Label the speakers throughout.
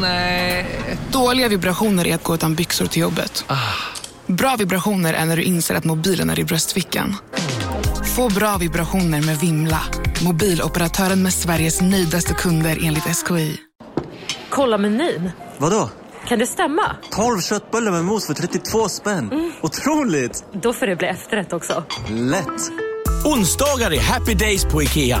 Speaker 1: Nej.
Speaker 2: Dåliga vibrationer är att gå utan byxor till jobbet. Bra vibrationer är när du inser att mobilen är i bröstfickan. Få bra vibrationer med Vimla. Mobiloperatören med Sveriges nöjdaste kunder enligt SKI.
Speaker 3: Kolla menyn.
Speaker 4: Vadå?
Speaker 3: Kan det stämma?
Speaker 4: 12 köttbullar med mos för 32 spänn. Otroligt!
Speaker 3: Då får det bli efterrätt också.
Speaker 4: Lätt!
Speaker 5: Onsdagar är happy days på IKEA.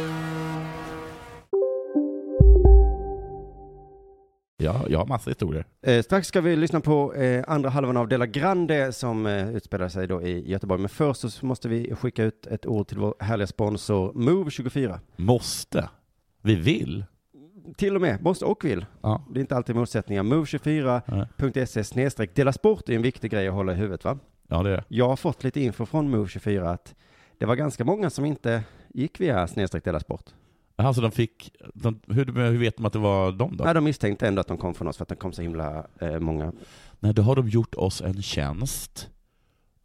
Speaker 6: Ja, jag har massa historier.
Speaker 7: Eh, strax ska vi lyssna på eh, andra halvan av Della Grande som eh, utspelar sig då i Göteborg. Men först så måste vi skicka ut ett ord till vår härliga sponsor Move24.
Speaker 6: Måste. Vi vill.
Speaker 7: Till och med, måste och vill.
Speaker 6: Ja.
Speaker 7: Det är inte alltid motsättningar. Move24.se snedstreck dela sport är en viktig grej att hålla i huvudet va?
Speaker 6: Ja, det är det.
Speaker 7: Jag har fått lite info från Move24 att det var ganska många som inte gick via snedstreck dela sport.
Speaker 6: Jaha, så Alltså, de fick... De, hur, hur vet de att det var de då?
Speaker 7: Nej, de misstänkte ändå att de kom från oss för att de kom så himla eh, många.
Speaker 6: Nej, då har de gjort oss en tjänst.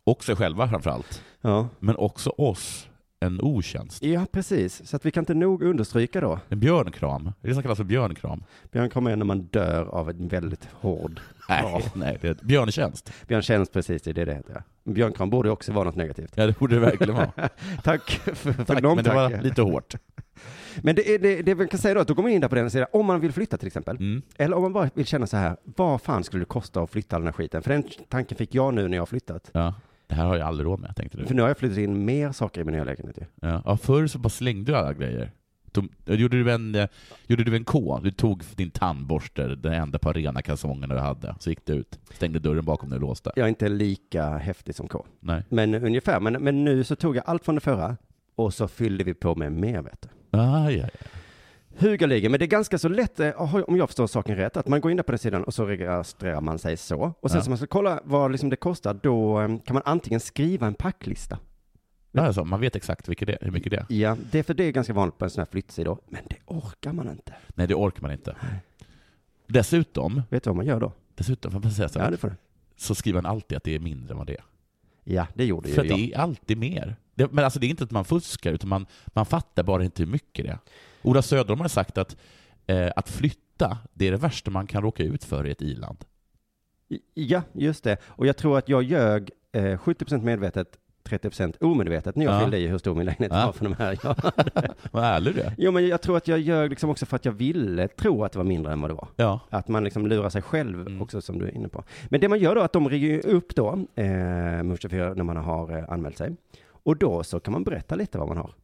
Speaker 6: Och sig själva framförallt.
Speaker 7: Ja.
Speaker 6: Men också oss en otjänst.
Speaker 7: ja, precis. Så att vi kan inte nog understryka då.
Speaker 6: En björnkram. Det är det som kallas för björnkram.
Speaker 7: Björn kommer igen när man dör av en väldigt hård
Speaker 6: Nej,
Speaker 7: Ja.
Speaker 6: nej det är ett björntjänst.
Speaker 7: Björn känns precis det, det är det heter jag. Björnkram borde också vara något negativt.
Speaker 6: Ja, det borde det verkligen vara.
Speaker 7: Tack för, för
Speaker 6: Tack,
Speaker 7: de
Speaker 6: men det var
Speaker 7: tackar.
Speaker 6: lite hårt.
Speaker 7: Men det, är- det, det man kan säga då, att då går man in där på den sidan, om man vill flytta till exempel.
Speaker 6: Mm.
Speaker 7: Eller om man bara vill känna så här, vad fan skulle det kosta att flytta all den här skiten? För den tanken fick jag nu när jag har flyttat.
Speaker 6: Ja. Det här har jag aldrig råd med, tänkte du.
Speaker 7: För nu har jag flyttat in mer saker i min nya lägenhet ju.
Speaker 6: Ja, ja, förr så bara slängde du alla grejer. De, gjorde, du en, eh, gjorde du en K? Du tog din tandborste, den enda par rena kalsongerna du hade, så gick du ut, stängde dörren bakom dig och låste.
Speaker 7: Jag är inte lika häftig som K.
Speaker 6: Nej.
Speaker 7: Men ungefär, men, men nu så tog jag allt från det förra och så fyllde vi på med mer vet du.
Speaker 6: Ah, ja, ja.
Speaker 7: Hugaligen, men det är ganska så lätt, eh, har- om jag förstår saken rätt, att man går in där på den sidan och så registrerar man sig så. Och sen
Speaker 6: Ja.
Speaker 7: så man ska kolla vad liksom det kostar, då eh, kan man antingen skriva en packlista.
Speaker 6: Ja, Alltså, man vet exakt vilket det, är- hur mycket det är.
Speaker 7: Ja, det är för det är ganska vanligt på en sån här flyttsida, men det orkar man inte.
Speaker 6: Nej, det orkar man inte. Dessutom,
Speaker 7: Vet du vad man gör då?
Speaker 6: dessutom får man säga så,
Speaker 7: Ja,
Speaker 6: här,
Speaker 7: det får du.
Speaker 6: så skriver man alltid att det är mindre än vad det är.
Speaker 7: Ja, det gjorde ju
Speaker 6: För
Speaker 7: jag.
Speaker 6: det är alltid mer. Det, men alltså det är inte att man fuskar, utan man, man fattar bara inte hur mycket det är. Ola Söderholm har sagt att, eh, att flytta, det är det värsta man kan råka ut för i ett iland.
Speaker 7: Ja, just det. Och jag tror att jag ljög eh, 70% medvetet, 30% omedvetet när jag
Speaker 6: Ja.
Speaker 7: fyllde i hur stor min lägenhet
Speaker 6: Ja.
Speaker 7: var för de här. Ja.
Speaker 6: Vad ärlig du är.
Speaker 7: Jo, men jag tror att jag ljög liksom också för att jag ville tro att det var mindre än vad det var.
Speaker 6: Ja.
Speaker 7: Att man liksom lurar sig själv
Speaker 6: Mm.
Speaker 7: också som du är inne på. Men det man gör då, att de ringer ju upp då, eh, Move24, när man har eh, anmält sig. Och då så kan man berätta lite vad man har.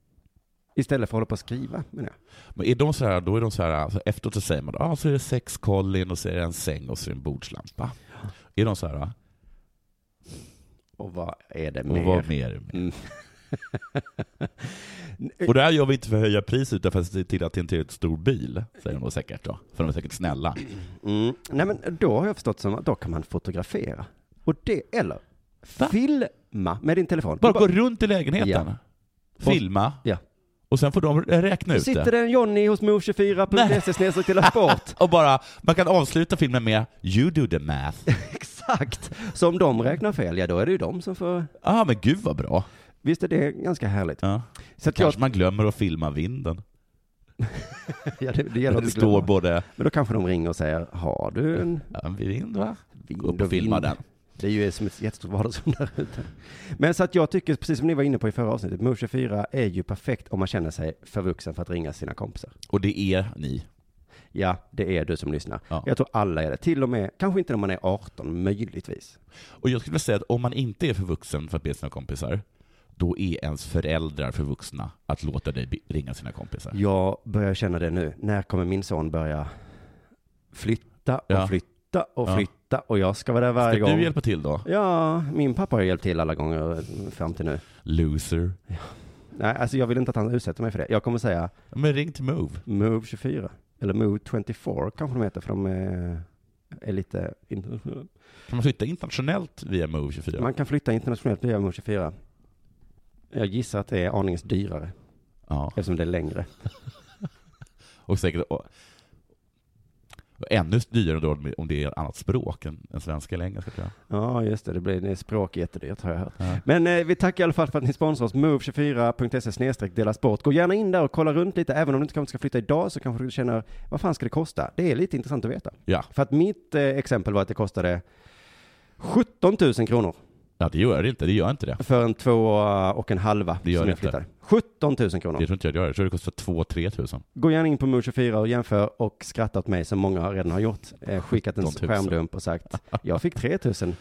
Speaker 7: Istället för att hålla på och skriva, menar jag.
Speaker 6: Men är de så här, då är de så här, alltså efteråt så säger man ah, så är det sex kollin och så är det en säng och så är det en bordslampa. Är de så här, ah,
Speaker 7: Och vad är det
Speaker 6: och
Speaker 7: mer?
Speaker 6: vad mer? är mer?
Speaker 7: Mm.
Speaker 6: Och det här gör vi inte för att höja priset utan för att se till att det inte är ett stor bil, säger de då säkert då. För de är säkert snälla.
Speaker 7: Mm. Nej men då har jag förstått som att då kan man fotografera. Och det, eller
Speaker 6: Va?
Speaker 7: filma med din telefon.
Speaker 6: Bara
Speaker 7: Du
Speaker 6: gå runt i lägenheten, filma,
Speaker 7: Ja.
Speaker 6: och sen får de räkna ut
Speaker 7: Sitter
Speaker 6: det.
Speaker 7: det en Johnny hos move24.se snedstreck till sport?
Speaker 6: Och bara, man kan avsluta filmen med ”You do the math”.
Speaker 7: Exakt. Så om de räknar fel, ja då är det ju de som får...
Speaker 6: ah, men gud vad bra.
Speaker 7: Visst är det ganska härligt?
Speaker 6: Ja.
Speaker 7: Så att jag,
Speaker 6: Kanske man glömmer att filma vinden.
Speaker 7: ja, det, det gäller
Speaker 6: Det
Speaker 7: att
Speaker 6: står
Speaker 7: glömma.
Speaker 6: både
Speaker 7: Men då kanske de ringer och säger, har du en
Speaker 6: ja, en vind va?
Speaker 7: vind
Speaker 6: Gå upp och filma
Speaker 7: vind?"
Speaker 6: den.
Speaker 7: Det är ju som ett jättestort vardagsrum där ute. Men så att jag tycker, precis som ni var inne på i förra avsnittet, Move24 är ju perfekt om man känner sig för vuxen för att ringa sina kompisar.
Speaker 6: Och det är ni.
Speaker 7: Ja, det är du som lyssnar.
Speaker 6: Ja.
Speaker 7: Jag tror alla är det. Till och med, kanske inte när man är 18, möjligtvis.
Speaker 6: Och jag skulle vilja säga att om man inte är för vuxen för att be sina kompisar, då är ens föräldrar för vuxna att låta dig be- ringa sina kompisar.
Speaker 7: Jag börjar känna det nu. När kommer min son börja flytta och
Speaker 6: Ja.
Speaker 7: flytta och
Speaker 6: Ja.
Speaker 7: flytta och jag ska vara där varje
Speaker 6: Ska
Speaker 7: gång.
Speaker 6: du hjälpa till då?
Speaker 7: Ja, min pappa har hjälpt till alla gånger fram till nu.
Speaker 6: Loser.
Speaker 7: Nej, alltså jag vill inte att han utsätter mig för det. Jag kommer säga
Speaker 6: Ja, Men ring till Move.
Speaker 7: Move 24, eller Move 24 kanske de heter, för de är är lite internationell.
Speaker 6: Kan man flytta internationellt via Move24?
Speaker 7: Man kan flytta internationellt via Move 24. Jag gissar att det är aningens dyrare
Speaker 6: Ja,
Speaker 7: eftersom det är längre.
Speaker 6: och säkert och, och ännu dyrare då om- om det är ett annat språk än, än svenska eller engelska tror jag.
Speaker 7: Ja, just det. Det blir det är språk jättedyrt har jag hört.
Speaker 6: Ja.
Speaker 7: Men eh, vi tackar i alla fall för att ni sponsrar oss. Move24.se snedstreck delas bort. Gå gärna in där och kolla runt lite. Även om du inte kanske ska flytta idag så kanske du känner, vad fan ska det kosta? Det är lite intressant att veta.
Speaker 6: Ja,
Speaker 7: För att mitt eh, exempel var att det kostade 17 000 kronor
Speaker 6: ja det gör det inte. Det gör inte det.
Speaker 7: för en två och en halva
Speaker 6: Det gör
Speaker 7: som
Speaker 6: det
Speaker 7: jag
Speaker 6: inte.
Speaker 7: flyttade. 17 000 kronor.
Speaker 6: Det tror inte jag det gör. Jag tror det kostar 2-3 tusen.
Speaker 7: Gå gärna in på Move24 och jämför och skratta åt mig som många redan har gjort. Eh, skickat en
Speaker 6: 17 000.
Speaker 7: skärmdump och sagt, jag fick 3 000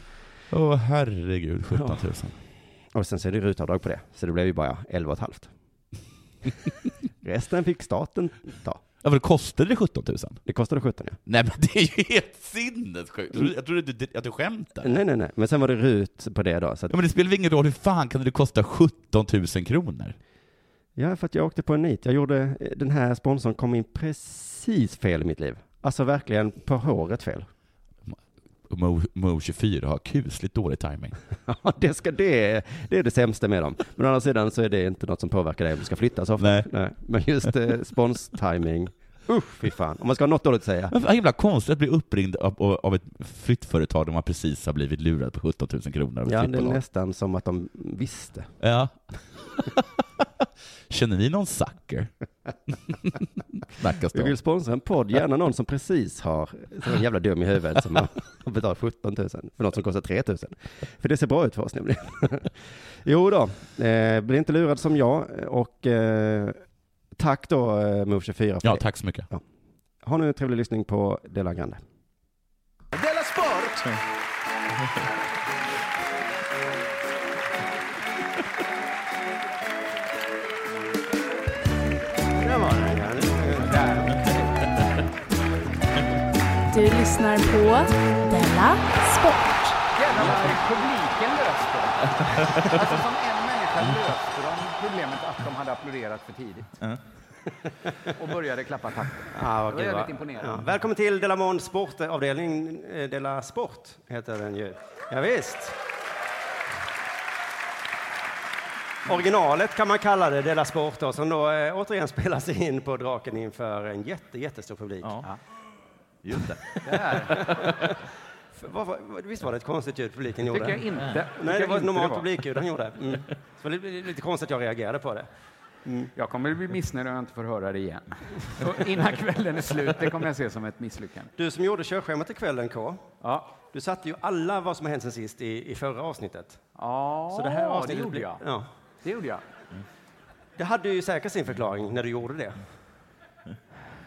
Speaker 6: Åh herregud, 17 tusen.
Speaker 7: Och sen så är det rutavdrag på det, så det blev ju bara 11 och ett halvt. Resten fick staten ta.
Speaker 6: Ja, men det kostade det 17 tusen?
Speaker 7: Det kostade 17 ja.
Speaker 6: Nej men det är ju helt sinnessjukt. Jag trodde- Jag trodde du- att du skämtade.
Speaker 7: Nej, nej, nej. Men sen var det rut på det då. Så att,
Speaker 6: Ja, men det spelar väl ingen roll, hur fan kan det kosta 17 000 kronor?
Speaker 7: ja, för att jag åkte på en nit. Jag gjorde, eh, den här sponsorn kom in precis fel i mitt liv. Alltså verkligen på håret fel.
Speaker 6: Och Mo, Mo 24 har kusligt dålig timing.
Speaker 7: Ja, det, ska, det, är- det är det sämsta med dem. Men å andra sidan så är det inte något som påverkar dig om du ska flytta så ofta.
Speaker 6: Nej.
Speaker 7: Men just eh, spons-timing. Usch, fy fan. Om man ska ha något dåligt att säga.
Speaker 6: Men vad himla konstigt att bli uppringd av, av- av ett flyttföretag där man precis har blivit lurad på 17 000 kronor. av ett
Speaker 7: Ja, det är
Speaker 6: flyttbolag.
Speaker 7: nästan som att de visste.
Speaker 6: ja. Känner ni någon sucker? Snackas det
Speaker 7: Vi
Speaker 6: om.
Speaker 7: vill sponsra en podd, gärna någon som precis har, som är en jävla dum i huvudet som har betalat 17 000 för något som kostar 3 000. För det ser bra ut för oss nämligen. Jo då, eh, bli inte lurad som jag och eh, tack då eh, Move24.
Speaker 6: Ja, tack så mycket.
Speaker 7: Ha nu en trevlig lyssning på Dela Grande.
Speaker 8: Della Sport!
Speaker 9: Du lyssnar på Della Sport.
Speaker 1: Jävlar, publiken löste det. Alltså som en människa löste de problemet att de hade applåderat för tidigt. Och började klappa takten.
Speaker 7: Ah,
Speaker 1: okej, Det var jävligt va? imponerande. Ja.
Speaker 7: Välkommen till Dela Måns sportavdelning, Eh, Dela Sport heter den ju. Ja, visst. Originalet kan man kalla det, Dela Sport, då, som då eh, återigen spelas in på Draken inför en jätte, jättestor publik.
Speaker 8: Just det.
Speaker 7: F- Vad, vad, visst var det ett konstigt ljud publiken gjorde?
Speaker 1: tycker jag inte. tycker
Speaker 7: Nej,
Speaker 1: jag
Speaker 7: det var ett
Speaker 1: inte
Speaker 7: normalt publikljud han gjorde. Mm. Så det är lite konstigt att jag reagerade på det.
Speaker 1: Jag kommer bli missnöjd om jag inte får höra det igen. Och innan kvällen är slut, det kommer jag se som ett misslyckande.
Speaker 7: Du som gjorde körschemat i kvällen, K.
Speaker 1: Ja,
Speaker 7: Du satte ju alla vad som har hänt sen sist i, i förra avsnittet.
Speaker 1: ja
Speaker 7: Så det här avsnittet
Speaker 1: det gjorde
Speaker 7: blir-
Speaker 1: jag.
Speaker 7: Ja.
Speaker 1: Det gjorde jag.
Speaker 7: Det hade ju säkert sin förklaring när du gjorde det.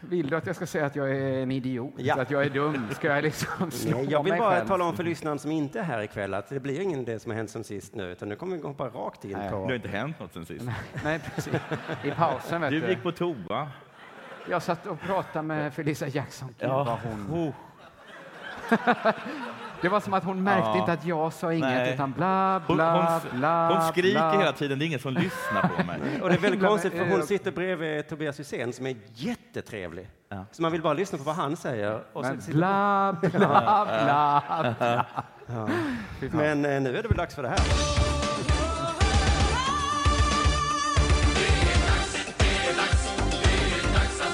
Speaker 1: Vill du att jag ska säga att jag är en idiot?
Speaker 7: Ja.
Speaker 1: Att jag är dum? Ska jag liksom slå
Speaker 7: Nej, jag vill
Speaker 1: mig
Speaker 7: bara
Speaker 1: själv?
Speaker 7: tala om för lyssnaren som inte är här ikväll att det blir ingen det som har hänt sen sist nu, utan nu kommer vi hoppa rakt in
Speaker 1: Nej.
Speaker 7: på...
Speaker 8: Det har inte hänt något sen sist.
Speaker 1: Nej, precis. I pausen, vet
Speaker 8: Du
Speaker 1: du.
Speaker 8: gick på toa.
Speaker 1: Jag satt och pratade med Felicia Jackson. Gud, vad hon
Speaker 8: Oh,
Speaker 1: Det var som att hon märkte
Speaker 8: Ja.
Speaker 1: inte att jag sa inget,
Speaker 8: Nej.
Speaker 1: utan bla,
Speaker 8: Hon, hon,
Speaker 1: bla, bla.
Speaker 8: hon skriker
Speaker 1: bla.
Speaker 8: hela tiden, det är ingen som lyssnar på mig.
Speaker 7: Och det är väldigt
Speaker 1: Men-
Speaker 7: konstigt för
Speaker 1: eh,
Speaker 7: hon
Speaker 1: eh,
Speaker 7: sitter bredvid Tobias Hysén som är jättetrevlig.
Speaker 8: Ja.
Speaker 7: Så man vill bara lyssna på vad han säger. Och
Speaker 1: Men
Speaker 7: så sitter...
Speaker 1: bla, bla, bla, bla. Fy fan.
Speaker 7: Men eh, nu är det väl dags för det här.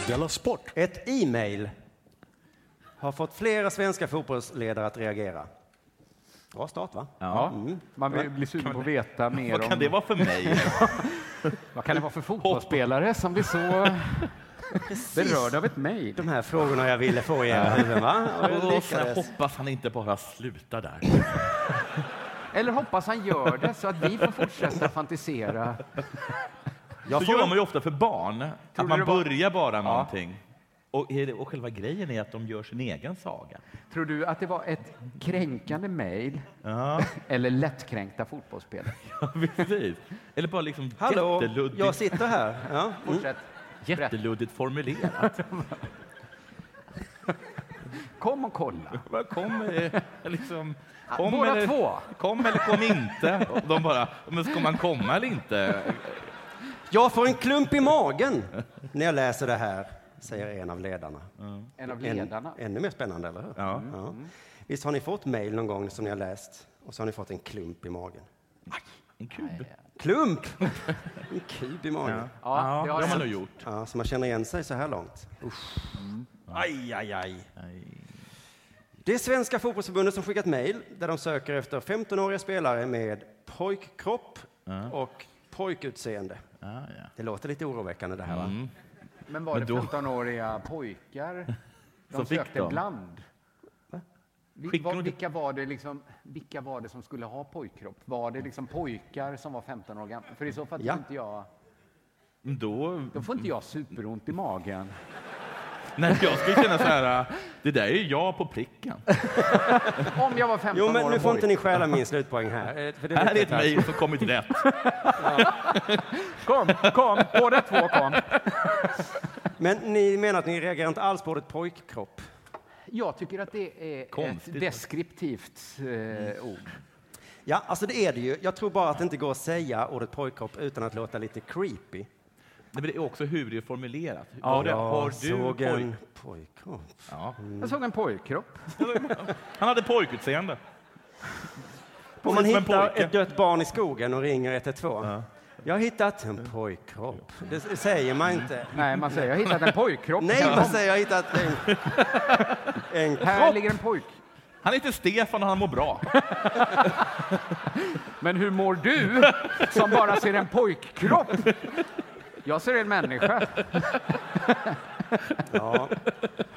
Speaker 10: Della Sport.
Speaker 7: Ett e-mail har fått flera svenska fotbollsledare att reagera. Bra start, va?
Speaker 1: Ja, man blir, blir sugen på att veta mer
Speaker 8: Vad
Speaker 1: om
Speaker 8: kan det vara för mig?
Speaker 1: vad kan det vara för fotbollsspelare som blir så berörd av ett mejl.
Speaker 7: De här frågorna jag ville få i era huvuden, va? Och jag
Speaker 8: Och så här,
Speaker 7: lyckades.
Speaker 8: hoppas han inte bara slutar där.
Speaker 1: Eller hoppas han gör det så att vi får fortsätta fantisera.
Speaker 8: Så gör man ju ofta för barn, att
Speaker 1: du det
Speaker 8: man
Speaker 1: var-
Speaker 8: börjar bara någonting. Och, är det, och själva grejen är att de gör sin egen saga.
Speaker 1: Tror du att det var ett kränkande mejl
Speaker 8: Ja,
Speaker 1: eller lättkränkta fotbollsspelare?
Speaker 8: precis. Eller bara liksom
Speaker 7: Hallå, jag
Speaker 8: jätteluddigt,
Speaker 7: sitter här. Ja.
Speaker 8: Mm.
Speaker 1: Fortsätt.
Speaker 8: jätteluddigt formulerat.
Speaker 1: Kom och kolla.
Speaker 8: Bara Kom, eh, liksom, kom,
Speaker 1: Båda
Speaker 8: eller,
Speaker 1: två.
Speaker 8: kom eller kom inte. Och de bara, men ska man komma eller inte?
Speaker 7: Jag får en klump i magen när jag läser det här. säger en av ledarna.
Speaker 1: En av
Speaker 7: Än-
Speaker 1: ledarna.
Speaker 7: ännu mer spännande, eller hur?
Speaker 6: Ja.
Speaker 7: Ja. Visst har ni fått mejl någon gång som ni har läst och så har ni fått en klump i magen?
Speaker 6: En kub.
Speaker 7: Klump! en kub i magen.
Speaker 1: Ja, det har
Speaker 6: man
Speaker 1: jag.
Speaker 6: nog gjort.
Speaker 7: Ja, så man känner igen sig så här långt.
Speaker 6: Aj, aj, Mm. aj.
Speaker 7: Det är Svenska fotbollsförbundet som skickat mejl där de söker efter 15-åriga spelare med pojkkropp och pojkutseende.
Speaker 6: Ah, ja. Mm.
Speaker 7: Det låter lite oroväckande det här va?
Speaker 1: Men var det
Speaker 6: Men då-
Speaker 1: 15-åriga pojkar de
Speaker 6: Som fick
Speaker 1: sökte
Speaker 6: dem?
Speaker 1: bland? Vi,
Speaker 6: Skickade
Speaker 1: var,
Speaker 6: de inte-
Speaker 1: vilka, var det liksom, vilka var det som skulle ha pojkkropp? Var det liksom pojkar som var 15 år gamla? För i så fall
Speaker 7: Ja.
Speaker 1: får inte jag,
Speaker 6: Då,
Speaker 1: då får inte jag superont i magen.
Speaker 6: nej, jag skulle känna så här, äh, det där är ju jag på pricken.
Speaker 1: Om jag var 15
Speaker 7: Jo
Speaker 1: år
Speaker 7: men
Speaker 1: och
Speaker 7: nu får inte
Speaker 1: pojk.
Speaker 7: ni stjäla min slutpoäng här. eh, För det
Speaker 6: Här är ett
Speaker 7: viktigt
Speaker 6: mejl som kommit rätt.
Speaker 1: Kom, kom, båda två kom.
Speaker 7: Men ni menar att ni reagerar inte alls på ordet pojkkropp?
Speaker 1: Jag tycker att det är
Speaker 6: Konstigt.
Speaker 1: ett deskriptivt eh, ord.
Speaker 7: Ja, alltså det är det ju. Jag tror bara att det inte går att säga ordet pojkkropp utan att låta lite creepy.
Speaker 6: Nej, men det är också hur det är formulerat. Har, det, har du
Speaker 7: såg en
Speaker 6: pojk...
Speaker 7: pojkkropp.
Speaker 6: Ja.
Speaker 1: Jag såg en pojkkropp.
Speaker 6: Han hade pojkutseende.
Speaker 7: Om man
Speaker 6: Som en
Speaker 7: hittar
Speaker 6: pojke.
Speaker 7: ett dött barn i skogen och ringer 112. Jag har hittat en pojkkropp. Det s- säger man inte.
Speaker 1: Nej, man säger jag har hittat en pojkkropp.
Speaker 7: Nej,
Speaker 1: Ja.
Speaker 7: man säger jag har hittat en, en
Speaker 1: Här
Speaker 7: kropp.
Speaker 1: ligger en pojk.
Speaker 6: Han heter Stefan och han mår bra.
Speaker 1: Men hur mår du som bara ser en pojkkropp? Jag ser en människa.
Speaker 7: Ja.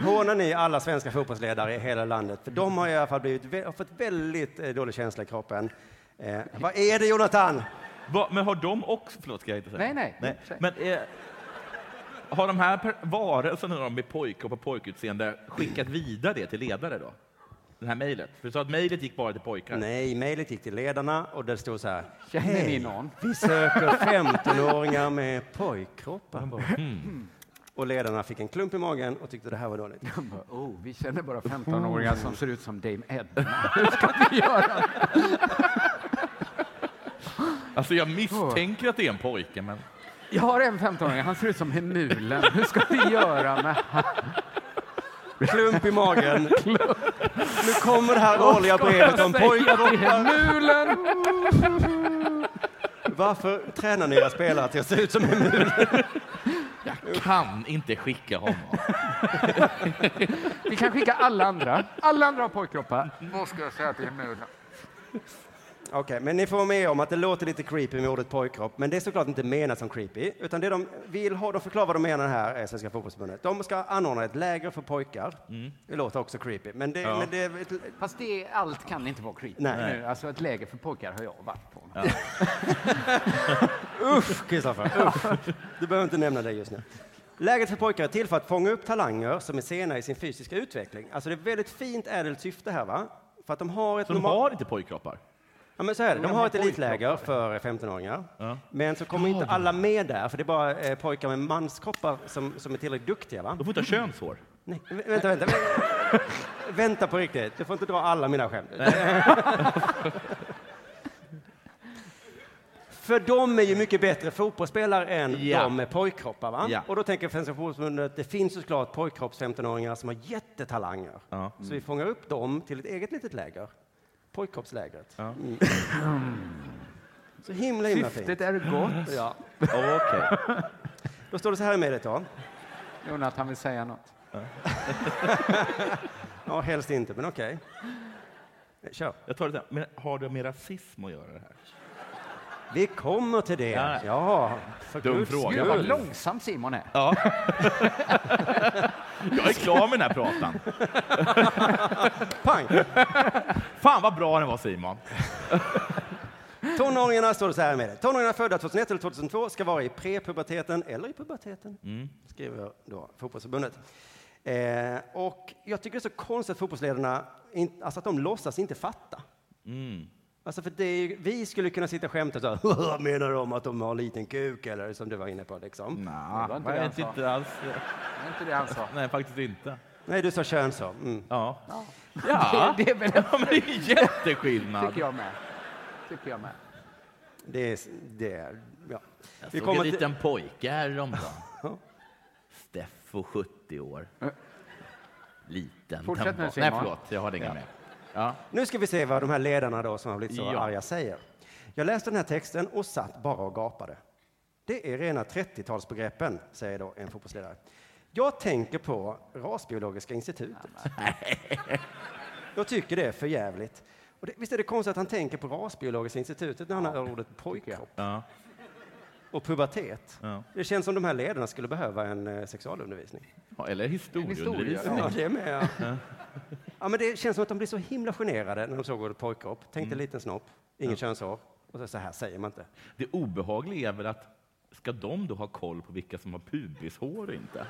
Speaker 7: Hånar ni alla svenska fotbollsledare i hela landet? För de har i alla fall blivit, vä- har fått väldigt eh, dålig känsla i kroppen. Eh, vad är det Jonathan?
Speaker 6: Va, men har de också... Förlåt, ska jag inte säga?
Speaker 1: Nej, nej. Säg.
Speaker 6: Men eh, har de här per- varelserna de med pojkkropp och pojkutseende skickat vidare det till ledare då? Det här mejlet? För du sa att mejlet gick bara till pojkar.
Speaker 7: Nej, mejlet gick till ledarna och det stod så här.
Speaker 1: Känner ni någon?
Speaker 7: Vi söker 15-åringar med pojkkroppar. Och ledarna fick en klump i magen och tyckte det här var dåligt.
Speaker 1: Oh, vi känner bara 15-åringar som ser ut som Dame Edna. Hur ska vi göra?
Speaker 6: Alltså, jag misstänker att det är en pojke, men...
Speaker 1: Jag har en 15-åring, han ser ut som Hemulen. Hur ska vi göra med
Speaker 7: Klump i magen. nu kommer det här årliga brevet om pojkkroppar.
Speaker 1: Hemulen?
Speaker 7: Varför tränar ni era spelare till att se ut som en mul?
Speaker 6: Kan inte skicka honom.
Speaker 1: Vi kan skicka alla andra. Alla andra har pojkkroppar. Vad ska jag säga till Hemulen?
Speaker 7: Okej, men ni får vara med om att det låter lite creepy med ordet pojkkropp, men det är såklart inte menat som creepy, utan det de vill ha, de förklarar vad de menar här, är Svenska Fotbollförbundet. De ska anordna ett läger för pojkar.
Speaker 6: Mm.
Speaker 7: Det låter också creepy, men det, men det
Speaker 1: Fast det, allt kan inte vara creepy.
Speaker 7: Nej.
Speaker 1: Nu, Alltså ett läger för pojkar har jag varit på.
Speaker 7: Usch, Kristoffer! Usch. Du behöver inte nämna det just nu. Läget för pojkar är till för att fånga upp talanger som är sena i sin fysiska utveckling. Alltså det är ett väldigt fint ädelt syfte här, va? För att de har ett
Speaker 6: Så de
Speaker 7: normal-
Speaker 6: har inte pojkkroppar?
Speaker 7: Ja, men så är det. De har ett elitläger för 15-åringar, men så kommer inte alla med där, för det är bara eh, pojkar med manskroppar som, som är tillräckligt duktiga. Va?
Speaker 6: De får inte ha könshår.
Speaker 7: Nej, vä- vänta, vänta. vä- vänta på riktigt. Du får inte dra alla mina skämt. För de är ju mycket bättre fotbollsspelare än
Speaker 6: Ja.
Speaker 7: de med pojkkroppar. Va?
Speaker 6: Ja.
Speaker 7: Och då tänker Svenska Fotbollförbundet att det finns ju såklart pojkkropps-15-åringar som har jättetalanger.
Speaker 6: Ja.
Speaker 7: Så vi fångar upp dem till ett eget litet läger. Pojkkroppslägret. Mm. Så himla, himla fint.
Speaker 1: Syftet är gott.
Speaker 7: Ja.
Speaker 6: Okej.
Speaker 7: Då står det så här i mejlet då.
Speaker 1: Jonathan vill säga något.
Speaker 7: Ja, helst inte, men okej. Kör.
Speaker 6: Jag tar det där. Men har det med rasism att göra det här?
Speaker 7: Vi kommer till det.
Speaker 6: Ja.
Speaker 7: Ja, för
Speaker 6: Dum
Speaker 7: guds
Speaker 6: fråga.
Speaker 1: Gud
Speaker 7: skull.
Speaker 1: vad långsam Simon är.
Speaker 6: Jag är klar med den här pratan.
Speaker 7: Pang!
Speaker 6: Fan vad bra den var Simon.
Speaker 7: Tonåringarna står det så här med det. Tonåringarna födda 2001 eller 2002 ska vara i prepuberteten eller i puberteten,
Speaker 6: Mm.
Speaker 7: skriver då Fotbollsförbundet. Eh, och jag tycker det är så konstigt att fotbollsledarna, in, alltså att de låtsas inte fatta.
Speaker 6: Mm.
Speaker 7: Alltså för det är, ju- vi skulle kunna sitta och skämta så här, menar de att de har liten kuk eller som du var inne på liksom.
Speaker 6: Nah,
Speaker 1: var inte det han sa.
Speaker 6: inte alls.
Speaker 1: Det är inte det han sa.
Speaker 6: Nej, faktiskt inte.
Speaker 7: Nej, du sa kön så. Mm.
Speaker 6: Ja. Ja.
Speaker 1: Det är väl
Speaker 6: Ja, men det är jätteskillnad.
Speaker 1: Tycker jag med. Tycker jag med.
Speaker 7: Det är, s- det är, ja.
Speaker 6: Jag
Speaker 7: Vi
Speaker 6: såg
Speaker 7: kommer
Speaker 6: en
Speaker 7: till-
Speaker 6: liten pojke häromdagen. Steff. 2,70 år. Liten.
Speaker 1: Fortsätt
Speaker 6: Tempo.
Speaker 1: nu, Simon.
Speaker 6: Nej, förlåt. Jag har inga mer.
Speaker 7: Nu ska vi se vad de här ledarna då som har blivit så
Speaker 6: Ja.
Speaker 7: arga säger. Jag läste den här texten och satt bara och gapade. Det är rena 30-talsbegreppen, säger då en fotbollsledare. Jag tänker på Rasbiologiska institutet. Jag tycker det är för jävligt. Och det, visst är det konstigt att han tänker på Rasbiologiska institutet när han hör ordet pojkkropp?
Speaker 6: Ja.
Speaker 7: Och pubertet.
Speaker 6: Ja.
Speaker 7: Det känns som de här ledarna skulle behöva en eh, sexualundervisning.
Speaker 6: Ja, eller historieundervisning.
Speaker 7: Ja, det med. Ja. ja, men det känns som att de blir så himla generade när de såg ordet pojkkropp. Tänk dig en liten snopp, ingen könshår. Och så, så här säger man inte.
Speaker 6: Det obehagliga är väl att ska de då ha koll på vilka som har pubishår och inte?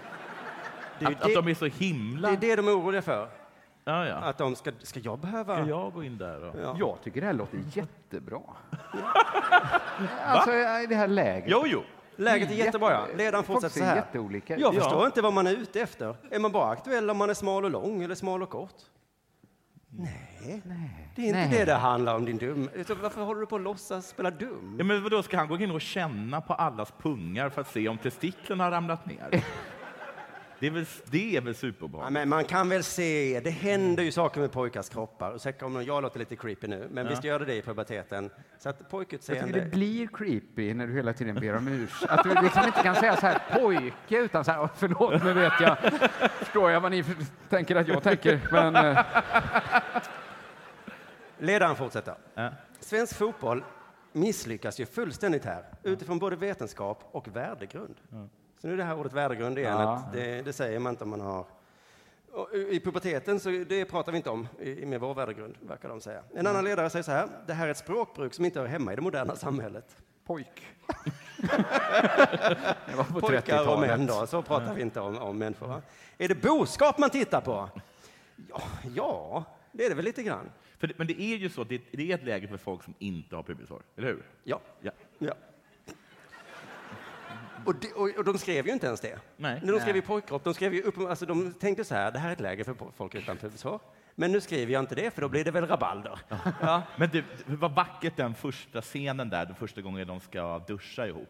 Speaker 7: Det är, ju
Speaker 6: Att, att
Speaker 7: det,
Speaker 6: de är så himla...
Speaker 7: det, är det de är oroliga för.
Speaker 6: Ja, ja.
Speaker 7: Att de ska, ska jag
Speaker 6: Ska
Speaker 7: behöva...
Speaker 6: jag gå in där? Och...
Speaker 7: Ja.
Speaker 1: Jag tycker det här låter jättebra. alltså, i det här läget.
Speaker 6: Jo, jo.
Speaker 7: Läget är jättebra, ja.
Speaker 1: Jätte-
Speaker 7: Ledaren
Speaker 1: folk
Speaker 7: fortsätter så
Speaker 1: ser
Speaker 7: här.
Speaker 1: jätteolika ut.
Speaker 7: Jag
Speaker 1: Ja.
Speaker 7: förstår inte vad man är ute efter. Är man bara aktuell om man är smal och lång eller smal och kort? Nej, det är inte
Speaker 1: Mm. Nej.
Speaker 7: det det handlar om, din dum. Så Varför håller du på att låtsas spela dum?
Speaker 6: Ja, men då ska han gå in och känna på allas pungar för att se om testiklarna har ramlat ner? Det är väl, det är väl
Speaker 7: Ja,
Speaker 6: superobehagligt?
Speaker 7: men man kan väl se, det händer ju saker med pojkars kroppar. Och säkert om jag låter lite creepy nu, men visst gör det det i puberteten. Så att
Speaker 1: Jag tycker
Speaker 7: pojkutseende...
Speaker 1: det blir creepy när du hela tiden ber om ursäkt. Att du liksom inte kan säga så här pojke utan så här, "Åh, förlåt nu vet jag, förstår jag vad ni för- tänker att jag tänker. Men eh,
Speaker 7: Ledaren fortsätter. Svensk fotboll misslyckas ju fullständigt här, utifrån både vetenskap och värdegrund. Så nu är det här ordet värdegrund igen,
Speaker 1: Ja.
Speaker 7: att det, det säger man inte om man har... Och I i puberteten, så det pratar vi inte om i- i- med vår värdegrund, verkar de säga. En annan ledare säger så här, det här är ett språkbruk som inte hör hemma i det moderna samhället.
Speaker 1: pojk. Det var på
Speaker 7: Pojkar och män
Speaker 1: 30-talet.
Speaker 7: då, så pratar vi inte om, om människor. Va? Är det boskap man tittar på? Ja, ja, det är det väl lite grann.
Speaker 6: För det, men det är ju så, att det, det är ett läge för folk som inte har pubishår, eller hur?
Speaker 7: Ja.
Speaker 6: Ja.
Speaker 7: ja. Och, de, och, och de skrev ju inte ens det.
Speaker 6: Nej.
Speaker 7: När de skrev i pojkkropp, de, skrev ju upp, alltså de tänkte så här, det här är ett läge för po- folk utan pubishår. Men nu skriver jag inte det, för då blir det väl rabalder. Ja.
Speaker 6: Men du, vad vackert den första scenen där, den första gången de ska duscha ihop.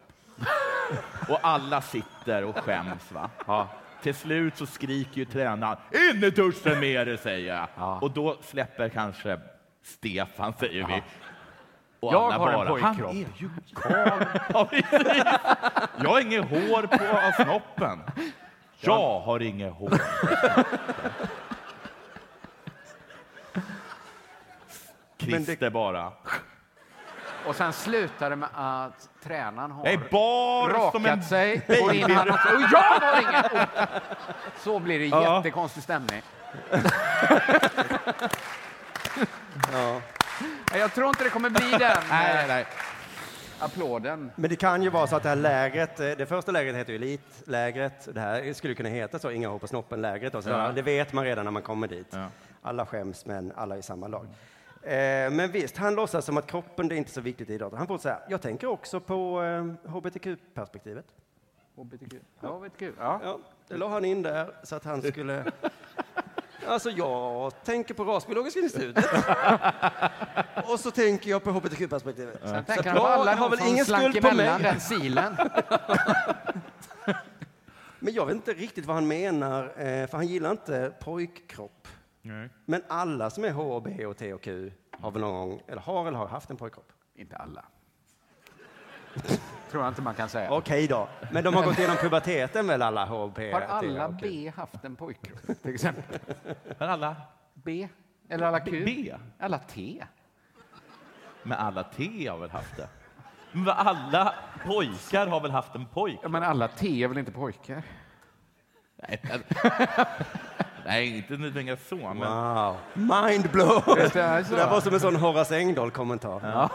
Speaker 6: Och alla sitter och skäms. Va? Till slut så skriker ju tränaren in i duschen med er, säger jag. Och då släpper kanske Stefan, säger vi. Och
Speaker 1: Jag har en
Speaker 6: Han
Speaker 1: pojkkropp."
Speaker 6: är ju karl. Ja, precis. jag har inget hår på av snoppen. Jag har inget hår. Christer bara.
Speaker 1: Och sen slutar det med att tränaren har
Speaker 6: Jag är bar som en
Speaker 1: rakat sig. Och in han också. Och jag har inget! Och så blir det
Speaker 6: Ja.
Speaker 1: jättekonstig stämning. Nej, Jag tror inte det kommer bli den
Speaker 6: Nej, nej, nej.
Speaker 1: applåden.
Speaker 7: Men det kan ju vara så att det här lägret, eh, det första lägret heter ju elitlägret. Det här skulle kunna heta så, inga hår på snoppen-lägret. då. Så
Speaker 6: Ja.
Speaker 7: Det vet man redan när man kommer dit.
Speaker 6: Ja.
Speaker 7: Alla skäms, men alla är i samma lag. Eh, Men visst, han låtsas som att kroppen, det är inte så viktigt i idrotten. Han får så här, jag tänker också på eh, hbtq-perspektivet.
Speaker 1: HBTQ. Ja, HBTQ. Ja.
Speaker 7: Ja, det la han in där så att han skulle... Alltså, jag tänker på Rasbiologiska institutet. Och så tänker jag på hbtq-perspektivet.
Speaker 1: Sen
Speaker 7: Så
Speaker 1: tänker han
Speaker 7: att
Speaker 1: på
Speaker 7: jag-
Speaker 1: alla
Speaker 7: jag har väl
Speaker 1: som
Speaker 7: ingen
Speaker 1: slank
Speaker 7: skuld på
Speaker 1: emellan
Speaker 7: mig.
Speaker 1: den silen.
Speaker 7: Men jag vet inte riktigt vad han menar, eh, för han gillar inte pojkkropp. Men alla som är H, B, och T och Q har väl någon gång, eller har eller har haft en pojkkropp.
Speaker 1: Inte alla. Tror jag inte man kan säga.
Speaker 7: Okej då, men de har gått igenom puberteten väl alla H, B,
Speaker 1: Har
Speaker 7: T
Speaker 1: alla
Speaker 7: och Q?
Speaker 1: B haft en pojkkropp till exempel?
Speaker 6: Men alla
Speaker 1: B? Eller alla Q?
Speaker 6: B?
Speaker 1: Alla T?
Speaker 6: Men alla T har väl haft det? Men vad alla pojkar har väl haft en pojk?
Speaker 1: Ja, men alla T är väl inte pojkar?
Speaker 6: Nej, Nej inte nödvändigen så, men
Speaker 7: Wow, mindblow!
Speaker 1: Vet du, alltså.
Speaker 7: Det där var som en sån Horace Engdahl-kommentar.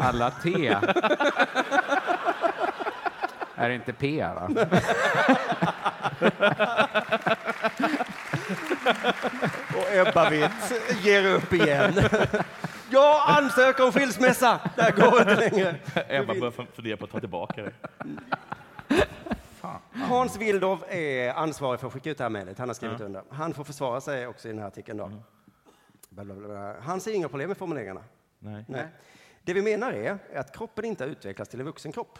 Speaker 1: Alla T. är inte P, va?
Speaker 7: Och Ebba Witt ger upp igen. Jag ansöker om skilsmässa! Det här går inte längre.
Speaker 6: Ebba börjar fundera på att ta tillbaka det.
Speaker 7: Hans Wildorf är ansvarig för att skicka ut det här mejlet. Han har skrivit under. Han får försvara sig också i den här artikeln. Då. Bla, bla, bla, bla. Han ser inga problem med formuleringarna.
Speaker 6: Nej.
Speaker 7: Nej. Det vi menar är att kroppen
Speaker 1: Mm.
Speaker 7: inte har utvecklats till en vuxen kropp.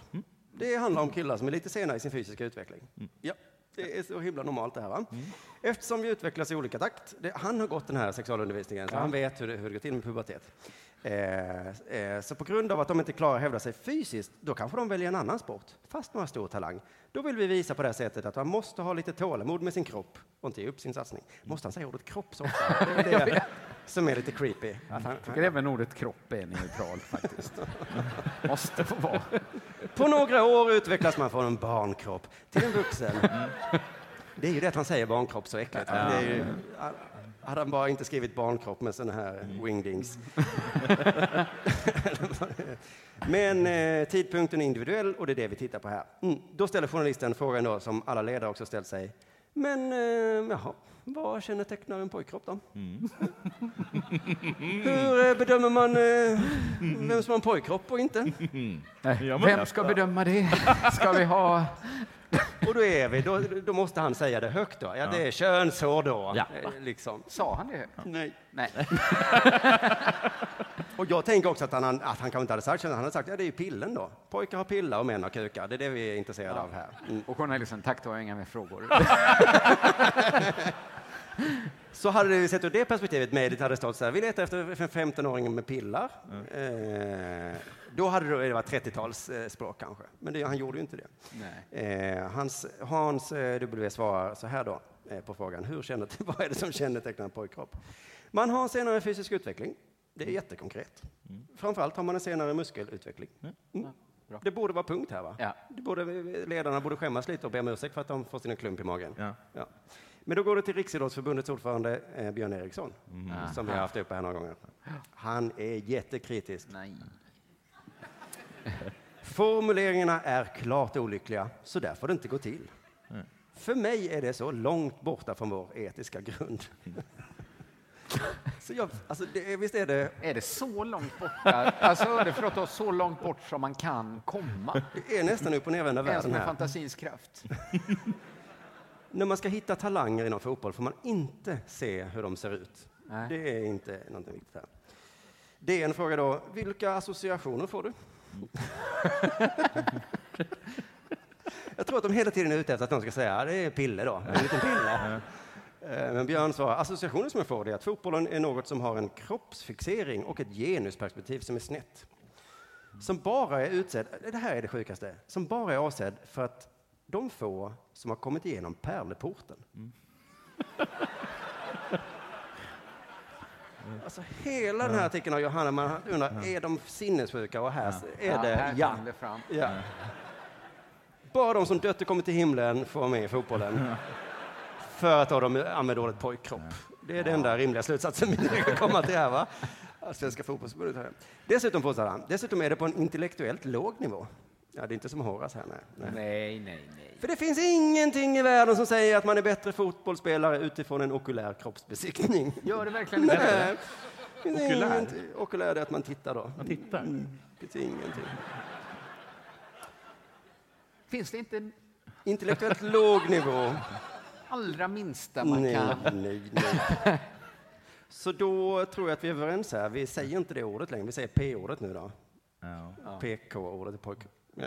Speaker 7: Det handlar om killar som är lite sena i sin fysiska utveckling. Ja. Det är så himla normalt det här. Va?
Speaker 1: Mm.
Speaker 7: Eftersom vi utvecklas i olika takt. Det, han har gått den här sexualundervisningen, så han vet hur det, hur det går till med pubertet. Eh, eh, så på grund av att de inte klarar att hävda sig fysiskt, då kanske de väljer en annan sport, fast man har stor talang. Då vill vi visa på det här sättet att man måste ha lite tålamod med sin kropp och inte ge upp sin satsning. Måste han säga ordet kropp så ofta? Det är det som är lite creepy. Att han,
Speaker 1: Jag tycker även ordet kropp är neutralt faktiskt. Måste få vara.
Speaker 7: På några år utvecklas man från en barnkropp till en vuxen. Det är ju det att han säger barnkropp så äckligt. Det är ju, hade han bara inte skrivit barnkropp med sådana här wingdings. Men eh, tidpunkten är individuell och det är det vi tittar på här. Mm. Då ställer journalisten frågan då, som alla ledare också ställt sig. Men eh, jaha, vad kännetecknar en pojkkropp då? Hur eh, bedömer man eh, vem som har en pojkkropp och inte?
Speaker 1: Nej.
Speaker 6: men
Speaker 1: Vem ska bedöma det? Ska vi ha...
Speaker 7: Och då är vi, då, då måste han säga det högt då. Ja, det är könshår då. eh, Liksom.
Speaker 1: Sa han det?
Speaker 7: Nej.
Speaker 1: Nej.
Speaker 7: Och jag tänker också att han, att han kanske inte hade sagt könshår, han hade sagt ja det är ju pillen då. Pojkar har pillar och män har kukar, det är det vi är intresserade av här. Mm.
Speaker 1: Och journalisten, tack, då har jag inga mer frågor.
Speaker 7: Så hade det sett ur det perspektivet, Medit hade stått så här, vi letar efter en 15-åring med pillar. Eh, då hade det det varit 30-talsspråk eh, språk kanske, men det, han gjorde ju inte det. Eh, hans, Hans eh, W svarar så här då eh, på frågan, hur känner, vad är det som kännetecknar en pojkkropp? Man har senare fysisk utveckling, det är jättekonkret. Framförallt har man en senare muskelutveckling. Mm. Det borde vara punkt här va?
Speaker 1: Ja.
Speaker 7: Det borde, ledarna borde skämmas lite och be om ursäkt för att de får sina klump i magen.
Speaker 6: Ja.
Speaker 7: Ja. Men då går det till Riksidrottsförbundets ordförande eh, Björn Eriksson, som vi har haft uppe här några gånger. Han är jättekritisk.
Speaker 1: Nej.
Speaker 7: Formuleringarna är klart olyckliga, så där får det inte gå till. För mig är det så långt borta från vår etiska grund. så jag, alltså det, är- visst är det,
Speaker 1: Är det så långt borta? Alltså, underförstått, då, så långt bort som man kan komma.
Speaker 7: det är nästan upp och nervända
Speaker 1: Ens
Speaker 7: världen
Speaker 1: med
Speaker 7: här.
Speaker 1: fantasins kraft.
Speaker 7: När man ska hitta talanger inom fotboll får man inte se hur de ser ut.
Speaker 1: Nej.
Speaker 7: Det är inte någonting viktigt här. Det är en fråga då, vilka associationer får du? Jag tror att de hela tiden är ute efter att någon ska säga, "Ja, det är Pille då, en liten Pille. Eh, Men Björn svarar, associationen som jag får det är att fotbollen är något som har en kroppsfixering och ett genusperspektiv som är snett. Som bara är utsedd, eh, det här är det sjukaste, som bara är avsedd för att de få som har kommit igenom pärleporten. Alltså hela den här artikeln av Johanna, man undrar, är de sinnessjuka? Och här är det,
Speaker 1: här
Speaker 7: ja.
Speaker 1: kom det fram.
Speaker 7: ja. Bara de som dött och kommit till himlen får vara med i fotbollen. För att de använder ordet pojkkropp. Det är den enda rimliga slutsatsen vi kan komma till här. Va? Att Svenska fotbollsförbundet har det. Dessutom fortsätter han. Dessutom är det på en intellektuellt låg nivå. Ja, det är inte som Horace här. Nej. Nej.
Speaker 1: Nej, nej, nej.
Speaker 7: För det finns ingenting i världen som säger att man är bättre fotbollsspelare utifrån en okulär kroppsbesiktning.
Speaker 1: Gör det verkligen inte det?
Speaker 7: Nej. Det finns
Speaker 6: Okulär?
Speaker 7: ingenting. Okulär är att man tittar då. Man
Speaker 6: tittar?
Speaker 7: Det finns ingenting.
Speaker 1: Finns det inte
Speaker 7: Intellektuellt låg nivå.
Speaker 1: allra minsta man
Speaker 7: Nej,
Speaker 1: kan?
Speaker 7: nej, nej. Så då tror jag att vi är överens här. Vi säger inte det ordet längre. Vi säger P-ordet nu då.
Speaker 6: Ja.
Speaker 7: PK-ordet är pojk. Ja,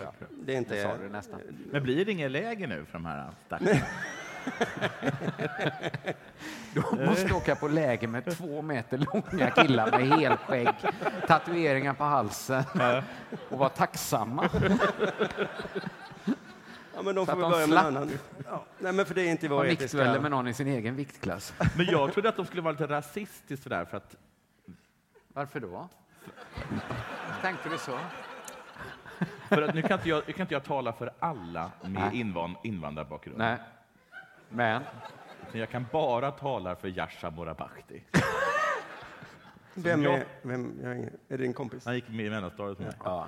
Speaker 7: ja, det är inte...
Speaker 1: Sa du nästan.
Speaker 6: Men blir det inget läger nu för de här stackarna?
Speaker 1: Du måste åka på läger med två meter långa killar med helskägg, tatueringar på halsen och vara tacksamma.
Speaker 7: Ja, men de
Speaker 1: Så att
Speaker 7: får vi
Speaker 1: de
Speaker 7: börja med en
Speaker 1: slapp.
Speaker 7: annan. Ja. Nej, men för det är inte i vår
Speaker 1: Vara
Speaker 7: etiska...
Speaker 1: viktdueller med någon i sin egen viktklass.
Speaker 6: Men jag trodde att de skulle vara lite rasistiskt sådär för att
Speaker 1: Varför då? Tänkte du så?
Speaker 6: För att nu kan inte jag, nu kan inte jag tala för alla med invan, invandrarbakgrund.
Speaker 1: Nej. Men
Speaker 6: Men Jag kan bara tala för Yasha Morabakti.
Speaker 7: Vem är... Vem, jag har ingen, är det din kompis?
Speaker 6: Han gick med i mellanstadiet med mig.
Speaker 1: jo,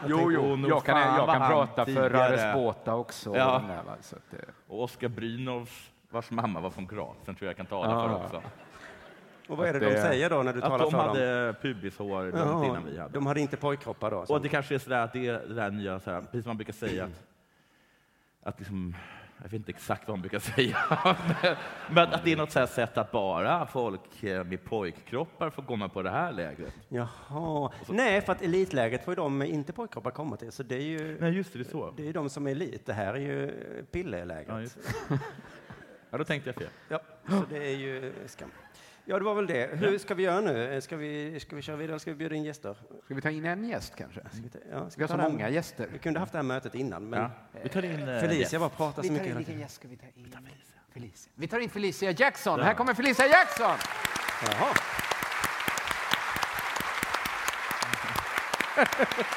Speaker 6: tänkte, åh,
Speaker 1: jo,
Speaker 6: nog
Speaker 1: jag kan,
Speaker 6: fan
Speaker 1: jag
Speaker 6: vad
Speaker 1: kan
Speaker 6: han
Speaker 1: prata för
Speaker 6: tidigare-
Speaker 1: Rares Båta också. och
Speaker 6: Ja.
Speaker 1: de där, va, så att, eh,
Speaker 6: Och Oskar Brynolfs, vars mamma var från Kroatien, tror jag kan tala för också.
Speaker 7: Och vad är det
Speaker 6: Att
Speaker 7: de
Speaker 6: det-
Speaker 7: säger då när du
Speaker 6: Att
Speaker 7: talar
Speaker 6: de
Speaker 7: för dem?
Speaker 6: hade pubishår långt
Speaker 7: Ja,
Speaker 6: innan vi hade.
Speaker 7: De hade inte pojkkroppar då?
Speaker 6: Och
Speaker 7: som-
Speaker 6: att det kanske är sådär att det är det där nya, såhär, precis som man brukar säga att, att liksom, jag vet inte exakt vad hon brukar säga, men- men att det är något så här sätt att bara folk eh, med pojkkroppar får komma på det här lägret.
Speaker 7: Jaha.
Speaker 6: Alltså-
Speaker 7: Nej, för att elitlägret får ju de inte pojkkroppar komma till, så det är ju
Speaker 6: Nej, just det, det är så.
Speaker 7: det är ju de som är elit. Det här är ju pillelägret.
Speaker 6: Ja, just Ja, då tänkte jag fel.
Speaker 7: Ja, så det är ju skam. Ja, det var väl det. Hur ska vi göra nu? Eh, Ska vi, ska vi köra vidare? Ska vi bjuda in gäster?
Speaker 1: Ska vi ta in en gäst kanske?
Speaker 7: Ja,
Speaker 1: Vi har så
Speaker 7: ta det här-
Speaker 1: många
Speaker 7: Vi
Speaker 1: gäster.
Speaker 7: kunde haft det här mötet innan, men
Speaker 6: Ja. Vi tar in eh,
Speaker 7: Felicia bara pratar
Speaker 1: Vi
Speaker 7: så
Speaker 1: tar
Speaker 7: mycket.
Speaker 1: in,
Speaker 7: hela
Speaker 1: vilken
Speaker 7: tiden.
Speaker 1: gäst ska vi ta in? Felicia. Vi tar in Felicia Jackson. Här kommer Felicia Jackson!
Speaker 7: Jaha.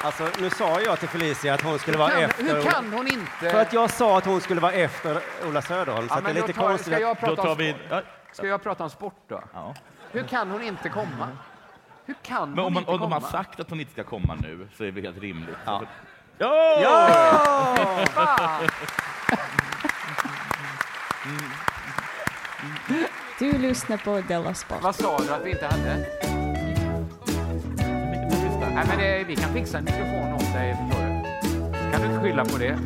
Speaker 7: Alltså, nu sa jag till Felicia att hon skulle vara
Speaker 1: Kan,
Speaker 7: efter...
Speaker 1: hur
Speaker 7: Ola-
Speaker 1: kan hon inte?
Speaker 7: För att jag sa att hon skulle vara efter Ola Söderholm, så
Speaker 1: Ja,
Speaker 7: att det är
Speaker 1: men då
Speaker 7: lite
Speaker 1: tar,
Speaker 7: konstigt.
Speaker 1: ska,
Speaker 7: att-
Speaker 1: jag
Speaker 6: Då
Speaker 1: prata
Speaker 6: tar
Speaker 1: om
Speaker 6: vi...
Speaker 1: sport?
Speaker 6: Ja.
Speaker 1: ska jag prata om sport då?
Speaker 6: Ja.
Speaker 1: Hur kan hon inte komma? Hur kan
Speaker 6: Men
Speaker 1: hon
Speaker 6: om, man,
Speaker 1: inte
Speaker 6: om de
Speaker 1: komma?
Speaker 6: har sagt att hon inte ska komma nu så är det helt rimligt. Ja.
Speaker 7: Ja!
Speaker 11: Du lyssnar på Della Sport.
Speaker 1: Vad sa du att vi inte hade? Nej, men det, vi kan fixa en mikrofon åt dig, förstår du. Kan du inte skylla på det?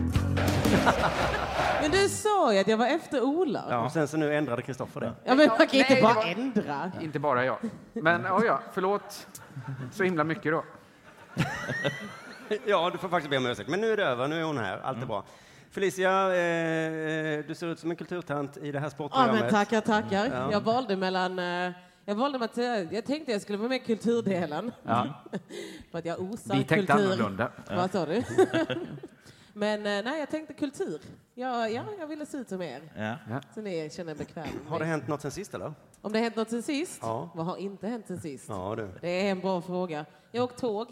Speaker 12: Men du sa ju att jag var efter Ola. Ja,
Speaker 7: Och sen så nu ändrade Kristoffer det.
Speaker 12: men man kan inte
Speaker 1: Nej,
Speaker 12: bara
Speaker 1: det var-
Speaker 12: ändra.
Speaker 1: Inte bara jag. Men oh ja, förlåt så himla mycket då.
Speaker 7: Ja, du får faktiskt be om ursäkt. Men nu är det över, nu är hon här, allt är bra. Felicia, eh, du ser ut som en kulturtant i det här
Speaker 12: Ja,
Speaker 7: sportprogrammet.
Speaker 12: men tackar, tackar. Jag valde mellan... eh, Jag valde Matte, jag tänkte jag skulle vara med i kulturdelen. För att jag osar
Speaker 1: Vi tänkte
Speaker 12: kultur.
Speaker 1: annorlunda.
Speaker 12: Vad sa du? men eh, nej, jag tänkte kultur. Ja, ja, jag ville se ut som er.
Speaker 6: Ja.
Speaker 12: Så ni känner er bekväma. med
Speaker 7: Har det
Speaker 12: mig.
Speaker 7: hänt något sen sist eller?
Speaker 12: Om det har hänt något sen sist?
Speaker 7: Ja.
Speaker 12: Vad har inte hänt sen sist?
Speaker 7: Ja, du.
Speaker 12: Det är en bra fråga. Jag åkte tåg.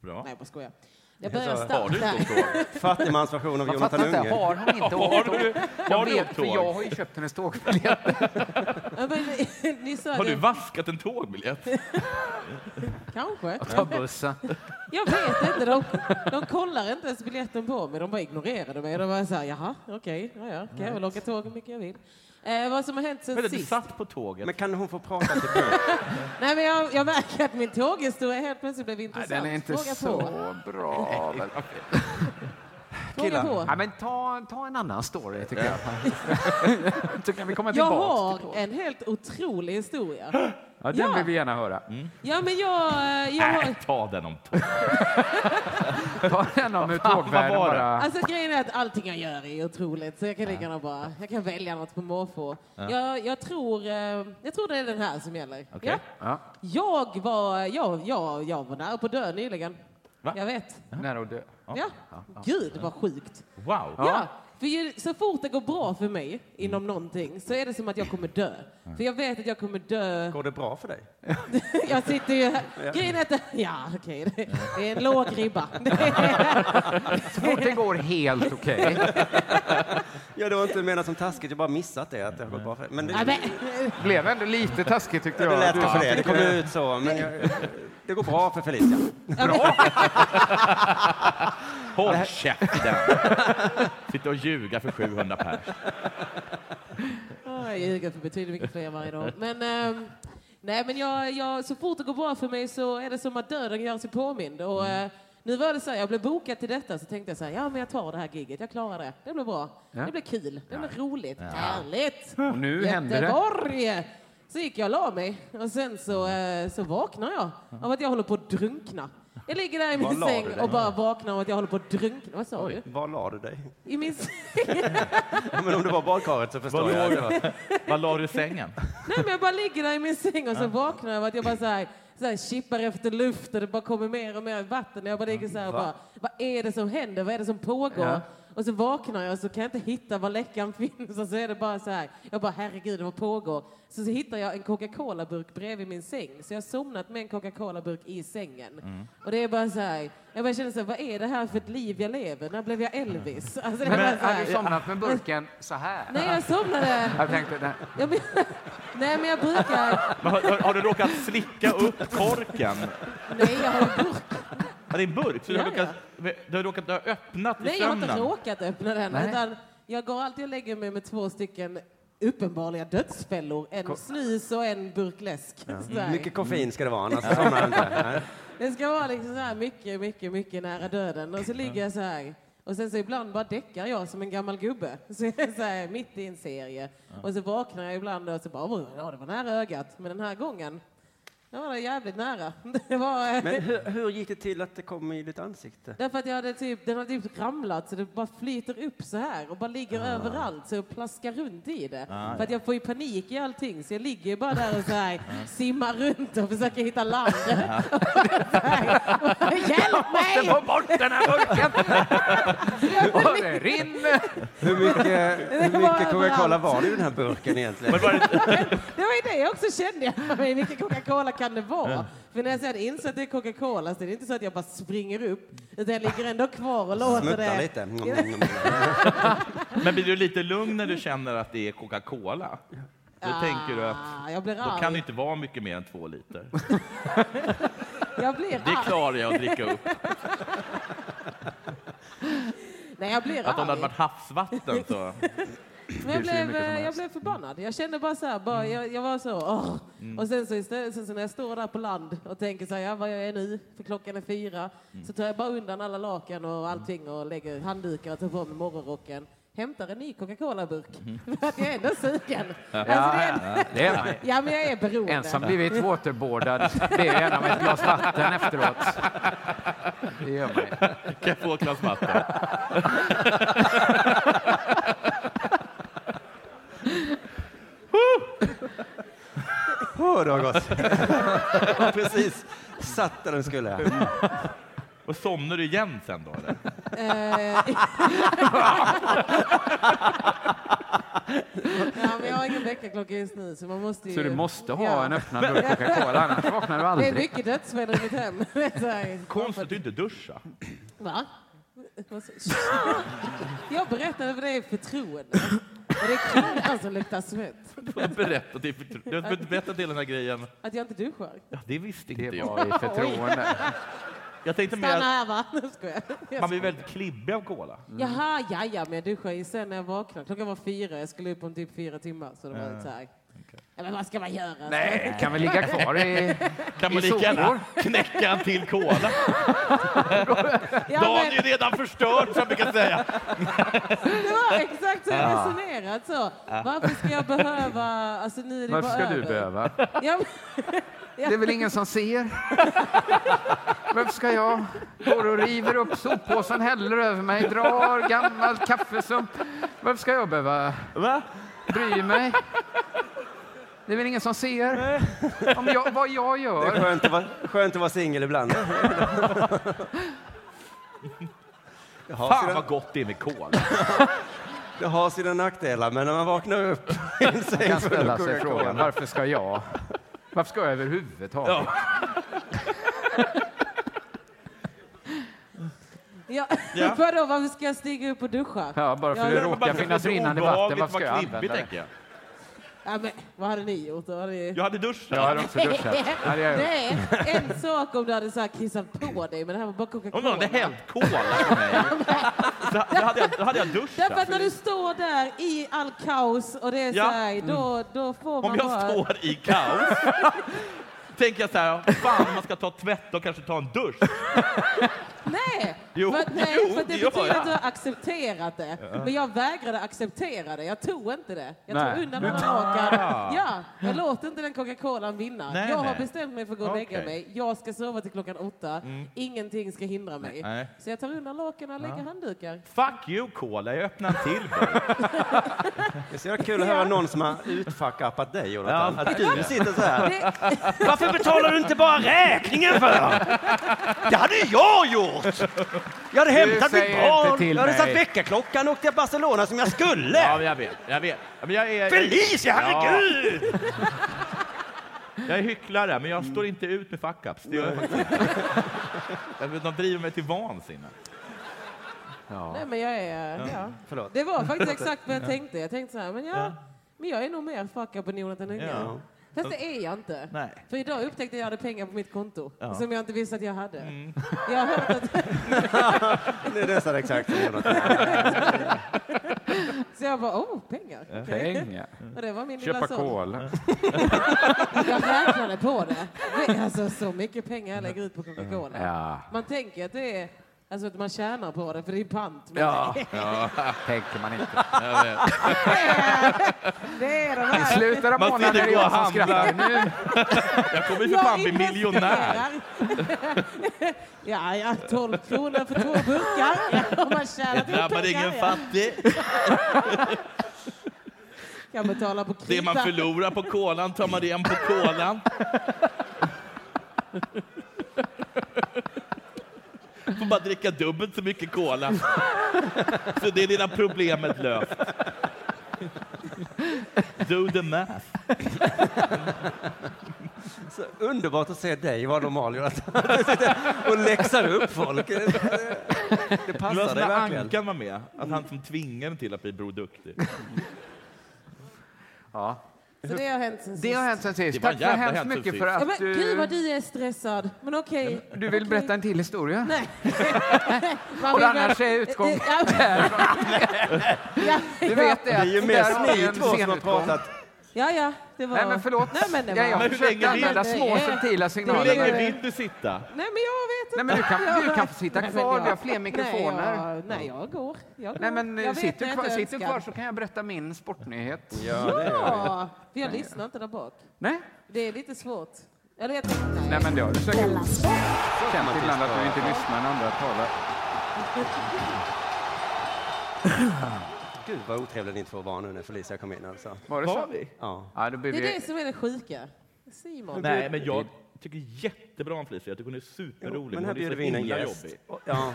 Speaker 6: Bra.
Speaker 12: Nej, jag bara skojar. Jag började
Speaker 7: Har
Speaker 12: starkt där.
Speaker 7: Fattigmans version av
Speaker 1: Man
Speaker 7: Jonathan
Speaker 1: fattar inte,
Speaker 7: Unge.
Speaker 1: har hon inte åkt tåg? Jag
Speaker 6: du åkt
Speaker 1: vet, för
Speaker 6: tåg?
Speaker 1: jag har ju köpt hennes tågbiljett.
Speaker 12: Ja, men, ni sa
Speaker 6: Har du
Speaker 12: det,
Speaker 6: vaskat en tågbiljett?
Speaker 12: kanske.
Speaker 1: Ta bussen.
Speaker 12: Jag vet inte. De, de kollar inte ens biljetten på mig. De bara ignorerade mig. De var så här, jaha, okej, ja, ja, kan jag väl åka tåg hur mycket jag vill. Eh, vad som har hänt sen
Speaker 6: Vänta, Du
Speaker 12: sist?
Speaker 6: satt på tåget.
Speaker 7: Men kan hon få prata till punkt?
Speaker 12: Nej, men jag, jag märker att min tåghistoria helt plötsligt blev intressant.
Speaker 1: Den är inte
Speaker 12: Fråga
Speaker 1: så
Speaker 12: på.
Speaker 1: bra. väl?
Speaker 12: Fråga på.
Speaker 1: Ja, men ta, ta en annan story, tycker jag. så kan vi komma
Speaker 12: Jag
Speaker 1: tillbaka
Speaker 12: har
Speaker 1: till tåg.
Speaker 12: en helt otrolig historia.
Speaker 1: Ja, den
Speaker 12: Ja.
Speaker 1: vill vi gärna höra.
Speaker 7: Mm.
Speaker 12: Ja, men jag... eh, jag har...
Speaker 6: Nej, ta den om tåg.
Speaker 1: Ta den om hur tågvärden
Speaker 6: var det?
Speaker 1: bara...
Speaker 12: Alltså grejen är att allting jag gör är otroligt så jag kan lika gärna bara, jag kan välja något på måfå. Jag, jag, tror, eh, jag tror det är den här som gäller.
Speaker 6: Okej.
Speaker 12: Ja.
Speaker 1: Ja,
Speaker 12: Jag, var, jag, jag, jag var nära på att dö nyligen.
Speaker 6: Va?
Speaker 12: Jag vet.
Speaker 1: nära att dö.
Speaker 12: Ja. Gud vad sjukt.
Speaker 6: Wow.
Speaker 12: Ja. För ju, så fort det går bra för mig inom någonting så är det som att jag kommer dö. För jag vet att jag kommer dö.
Speaker 7: Går det bra för dig?
Speaker 12: Jag sitter ju här. Grejen är att... Ja, okej. det- Det är en låg ribba. Det är-
Speaker 1: Så fort det Alltså, går helt okej.
Speaker 7: Ja, det var inte menat som taskigt, jag bara missat det. Att det har gått bra för dig. Men det,
Speaker 12: Ja, men,
Speaker 1: Blev ändå lite taskigt tyckte
Speaker 7: det
Speaker 1: jag.
Speaker 7: lät
Speaker 1: Du-
Speaker 7: kanske det, det kom ut så. Men jag, det går bra för Felicia.
Speaker 6: Håll käften! Sitta och ljuga för 700 pers.
Speaker 12: Ja, Ah, jag ljuger för betydligt mycket fler varje dag. Men, ehm, nej, men jag, jag, så fort det går bra för mig så är det som att döden gör sig påmind. Och,
Speaker 7: Mm.
Speaker 12: eh, nu var det så här, jag blev bokad till detta så tänkte jag så här, ja men jag tar det här giget, jag klarar det. Det blir bra. Det blir kul, det blir roligt, härligt.
Speaker 1: Och nu hände det.
Speaker 12: Göteborg! Så gick jag och la mig och sen så, eh, så vaknar jag av att jag håller på att drunkna. Jag ligger där i
Speaker 7: Var
Speaker 12: min
Speaker 7: la du
Speaker 12: säng
Speaker 7: dig?
Speaker 12: och bara vaknar av att jag håller på att drunkna. Vad sa du?
Speaker 7: Var la du dig?
Speaker 12: I min säng.
Speaker 7: Ja, men om det var badkaret så förstår
Speaker 6: Var
Speaker 7: jag.
Speaker 6: låg
Speaker 7: Det var-
Speaker 6: Vad la du i sängen?
Speaker 12: Nej, men jag bara ligger där i min säng och så vaknar jag av att jag bara så här, så här kippar efter luft och det bara kommer mer och mer vatten. Jag bara ligger så här och bara, vad är det som händer? Vad är det som pågår? Och så vaknar jag och så kan jag inte hitta var läckan finns. Och så är det bara så här, jag bara herregud vad pågår? Så, så hittar jag en Coca-Cola-burk bredvid min säng. Så jag har somnat med en Coca-Cola-burk i sängen. Och det är bara så här, jag bara känner så här, vad är det här för ett liv jag lever? När blev jag Elvis? Alltså, det är bara
Speaker 1: Men
Speaker 12: så
Speaker 1: hade du
Speaker 12: här,
Speaker 1: somnat med burken så här?
Speaker 12: nej, jag somnade.
Speaker 1: Jag tänkte, nej.
Speaker 12: Jag, men- nej, men jag brukar...
Speaker 6: Men har, har, har du råkat slicka upp korken?
Speaker 12: Nej, jag har, ju burk.
Speaker 6: Ja, det är en burk, så du har
Speaker 12: Ja,
Speaker 6: råkat, du har råkat du har öppnat i
Speaker 12: Nej, jag har inte
Speaker 6: sömnen.
Speaker 12: råkat öppna den.
Speaker 1: Nej.
Speaker 12: Utan jag går alltid och lägger mig med två stycken uppenbarliga dödsfällor. En snus och en burk läsk. Sådär.
Speaker 7: Mycket koffein ska det vara, annars somnar du inte. Nej.
Speaker 12: Det ska vara liksom så här mycket, mycket, mycket nära döden. Och så ligger jag så här. Och sen så ibland bara däckar jag som en gammal gubbe. Så jag är så här, mitt i en serie. Och så vaknar jag ibland och så bara, "Oj, ja det var nära ögat. Men den här gången, det var det jävligt nära. Det var,
Speaker 7: Men hur, hur gick det till att det kom i ditt ansikte?
Speaker 12: Därför att jag hade typ, den hade typ ramlat så det bara flyter upp så här och bara ligger överallt så jag plaskar runt i det.
Speaker 6: Ah,
Speaker 12: för att jag får ju panik i allting så jag ligger ju bara där och så här simmar runt och försöker hitta land. Så här, och, Hjälp mig!
Speaker 1: bort den här burken! Och det rinner!
Speaker 7: Hur mycket, hur mycket
Speaker 12: överallt.
Speaker 7: Coca-Cola var det i den här burken egentligen?
Speaker 12: Det var ju det jag också kände. Jag bara, men Vilken Coca-Cola kan det vara? För när jag sen inser att det är Coca-Cola så är det inte så att jag bara springer upp utan jag ligger ändå kvar och låter
Speaker 7: Smutta
Speaker 12: det.
Speaker 7: lite. Mm,
Speaker 6: Men blir du lite lugn när du känner att det är Coca-Cola? Då tänker du att
Speaker 12: Ah, jag blir
Speaker 6: då kan det
Speaker 12: arg.
Speaker 6: inte vara mycket mer än två liter.
Speaker 12: Jag blir
Speaker 6: Det
Speaker 12: arg.
Speaker 6: klarar jag att dricka upp.
Speaker 12: Nej, jag blir
Speaker 6: Att om det hade
Speaker 12: arg.
Speaker 6: varit havsvatten så...
Speaker 12: Men jag
Speaker 6: Det är hur mycket som
Speaker 12: blev, eh, jag
Speaker 6: helst.
Speaker 12: blev förbannad. Jag kände bara så här, bara, jag, jag var så, åh. Och sen så, istället, sen så när jag står där på land och tänker så här, ja, vad jag är nu, för klockan är fyra, så tar jag bara undan alla lakan och allting och lägger handdukar och tar på mig morgonrocken. Hämtar en ny Coca-Cola-burk. För att jag är ändå sugen. Alltså, det är,
Speaker 1: Det är man.
Speaker 12: ja, men jag är beroende.
Speaker 1: En som blivit waterboardad ber gärna om ett glas vatten efteråt. Det gör man
Speaker 6: Kan
Speaker 1: ju.
Speaker 6: jag få ett glas vatten?
Speaker 7: Hör du har gått. Ja, Precis. Satt där den skulle.
Speaker 6: Och somnar du igen sen då? Eller?
Speaker 12: Eh, ja, men jag har ingen väckarklocka just nu, så man måste ju...
Speaker 1: Så du måste ha
Speaker 12: Eh, Ja.
Speaker 1: en öppnad burk Coca-Cola, annars vaknar du
Speaker 12: Det är
Speaker 1: aldrig.
Speaker 12: mycket dödsfällor i mitt hem. Så här,
Speaker 6: Konstigt att du inte duschar.
Speaker 12: Va? Jag berättade för dig i förtroende. Och det är kronan som luktar svett.
Speaker 6: Jag berättat det för- du har berättat hela den här grejen.
Speaker 12: Att jag inte duschar.
Speaker 6: Ja, det visste inte
Speaker 1: Det
Speaker 6: jag.
Speaker 1: var i förtroende.
Speaker 6: Jag tänkte mer
Speaker 12: Stanna
Speaker 6: att
Speaker 12: här va? Nu skojar jag.
Speaker 6: man blir väldigt klibbig av cola.
Speaker 12: Jaha, ja, ja, men jag duschade ju sen när jag vaknade. Klockan var fyra, jag skulle upp om typ fyra timmar. Så det var så här. Ja, men vad ska man göra?
Speaker 1: Nej, kan vi ligga kvar i...
Speaker 6: Kan
Speaker 1: I
Speaker 6: man lika
Speaker 1: solor?
Speaker 6: gärna knäcka en till cola?
Speaker 12: Ja,
Speaker 6: Dagen är
Speaker 12: men
Speaker 6: ju redan förstörd, som jag brukar säga.
Speaker 12: det var exakt så jag resonerat. Så. Varför ska jag behöva... Alltså, nu är det
Speaker 1: Varför
Speaker 12: bara
Speaker 1: ska du
Speaker 12: över.
Speaker 1: behöva?
Speaker 12: Ja, men,
Speaker 1: Det är väl ingen som ser? Varför ska jag? Går och river upp soppåsen, häller över mig, drar gammal kaffesump. Varför ska jag behöva
Speaker 6: Va?
Speaker 1: bry mig? Det är väl ingen som ser om jag, vad jag
Speaker 7: Det är
Speaker 1: gör?
Speaker 7: skönt att vara, skönt att vara singel ibland. Det har,
Speaker 6: Fan
Speaker 7: sina,
Speaker 6: vad gott det är med cola.
Speaker 7: det har sina nackdelar, men när man vaknar upp
Speaker 1: Man kan ställa sig frågan, varför ska jag? Varför ska jag överhuvudtaget?
Speaker 12: ja.
Speaker 6: Ja.
Speaker 12: Vadå, varför ska jag stiga upp och duscha?
Speaker 1: Ja, bara för
Speaker 12: Ja,
Speaker 1: att det
Speaker 12: men
Speaker 1: råkar finnas rinnande vatten, varför ska jag använda det?
Speaker 6: tänker jag.
Speaker 12: Ja, men, vad hade ni gjort? Vad Hade ni...
Speaker 6: Jag hade duschat.
Speaker 1: Jag hade också duschat. Ja, det gör jag.
Speaker 12: Nej, en sak om du hade så här kissat på dig, men det här var bara Coca-Cola.
Speaker 6: Om någon hade hällt cola på mig, så då hade jag, då hade jag
Speaker 12: Därför att
Speaker 6: duschat.
Speaker 12: när du står där i all kaos och det är
Speaker 6: Ja. Mm.
Speaker 12: så här, då, då får man
Speaker 6: Om jag
Speaker 12: bara...
Speaker 6: står i kaos, tänker jag så här, fan om man ska ta tvätt, då kanske ta en dusch.
Speaker 12: Nej!
Speaker 6: Jo,
Speaker 12: för, att- nej,
Speaker 6: jo,
Speaker 12: för att det
Speaker 6: det gör
Speaker 12: betyder
Speaker 6: jag.
Speaker 12: att du har accepterat det. Men jag vägrade acceptera det. Jag tog inte det. Jag tog
Speaker 1: Nej.
Speaker 12: undan alla lakan. Ja, jag låter inte den Coca-Colan vinna.
Speaker 6: Ah. Nej,
Speaker 12: jag har
Speaker 6: nej.
Speaker 12: bestämt mig för att gå och lägga
Speaker 6: Okej. Mm.
Speaker 12: mig. Jag ska sova till klockan åtta. Ingenting ska hindra mig.
Speaker 6: Nej.
Speaker 12: Så jag tar undan lakanen och lägger handdukar.
Speaker 6: Fuck you cola, jag öppnar en till burk.
Speaker 7: Det är så jävla kul att höra någon som har utfuck-appat dig, Jonathan. Att du sitter så här.
Speaker 12: Det,
Speaker 7: Varför betalar du inte bara räkningen för? Det hade jag gjort! Jag hade hämtat mitt
Speaker 1: säger inte
Speaker 7: barn,
Speaker 1: till
Speaker 7: jag hade
Speaker 1: mig.
Speaker 7: satt väckarklockan och åkt till Barcelona som jag
Speaker 6: Ja,
Speaker 7: skulle.
Speaker 6: men jag vet, jag vet. Ja, Men jag är,
Speaker 7: Felicia, herregud!
Speaker 6: Jag är hycklare, men jag står inte ut med fuck-ups. Det gör jag faktiskt inte. Jag vet, De driver mig till vansinne.
Speaker 12: nej, men jag är... Ja.
Speaker 7: Förlåt.
Speaker 12: Det var faktiskt exakt vad jag tänkte. Jag tänkte så här, men, ja, men jag är nog mer fuck-up än Jonathan Unge.
Speaker 6: Ja.
Speaker 12: Fast det är jag inte.
Speaker 6: Nej.
Speaker 12: För idag upptäckte jag att jag hade pengar på mitt konto
Speaker 6: Ja.
Speaker 12: som jag inte visste att jag hade. Jag har hört att,
Speaker 7: Det är nästan exakt som Jonathan.
Speaker 12: så jag bara, oh, pengar. Okej.
Speaker 1: Pengar.
Speaker 12: Och det var min
Speaker 1: Köpa
Speaker 12: lilla son.
Speaker 1: kol.
Speaker 12: Jag räknade på det. Men Alltså så mycket pengar jag lägger ut på Coca-Cola.
Speaker 1: Ja.
Speaker 12: Man tänker att det är Alltså att man tjänar på det, för det är pant. Men
Speaker 1: Ja, tänker man inte.
Speaker 12: Det är de
Speaker 1: I
Speaker 12: här.
Speaker 1: slutet av
Speaker 6: Man
Speaker 1: månaden
Speaker 6: sitter
Speaker 1: är
Speaker 6: och
Speaker 1: jag som
Speaker 6: handlar.
Speaker 1: skrattar. Nu,
Speaker 6: Jag kommer ju för fan bli miljonär.
Speaker 12: investerar. ja, ja, 12 kronor för två burkar. Ja, Om man tjänar
Speaker 6: Det drabbar ingen fattig.
Speaker 12: Kan betala på
Speaker 6: Det man
Speaker 12: krita.
Speaker 6: förlorar på kolan tar man igen på kolan. Får bara dricka dubbelt så mycket kola. Så det är lilla problemet löst. Do the math.
Speaker 7: Så underbart att se dig vara normal, Jonathan. Du sitter och läxar upp folk. Det
Speaker 6: Det var
Speaker 7: passar
Speaker 6: så när
Speaker 7: dig verkligen.
Speaker 6: Ankan var med, att han som tvingade den till att bli Bror Duktig.
Speaker 1: ja.
Speaker 12: Så det har hänt sen sist.
Speaker 1: Det har hänt sen sist.
Speaker 6: Det var
Speaker 1: Tack så
Speaker 6: jävla
Speaker 1: hemskt
Speaker 6: hänt sen
Speaker 1: mycket
Speaker 6: sist.
Speaker 1: för
Speaker 12: Ja,
Speaker 1: att
Speaker 12: men, Gud
Speaker 1: du...
Speaker 12: vad du är stressad. Men okej.
Speaker 1: Du vill
Speaker 12: Okej.
Speaker 1: berätta en till historia?
Speaker 12: Nej.
Speaker 1: Och annars är utgång
Speaker 12: Eh, Ja, men- ja,
Speaker 1: Du vet det.
Speaker 7: Det är ju
Speaker 1: att
Speaker 7: mest
Speaker 1: där har vi
Speaker 7: ni
Speaker 1: en
Speaker 7: två som har
Speaker 1: scenutgång.
Speaker 7: pratat.
Speaker 12: ja, ja, det var...
Speaker 1: Nej, men förlåt.
Speaker 12: Nej, men det var...
Speaker 1: ja, jag
Speaker 6: Men hur länge
Speaker 1: försökte
Speaker 6: vill-
Speaker 1: använda
Speaker 12: Nej.
Speaker 1: små subtila
Speaker 6: Hur
Speaker 1: signaler.
Speaker 6: länge vill du sitta?
Speaker 12: Nej, men jag vet inte.
Speaker 1: Nej, men du kan- du
Speaker 12: Jag-
Speaker 1: kan få sitta
Speaker 12: Nej,
Speaker 1: kvar.
Speaker 12: men jag-
Speaker 1: Vi har fler mikrofoner.
Speaker 12: Nej, jag, nej, jag går. Jag går.
Speaker 1: Nej, men eh,
Speaker 12: jag vet
Speaker 1: sitter,
Speaker 12: när
Speaker 1: du kvar,
Speaker 12: jag inte
Speaker 1: sitter du kvar
Speaker 12: önskar.
Speaker 1: så kan jag berätta min sportnyhet.
Speaker 12: Ja, för jag lyssnar inte där bak.
Speaker 1: Nej,
Speaker 12: Det är lite svårt. Eller jag tänkte, nej.
Speaker 1: Nej men det har du säkert känt ibland att du inte lyssnar när andra talar.
Speaker 7: Gud vad otrevliga ni två var nu när Felicia kom in alltså.
Speaker 1: Var det så?
Speaker 7: Ja.
Speaker 1: Ja, då blir
Speaker 12: Det är
Speaker 1: vi...
Speaker 12: det som är det sjuka. Simon.
Speaker 6: Nej, men jag tycker jättebra om Felicia. Jag tycker hon är superrolig.
Speaker 7: Men
Speaker 6: Hon
Speaker 7: här
Speaker 6: är
Speaker 7: bjuder
Speaker 6: så
Speaker 7: vi in en
Speaker 6: himla
Speaker 7: gäst.
Speaker 6: jobbig.
Speaker 7: Och- Ja.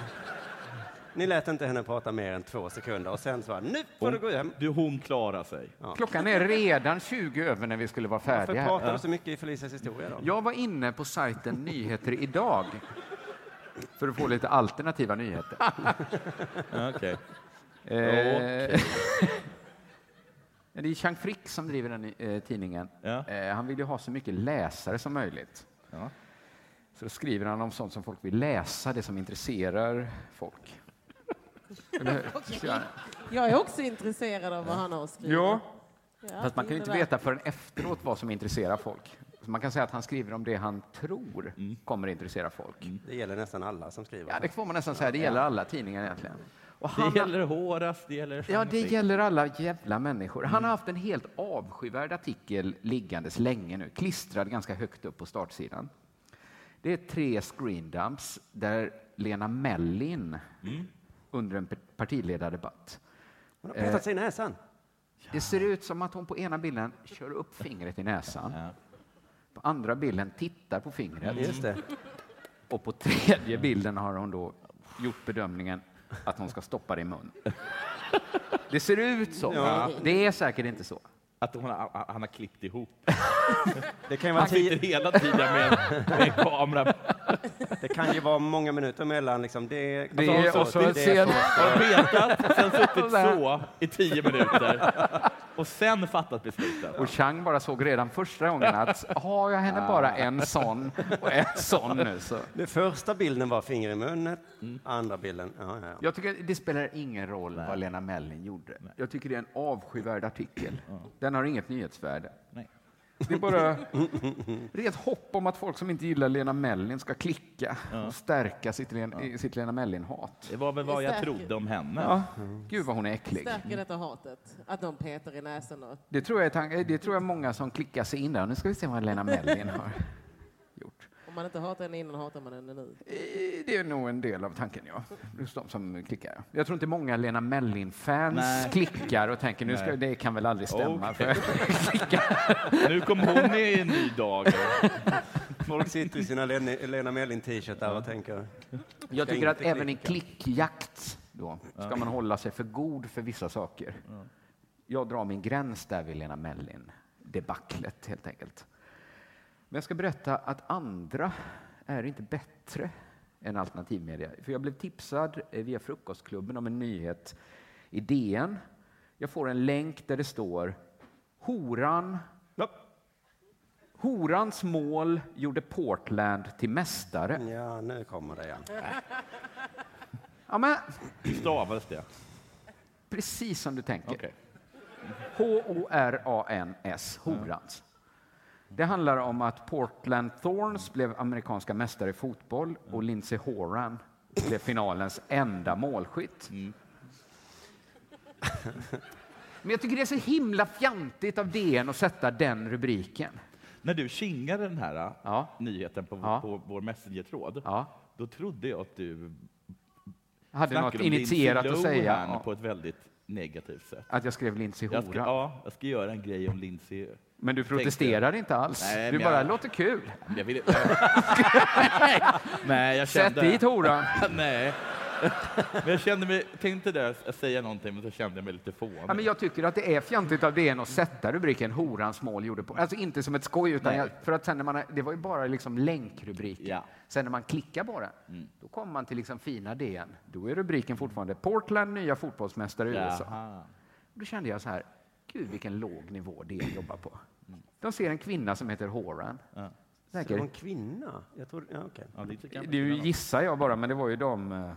Speaker 7: Ni lät inte henne prata mer än två sekunder och sen så bara, nu får du gå hem.
Speaker 6: Du, hon klarar sig.
Speaker 1: Klockan är redan 20 över när vi skulle vara
Speaker 7: Varför
Speaker 1: färdiga. här.
Speaker 7: pratar du så mycket i Felicias historia då?
Speaker 1: Jag var inne på sajten Nyheter idag för att få lite alternativa nyheter.
Speaker 6: Okej.
Speaker 1: Eh, Det är Chang Frick som driver den eh, tidningen.
Speaker 6: Ja.
Speaker 1: Eh, han vill ju ha så mycket läsare som möjligt.
Speaker 6: Ja.
Speaker 1: Så då skriver han om sånt som folk vill läsa, det som intresserar folk. Eller hur? Så jag-
Speaker 12: Jag är också intresserad av vad han har skrivit.
Speaker 1: Ja,
Speaker 12: Ja,
Speaker 1: fast man kan
Speaker 12: det
Speaker 1: ju
Speaker 12: är
Speaker 1: inte
Speaker 12: det där.
Speaker 1: veta förrän efteråt vad som intresserar folk. Så man kan säga att han skriver om det han tror
Speaker 6: Mm.
Speaker 1: kommer intressera folk.
Speaker 7: Det gäller nästan alla som skriver.
Speaker 1: Ja, det får man nästan säga, det gäller alla tidningar egentligen. Och han,
Speaker 6: Det gäller Horace, det gäller...
Speaker 1: Ja, det gäller alla jävla människor. Han har haft en helt avskyvärd artikel liggandes länge nu, klistrad ganska högt upp på startsidan. Det är tre screen dumps där Lena Mellin under en partiledardebatt.
Speaker 7: Hon har petat sig i näsan.
Speaker 1: Det ser ut som att hon på ena bilden kör upp fingret i näsan. På andra bilden tittar på fingret.
Speaker 6: Mm.
Speaker 7: Just det.
Speaker 1: Och på tredje bilden har hon då gjort bedömningen att hon ska stoppa det i mun. Det ser ut så. Det är säkert inte så.
Speaker 6: Att hon har, han har klippt ihop.
Speaker 7: Det kan ju vara
Speaker 6: Han
Speaker 7: tio,
Speaker 6: sitter hela tiden med, med en kamera.
Speaker 7: Det kan ju vara många minuter mellan. Liksom. Det,
Speaker 1: Det
Speaker 7: alltså,
Speaker 1: är och så en
Speaker 7: det är
Speaker 1: scen.
Speaker 6: Har petat, sen suttit så i tio minuter och sen fattat beslutet.
Speaker 1: Och Chang bara såg redan första gången att har jag henne bara en sån och en sån nu så.
Speaker 7: Den första bilden var finger i munnen, andra bilden... Ja, ja, ja.
Speaker 1: Jag tycker det spelar ingen roll vad Lena Mellin gjorde. Jag tycker det är en avskyvärd artikel. Den har inget nyhetsvärde.
Speaker 6: Nej.
Speaker 1: Det är bara rent hopp om att folk som inte gillar Lena Mellin ska klicka och stärka sitt, Len- i sitt Lena Mellin-hat.
Speaker 6: Det var väl vad jag
Speaker 12: Säkert.
Speaker 6: trodde om henne.
Speaker 1: Ja. Gud vad hon är äcklig.
Speaker 12: Stärker detta hatet? Att de petar i näsan och...
Speaker 1: Det tror jag, är tank- det tror jag många som klickar sig in där. Nu ska vi se vad Lena Mellin har gjort.
Speaker 12: Om man inte hatar henne innan hatar man henne nu.
Speaker 1: Eh, Det är nog en del av tanken, ja. Just de som klickar. ja. Jag tror inte många Lena Mellin-fans
Speaker 6: Nej.
Speaker 1: klickar och tänker nu ska,
Speaker 6: Nej.
Speaker 1: det kan väl aldrig stämma.
Speaker 6: Okej.
Speaker 1: För,
Speaker 6: Nu kom hon i en ny dag.
Speaker 7: Folk sitter i sina Len- Lena Mellin-t-shirtar och tänker...
Speaker 1: jag tycker
Speaker 7: inte
Speaker 1: att även i klickjakt då, ska man hålla sig för god för vissa saker. Jag drar min gräns där vid Lena Mellin-debaclet, helt enkelt. Men jag ska berätta att andra är inte bättre än alternativmedia. För jag blev tipsad eh, via Frukostklubben om en nyhet i DN. Jag får en länk där det står Horan... Horans mål gjorde Portland till mästare.
Speaker 7: Ja, nu kommer det igen.
Speaker 1: Ja, men
Speaker 6: Hur stavades det?
Speaker 1: precis som du tänker.
Speaker 6: Okej.
Speaker 1: H-O-R-A-N-S, Horans. Det handlar
Speaker 6: Mm.
Speaker 1: om att Portland Thorns blev amerikanska mästare i fotboll och Lindsey Horan blev finalens enda målskytt.
Speaker 6: Mm.
Speaker 1: Men jag tycker det är så himla fjantigt av DN att sätta den rubriken.
Speaker 6: När du kingade den här eh,
Speaker 1: Ja.
Speaker 6: nyheten på,
Speaker 1: Ja.
Speaker 6: på vår Messenger-tråd,
Speaker 1: Ja.
Speaker 6: då trodde jag att du
Speaker 1: Jag hade något
Speaker 6: snackade om
Speaker 1: initierat att
Speaker 6: Lindsay
Speaker 1: säga
Speaker 6: Lohan
Speaker 1: ja,
Speaker 6: på ett väldigt negativt sätt.
Speaker 1: att jag skrev Lindsey
Speaker 6: Jag ska,
Speaker 1: Hora.
Speaker 6: ja, jag ska göra en grej om Lindsay.
Speaker 1: Men du protesterar inte alls.
Speaker 6: Nej,
Speaker 1: du
Speaker 6: men
Speaker 1: bara,
Speaker 6: jag-
Speaker 1: låter kul.
Speaker 6: Men Jag ville... Nej, jag
Speaker 1: Sätt
Speaker 6: kände...
Speaker 1: dit horan.
Speaker 6: Nej. Men jag kände mig, tänkte där att säga någonting, men så kände jag mig lite fånig.
Speaker 1: Ja, men jag tycker att det är fjantigt av DN att sätta rubriken Horans mål gjorde på. Alltså inte som ett skoj, utan
Speaker 6: Nej.
Speaker 1: jag, för att sen när man, det var ju bara liksom länkrubriken.
Speaker 6: Ja. Mm.
Speaker 1: Sen när man klickar på den, då kommer man till liksom fina DN. Då är rubriken fortfarande Portland nya fotbollsmästare i USA.
Speaker 6: Jaha.
Speaker 1: Då kände jag så här, gud vilken låg nivå DN jobbar på.
Speaker 6: Mm.
Speaker 1: De ser en kvinna som heter Horan.
Speaker 7: Det var
Speaker 1: Säkert.
Speaker 7: en kvinna? Jag tror, ja, okej.
Speaker 6: Ja, det kan-
Speaker 1: Du gissar jag bara, men det var ju de... eh,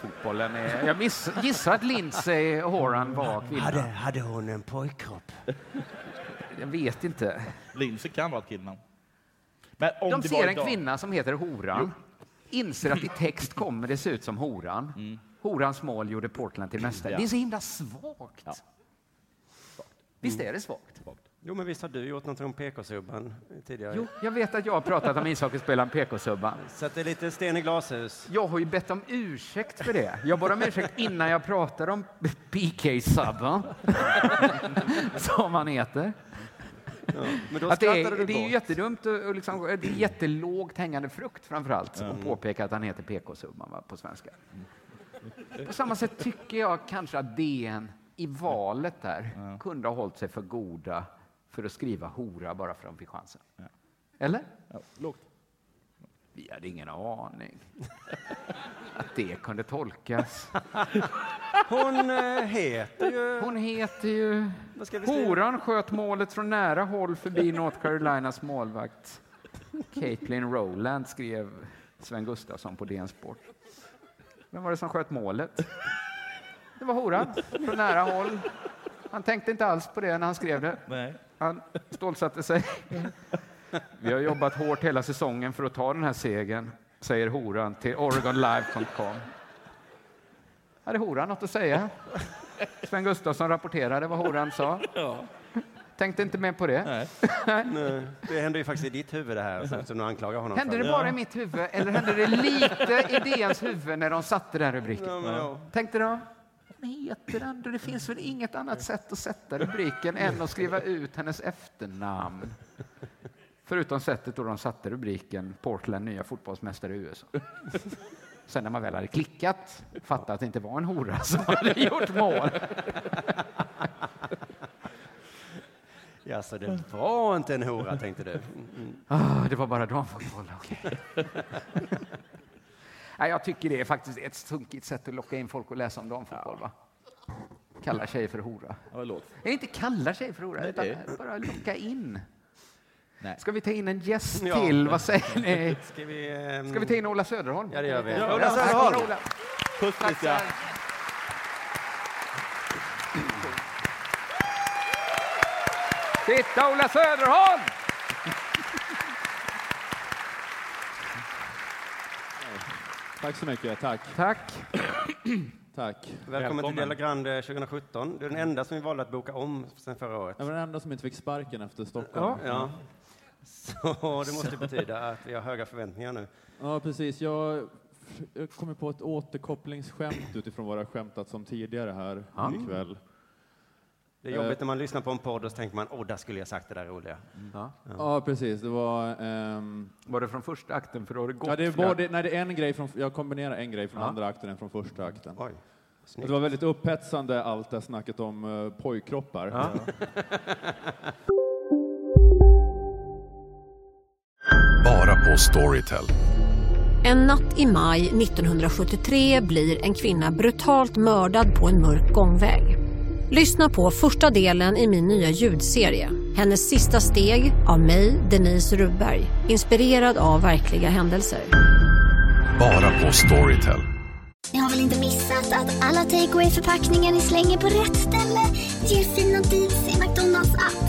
Speaker 1: Fotbollen är... Jag miss, gissar att Lindsay Horan var
Speaker 7: Hade,
Speaker 1: kvinna.
Speaker 7: hade hon en pojkkropp?
Speaker 1: Jag vet inte.
Speaker 6: Lindsay kan vara ett killnamn. Men om
Speaker 1: De
Speaker 6: det var
Speaker 1: ser en
Speaker 6: idag-
Speaker 1: kvinna som heter Horan, inser att i text kommer det se ut som Horan. Horans mål gjorde Portland till mästare.
Speaker 6: Mm. Ja.
Speaker 1: Det är så himla svagt.
Speaker 6: Ja. Mm.
Speaker 1: Visst är det svagt?
Speaker 7: Jo, men visst har du gjort något om PK-subban tidigare?
Speaker 1: Jo, jag vet att jag har pratat om ishockeyspelaren PK-subban.
Speaker 7: Så att det är lite sten i glashus.
Speaker 1: Jag har ju bett om ursäkt för det. Jag bad om ursäkt innan jag pratade om PK-subban, som han heter.
Speaker 7: Ja. Men då
Speaker 1: Att det,
Speaker 7: skrattade
Speaker 1: är,
Speaker 7: du
Speaker 1: det är ju
Speaker 7: bort.
Speaker 1: jättedumt och och liksom, det är jättelågt hängande frukt framför allt att påpeka att han heter PK-summan va, på svenska. På samma sätt tycker jag kanske att DN i valet där kunde ha hållit sig för goda för att skriva hora bara för att de fick chansen. Eller?
Speaker 6: Ja, lågt.
Speaker 1: Vi hade ingen aning att det kunde tolkas.
Speaker 7: Hon eh, heter ju...
Speaker 1: Hon heter ju...
Speaker 7: Vad ska vi skriva?
Speaker 1: Horan sköt målet från nära håll förbi North Carolinas målvakt. Caitlin Rowland skrev Sven Gustafsson på DN Sport. Vem var det som sköt målet? Det var Horan, från nära håll. Han tänkte inte alls på det när han skrev det.
Speaker 6: Nej.
Speaker 1: Han stålsatte sig. Vi har jobbat hårt hela säsongen för att ta den här segern, säger Horan till OregonLive.com. Hade Horan något att säga? Sven Gustafsson rapporterade vad Horan sa. Tänkte inte mer på det.
Speaker 7: Nej, Det händer ju faktiskt i ditt huvud det här, så- som du anklagar honom
Speaker 1: Hände
Speaker 7: för.
Speaker 1: det bara i mitt huvud eller hände det lite i DNs huvud när de satte den rubriken?
Speaker 7: Ja, men, ja.
Speaker 1: Tänkte de, vad heter den? Det finns väl inget annat sätt att sätta rubriken än att skriva ut hennes efternamn. Förutom sättet då de satte rubriken Portland nya fotbollsmästare i USA. Sen när man väl hade klickat, fattat att det inte var en hora som hade gjort mål.
Speaker 7: ja, så det var inte en hora, tänkte du.
Speaker 1: Ah, det var bara damfotboll, okej. Nej, jag tycker det är faktiskt ett sunkigt sätt att locka in folk och läsa om damfotboll. Va? Kalla tjejer för hora.
Speaker 6: Ja, lågt.
Speaker 1: Jag inte kalla tjejer för hora,
Speaker 6: Nej,
Speaker 1: utan
Speaker 6: det-
Speaker 1: bara locka in.
Speaker 6: Nej.
Speaker 1: Ska vi ta in en gäst
Speaker 7: Ja.
Speaker 1: till? Vad säger ni?
Speaker 7: Ska vi... ehm,
Speaker 1: Ska vi ta in Ola Söderholm?
Speaker 7: Ja, det gör vi.
Speaker 1: Ja,
Speaker 7: Ola Söderholm!
Speaker 1: tack, Ola.
Speaker 6: Puss
Speaker 1: Tack så
Speaker 6: Christian.
Speaker 1: här. Titta, Ola Söderholm!
Speaker 10: Tack så mycket. Tack.
Speaker 1: Tack.
Speaker 10: Tack.
Speaker 7: Välkommen, till Dela Grande 2017. Du är den enda som vi valde att boka om sen förra året.
Speaker 10: Jag var den enda som inte fick sparken efter Stockholm.
Speaker 7: Ja. ja. Så det måste betyda att vi har höga förväntningar nu.
Speaker 10: Ja, precis. Jag, jag kommer på ett återkopplingsskämt utifrån vad jag har skämtat om tidigare här ikväll.
Speaker 7: Det är jobbigt när man lyssnar på en podd och så tänker man, åh, där skulle jag sagt det där roliga.
Speaker 10: Ja, precis. Det var... ehm,
Speaker 1: Var det från första akten? För då har det gått.
Speaker 10: ja, det är både, nej, det är en grej från, jag kombinerar en grej från andra akten och en från första akten.
Speaker 7: Oj.
Speaker 10: Det var väldigt upphetsande allt det här snacket om uh, pojkkroppar.
Speaker 5: Bara på Storytel.
Speaker 4: En natt i maj 1973 blir en kvinna brutalt mördad på en mörk gångväg. Lyssna på första delen i min nya ljudserie. Hennes sista steg av mig, Denise Rubberg. Inspirerad av verkliga händelser.
Speaker 5: Bara på Storytel.
Speaker 4: Ni har väl inte missat att alla takeaway förpackningar ni slänger på rätt ställe ger fina deals i McDonalds app.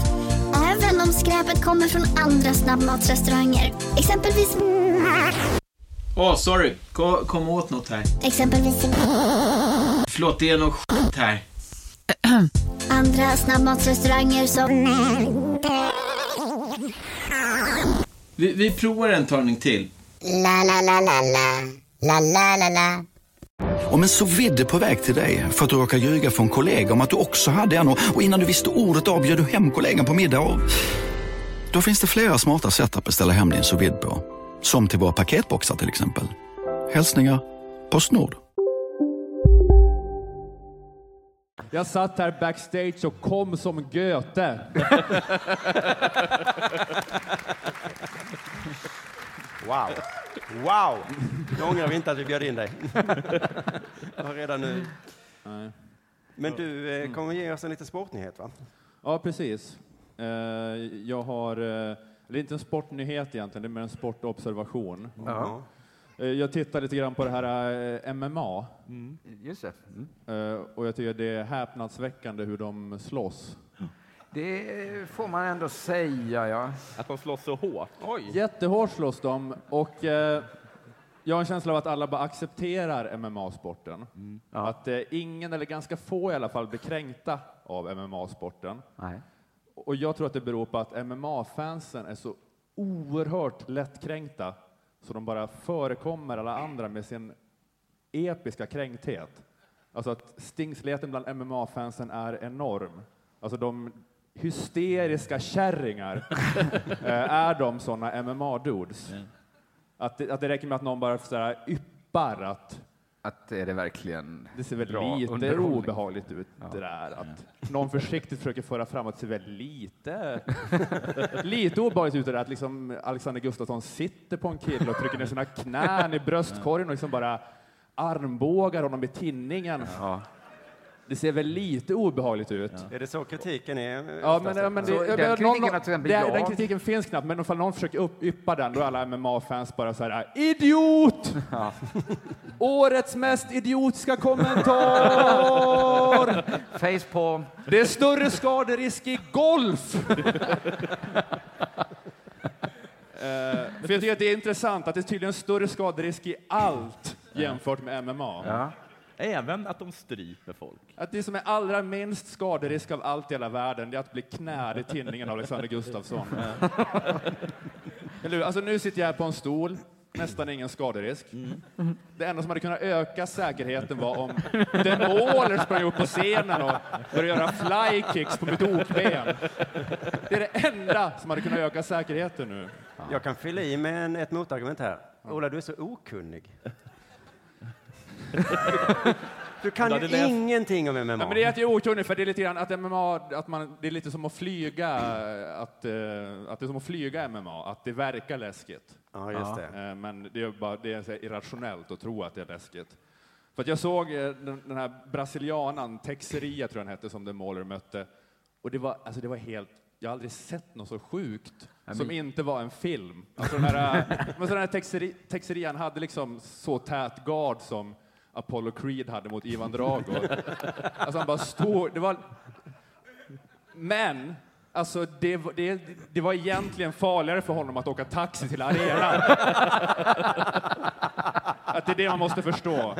Speaker 4: Även om skräpet kommer från andra snabbmatsrestauranger. Exempelvis...
Speaker 13: Åh, sorry. Kom, kom åt något här.
Speaker 14: Exempelvis...
Speaker 13: Förlåt, det är något skit här.
Speaker 14: Andra snabbmatsrestauranger som...
Speaker 13: Vi, vi provar en talning till.
Speaker 14: La, la, la, la, la. La, la, la, la.
Speaker 15: Om en så vidde på väg till dig för att du råkar ljuga från kollega om att du också hade en och och innan du visste ordet av bjöd du hem kollegan på middag och... Då finns det flera smarta sätt att beställa hem din sous vide på. Som till våra paketboxar till exempel. Hälsningar Postnord.
Speaker 10: Jag satt här backstage och kom som Göte.
Speaker 7: Wow. Wow! Då ångrar vi inte att vi bjöd in dig. Jag har redan nu. Men du eh, kommer ge oss en liten sportnyhet, va?
Speaker 10: Ja, precis. Eh, Jag har, eh, det är inte en sportnyhet egentligen, det är mer en sportobservation.
Speaker 1: Ja.
Speaker 10: Eh, Jag tittar lite grann på det här eh, MMA.
Speaker 1: Just det. Mm.
Speaker 10: Eh, Och jag tycker det är häpnadsväckande hur de slåss.
Speaker 1: Det får man ändå säga, ja.
Speaker 6: Att de slåss så hårt? Oj!
Speaker 10: Jättehårt slåss de och eh, jag har en känsla av att alla bara accepterar MMA-sporten. Att eh, ingen, eller ganska få i alla fall, blir kränkta av MMA-sporten. Och jag tror att det beror på att MMA-fansen är så oerhört lättkränkta så de bara förekommer alla andra med sin episka kränkthet. Alltså att stingsligheten bland MMA-fansen är enorm. Alltså de hysteriska kärringar eh, är de såna MMA-dudes. Att, det- att det räcker med att någon bara sådär yppar att
Speaker 1: att är det verkligen
Speaker 10: det ser väl
Speaker 1: bra
Speaker 10: lite
Speaker 1: underhållning? Mm.
Speaker 10: obehagligt ut det där att någon försiktigt försöker föra fram att det ser väl lite lite obehagligt ut det där att liksom Alexander Gustafsson sitter på en kille och trycker ner sina knän i bröstkorgen och liksom bara armbågar honom i tinningen. Det ser väl lite obehagligt ut.
Speaker 7: Är det så kritiken är?
Speaker 10: Ja, men, ja, men det,
Speaker 7: Så
Speaker 10: jag-
Speaker 7: den
Speaker 10: jag-
Speaker 7: kritiken
Speaker 10: någon-
Speaker 7: har till exempel
Speaker 10: det-
Speaker 7: jag.
Speaker 10: den kritiken finns knappt, men ifall någon försöker upp, yppa den, då är alla MMA-fans bara så här idiot! Årets mest idiotiska kommentar!
Speaker 1: Face på.
Speaker 10: Det är större skaderisk i golf! Eh, för jag tycker att det är intressant att det är tydligen större skaderisk i allt jämfört med MMA.
Speaker 6: Även att de stryper folk.
Speaker 10: Att det som är allra minst skaderisk av allt i hela världen, det är att bli knäd i tinningen av Alexander Gustafsson. Eller hur? Alltså nu sitter jag här på en stol, nästan ingen skaderisk. Det enda som hade kunnat öka säkerheten var om demoler sprang upp på scenen och började göra fly kicks på mitt okben. Det är det enda som hade kunnat öka säkerheten nu.
Speaker 7: Jag kan fylla i med en, ett motargument här. Ola, du är så okunnig. du kan
Speaker 10: Du hade
Speaker 7: ju
Speaker 10: läst-
Speaker 7: ingenting om MMA.
Speaker 10: Ja, men det är att jag är okunnig, för det är lite grann att MMA, att man, det är lite som att flyga, eh, att, eh, att det är som att flyga MMA, att det verkar läskigt.
Speaker 7: Ja, just det.
Speaker 10: Eh, Men det är bara det är så här irrationellt att tro att det är läskigt. För att jag såg eh, den, den här brasilianan, Texeria tror jag den hette, som The Mauler mötte. Och det var, alltså det var helt, jag har aldrig sett något så sjukt
Speaker 1: men-
Speaker 10: som inte var en film. Alltså den här, eh, men så den här texeri, texerian hade liksom så tät gard som Apollo Creed hade mot Ivan Drago. Alltså han bara stod, det var... Men, alltså det, var- det, det var egentligen farligare för honom att åka taxi till arenan. Att det är det man måste förstå.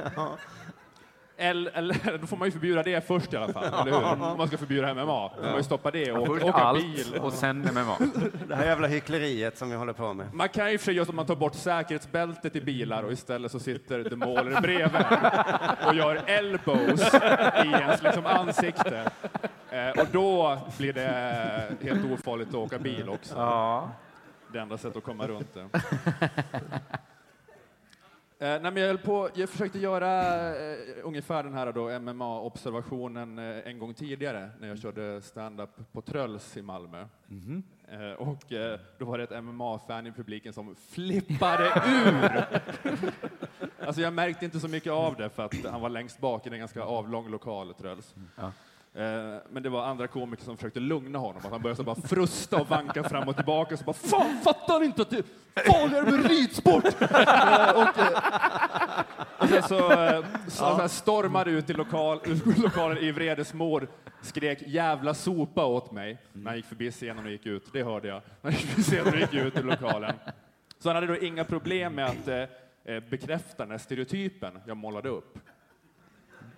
Speaker 10: Eller, eller, då får man ju förbjuda det först i alla fall, eller hur? Om man ska förbjuda MMA. Då får man ju stoppa det och
Speaker 1: Först
Speaker 10: åka
Speaker 1: allt
Speaker 10: bil.
Speaker 1: och sen MMA.
Speaker 7: Det här jävla hyckleriet som vi håller på med.
Speaker 10: Man kan ju i och för sig göra så att man tar bort säkerhetsbältet i bilar och istället så sitter The Mauler bredvid och gör elbows i ens liksom ansikte. Eh, och då blir det helt ofarligt att åka bil också.
Speaker 1: Ja.
Speaker 10: Det enda sättet att komma runt det. Eh, nej, men jag, höll på, jag försökte göra eh, ungefär den här då MMA-observationen eh, en gång tidigare när jag körde stand-up på Trölls i Malmö. Eh, och eh, då var det ett MMA-fan i publiken som flippade ur. alltså jag märkte inte så mycket av det för att han var längst bak i en ganska avlång lokal, Trölls. Eh, Men det var andra komiker som försökte lugna honom. Att han började så bara frusta och vanka fram och tillbaka. Så bara, Fan, fattar han inte att det är farligare med ridsport? Eh, och, eh, och sen så, eh, så, så här stormade ut i lokal, ur lokalen i vredesmål, skrek jävla sopa åt mig när han gick förbi scenen och gick ut. Det hörde jag. När han gick förbi scenen och gick ut ur lokalen. Så han hade då inga problem med att eh, eh, bekräftar den här stereotypen jag målade upp.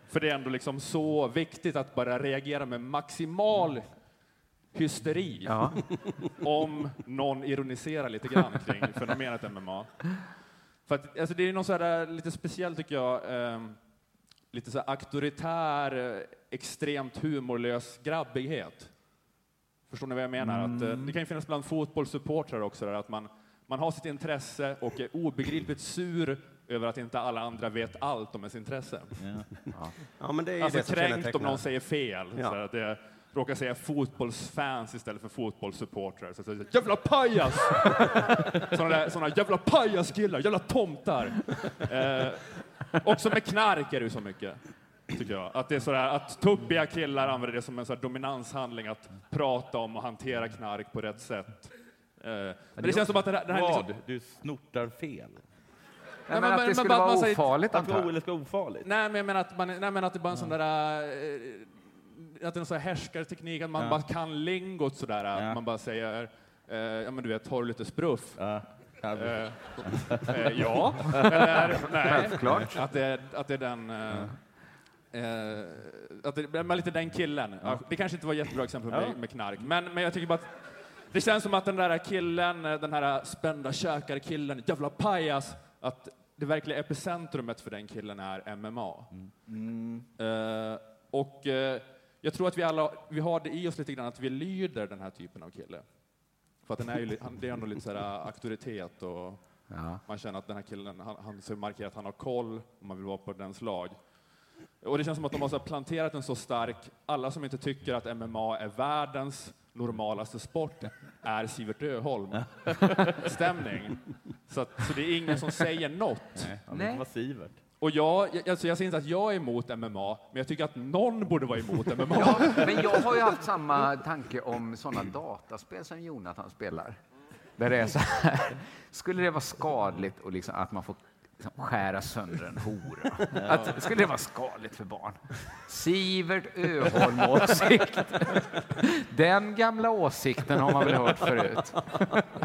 Speaker 10: För det är ändå liksom så viktigt att bara reagera med maximal hysteri
Speaker 1: Ja.
Speaker 10: om någon ironiserar lite grann kring fenomenet MMA. För att, alltså, det är någon så här, eh, lite speciell, tycker jag, eh, lite så här auktoritär, eh, extremt humorlös grabbighet. Förstår ni vad jag menar? Att, eh, det kan ju finnas bland fotbollssupportrar också, där, att man, man har sitt intresse och är obegripligt sur över att inte alla andra vet allt om ens intresse.
Speaker 7: Ja. Ja, men det är ju
Speaker 10: alltså
Speaker 7: det som
Speaker 10: kränkt om
Speaker 7: kännetecknar-
Speaker 10: någon säger fel.
Speaker 7: Ja.
Speaker 10: Så här, att det, råkar säga fotbollsfans istället för fotbollssupportrar. Så, så, så, jävla pajas! såna, där, såna jävla pajaskillar, jävla tomtar. Eh, också med knark är det ju så mycket. Tycker jag. Att, det är sådär, att tuppiga killar använder det som en sådär dominanshandling att prata om och hantera knark på rätt sätt. Eh, men det känns som att det här, det här är
Speaker 6: Vad?
Speaker 10: liksom,
Speaker 6: Du snortar fel?
Speaker 10: men men- att det men skulle bara vara att man säger- ofarligt,
Speaker 6: Att det
Speaker 10: antar
Speaker 6: var
Speaker 10: jag.
Speaker 6: o- ofarligt?
Speaker 10: Nej, men jag menar att, man, nej, men att det bara är en sån där... eh, Att det är en sån här härskarteknik, att man
Speaker 6: Ja.
Speaker 10: bara kan lingot sådär. Att man bara säger, eh, ja men du vet, har du lite spruff? Ja. eh, ja. Eller, nej.
Speaker 1: Självklart.
Speaker 10: Att det, är- att det är den... Eh, eh, att det men lite den killen. Ja. Det kanske inte var ett jättebra exempel med,
Speaker 1: Ja.
Speaker 10: med knark, men, men jag tycker bara att det känns som att den där killen, eh, den här spända käkarkillen, jävla pajas, att det verkliga epicentrumet för den killen är MMA.
Speaker 1: Mm.
Speaker 10: Eh, och eh, jag tror att vi alla vi har det i oss lite grann att vi lyder den här typen av kille. För att den är ju, li- han, det är ändå lite så här ah, auktoritet och man känner att den här killen, han, han så markerar att han har koll och man vill vara på dens lag. Och det känns som att de har så här planterat en så stark, alla som inte tycker att MMA är världens normalaste sport är Sivert Öholm stämning. Så, att, så det är ingen som säger något.
Speaker 6: Nej, han vet inte vad Sivert.
Speaker 10: Och jag, jag, alltså jag säger inte att jag är emot MMA, men jag tycker att någon borde vara emot MMA.
Speaker 1: Men jag har ju haft samma tanke om sådana dataspel som Jonathan spelar. Där det är så här, skulle det vara skadligt och liksom att man får liksom skära sönder en hora? Att, skulle det vara skadligt för barn? Sivert Öholm-åsikt. Den gamla åsikten har man väl hört förut.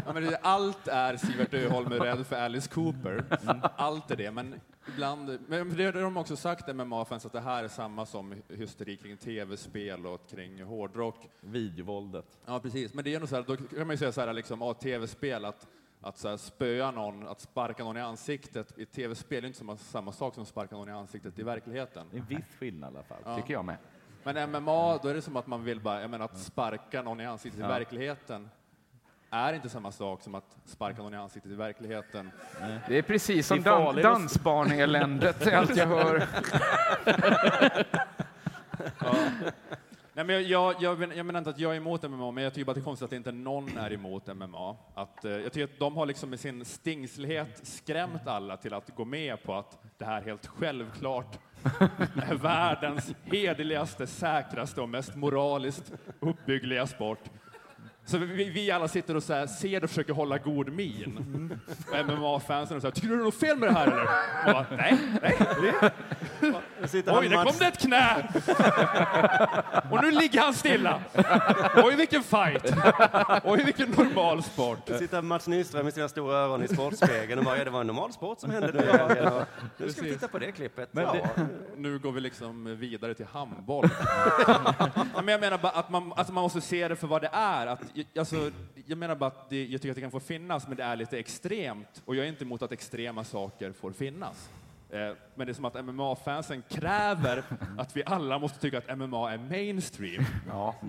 Speaker 10: Ja, men det- allt är Sivert Öholm är rädd för Alice Cooper.
Speaker 1: Mm.
Speaker 10: Allt är det, men ibland... Men det har de också sagt, MMA-fans, att det här är samma som hysteri kring tv-spel och kring hårdrock.
Speaker 6: Videovåldet.
Speaker 10: Ja, precis. Men det är nog så här, då kan man ju säga så här, liksom, ah, tv-spel, att, att så här, spöa någon, att sparka någon i ansiktet i tv-spel är inte samma, samma sak som att sparka någon i ansiktet i verkligheten.
Speaker 6: Det är en viss skillnad i alla fall.
Speaker 1: Tycker jag med.
Speaker 10: Men MMA, då är det som att man vill bara, jag menar att sparka någon i ansiktet
Speaker 6: Ja.
Speaker 10: i verkligheten är inte samma sak som att sparka någon i ansiktet i verkligheten.
Speaker 1: Det är precis som
Speaker 10: Det är
Speaker 1: dan
Speaker 10: farligt.
Speaker 1: dansbarneländet, är allt jag hör.
Speaker 10: Ja. Nej, men jag, jag, jag, men- jag menar inte att jag är emot MMA, men jag tycker bara att det är konstigt att inte någon är emot MMA. Att, eh, jag tycker att de har liksom med sin stingslighet skrämt alla till att gå med på att det här helt självklart är världens hederligaste, säkraste och mest moraliskt uppbyggliga sport. Så vi, vi alla sitter och så här, ser och försöker hålla god min. Och MMA-fansen är så här, tycker du det är något fel med det här eller? Och bara, nej, nej. Det...
Speaker 7: han
Speaker 10: Oj, nu
Speaker 7: Mats-
Speaker 10: kom det ett knä! Och nu ligger han stilla. Oj, vilken fight! Oj, vilken normal sport.
Speaker 7: Sitter Mats Nyström med sina stora öron i Sportspegeln och bara, ja, det var en normal sport som hände nu i helgen. Och Nu ska vi titta på det klippet.
Speaker 10: Men
Speaker 7: ja.
Speaker 10: det, nu går vi liksom vidare till handboll. Ja, men jag menar bara att man, alltså man måste se det för vad det är. Att, jag- alltså, jag menar bara att det, jag tycker att det kan få finnas, men det är lite extremt. Och jag är inte emot att extrema saker får finnas. Eh, men det är som att MMA-fansen kräver att vi alla måste tycka att MMA är mainstream.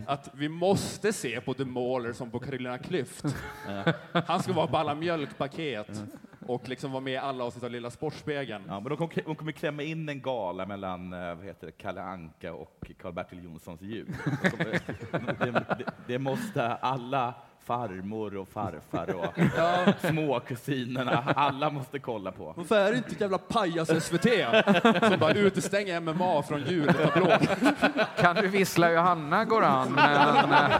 Speaker 10: Att vi måste se på The Mauler som på Carolina Klüft. Eh, Han ska vara på alla mjölkpaket och liksom vara med i alla avsnitt av Lilla Sportspegeln.
Speaker 6: Ja, men de kommer, de kommer klämma in en gala mellan eh, vad heter det, Kalle Anka och Karl-Bertil Jonssons jul. De kommer- Det det- det måste alla farmor och farfar och småkusinerna, alla måste kolla på.
Speaker 10: Varför är det inte ett jävla pajas-SVT som bara utestänger MMA från jultablån?
Speaker 1: Kan du vissla Johanna, går han. Men, eh,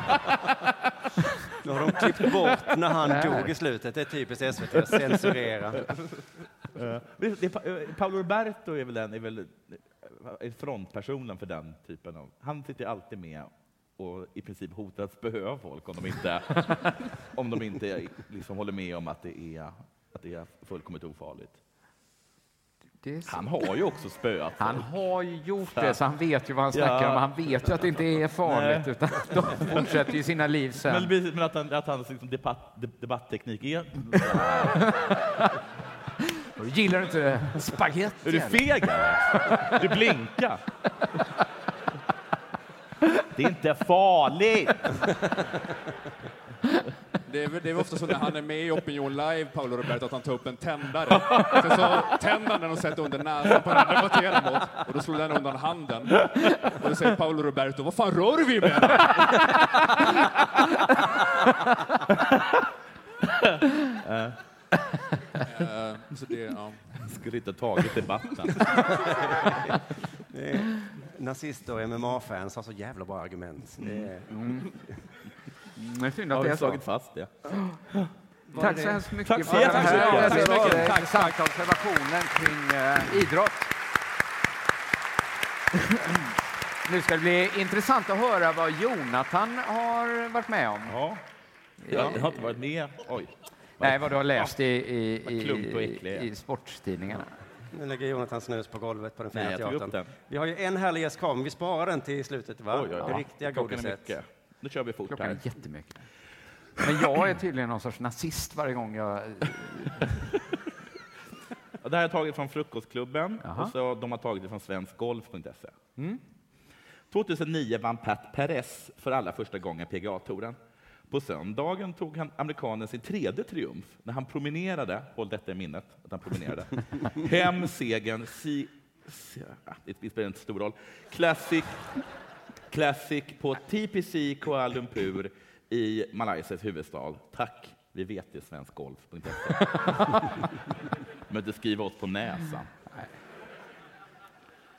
Speaker 7: Nu har de klippt bort när han
Speaker 1: Nej.
Speaker 7: dog i slutet. Det är typiskt SVT att censurera.
Speaker 6: Eh, det, det, eh, Paolo Roberto är väl, den, är väl eh, frontpersonen för den typen av... Han sitter alltid med och i princip hotar att spöa folk om de inte, om de inte liksom håller med om att det är, att det är fullkomligt ofarligt. Han har ju också spöat
Speaker 1: Han har ju gjort det, så han vet ju vad han snackar
Speaker 6: Ja.
Speaker 1: om. Han vet ju att det inte är farligt,
Speaker 6: Nej.
Speaker 1: utan de fortsätter ju sina liv sen.
Speaker 6: Men, precis, men att, han, att hans liksom debatt, de- debatteknik är...
Speaker 1: Gillar du inte spagetti?
Speaker 6: Är du feg? eller? Du blinkar. Det är inte farligt.
Speaker 10: Det är, väl- det är väl ofta så när han är med i Opinion Live, Paolo Roberto, att han tar upp en tändare. Sen så tänder han den och sätter under näsan på den han debatterar mot och då slår den undan handen. Och då säger Paolo Roberto, vad fan rör du vid med? Eh, så det, ja.
Speaker 6: Skulle inte ha tagit debatten.
Speaker 7: Det är- Nazister och MMA-fans har så jävla bra argument. Det är...
Speaker 1: Mm. Det är synd att
Speaker 7: Har
Speaker 1: det
Speaker 7: vi
Speaker 1: är så.
Speaker 7: slagit fast det?
Speaker 1: Var Tack så hemskt mycket
Speaker 7: Tack så
Speaker 1: för den
Speaker 7: jättemycket.
Speaker 1: här
Speaker 7: Tack så
Speaker 1: väldigt
Speaker 7: mycket.
Speaker 1: eh,
Speaker 7: Tack,
Speaker 1: intressanta observationen kring eh, idrott. Nu ska det bli intressant att höra vad Jonathan har varit med om.
Speaker 6: Ja. Jag har inte varit med. Oj.
Speaker 1: Nej, vad du har läst i, i,
Speaker 6: Vad
Speaker 1: i,
Speaker 6: klump och äcklig jag
Speaker 1: i,
Speaker 6: är.
Speaker 1: i sporttidningarna.
Speaker 7: Nu lägger Jonathan snus på golvet på den fina
Speaker 6: Nej, jag tog upp
Speaker 7: teatern.
Speaker 6: den.
Speaker 7: Vi har ju en härlig gäst kvar, men vi sparar den till slutet, va? Det riktiga
Speaker 6: Klockan är
Speaker 7: godiset.
Speaker 6: mycket. Nu kör vi fort
Speaker 1: Klockan
Speaker 6: här.
Speaker 1: är jättemycket. Men jag är tydligen någon sorts nazist varje gång jag...
Speaker 6: Ja, Det här är taget från Frukostklubben
Speaker 1: Jaha.
Speaker 6: och så de har tagit det från svenskgolf.se. 2009 vann Pat Perez för allra första gången PGA-touren. På söndagen tog han amerikanen sin tredje triumf när han promenerade, håll detta i minnet, att han promenerade, hem segern, si, si, ah, det spelar inte stor roll, Classic, Classic på TPC Kuala Lumpur i Malaysias huvudstad. Tack, vi vet det, svenskgolf.se. Men inte skriva oss på näsan.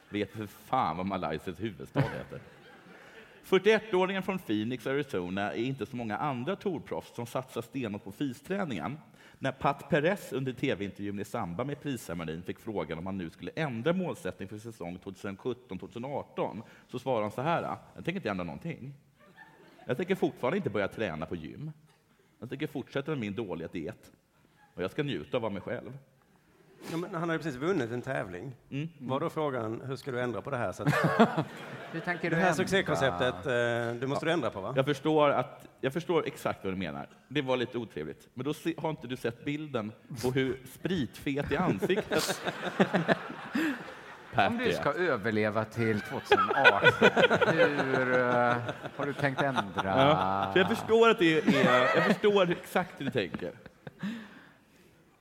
Speaker 6: Vet för fan vad Malaysias huvudstad heter. 41-åringen från Phoenix, Arizona, är inte så många andra tourproffs som satsar stenhårt på fysträningen. När Pat Perez under tv-intervjun i samband med prisceremonin fick frågan om han nu skulle ändra målsättning för säsong 2017-2018 så svarade han så här. Jag tänker inte ändra någonting. Jag tänker fortfarande inte börja träna på gym. Jag tänker fortsätta med min dåliga diet. Och jag ska njuta av mig själv.
Speaker 7: Ja, men han har ju precis vunnit en tävling.
Speaker 6: Mm.
Speaker 7: Var då frågan, hur ska du ändra på det här? Så att...
Speaker 1: Hur tänker
Speaker 7: det
Speaker 1: du
Speaker 7: här
Speaker 1: ändra?
Speaker 7: succékonceptet, eh, det måste du ändra på, va?
Speaker 6: Jag förstår, att, jag förstår exakt vad du menar. Det var lite otrevligt. Men då se, har inte du sett bilden på hur spritfet i ansiktet Pat
Speaker 1: Om du
Speaker 6: är?
Speaker 1: ska överleva till 2018, hur eh, har du tänkt ändra?
Speaker 6: Ja. Så jag förstår att det är... Jag förstår exakt hur du tänker.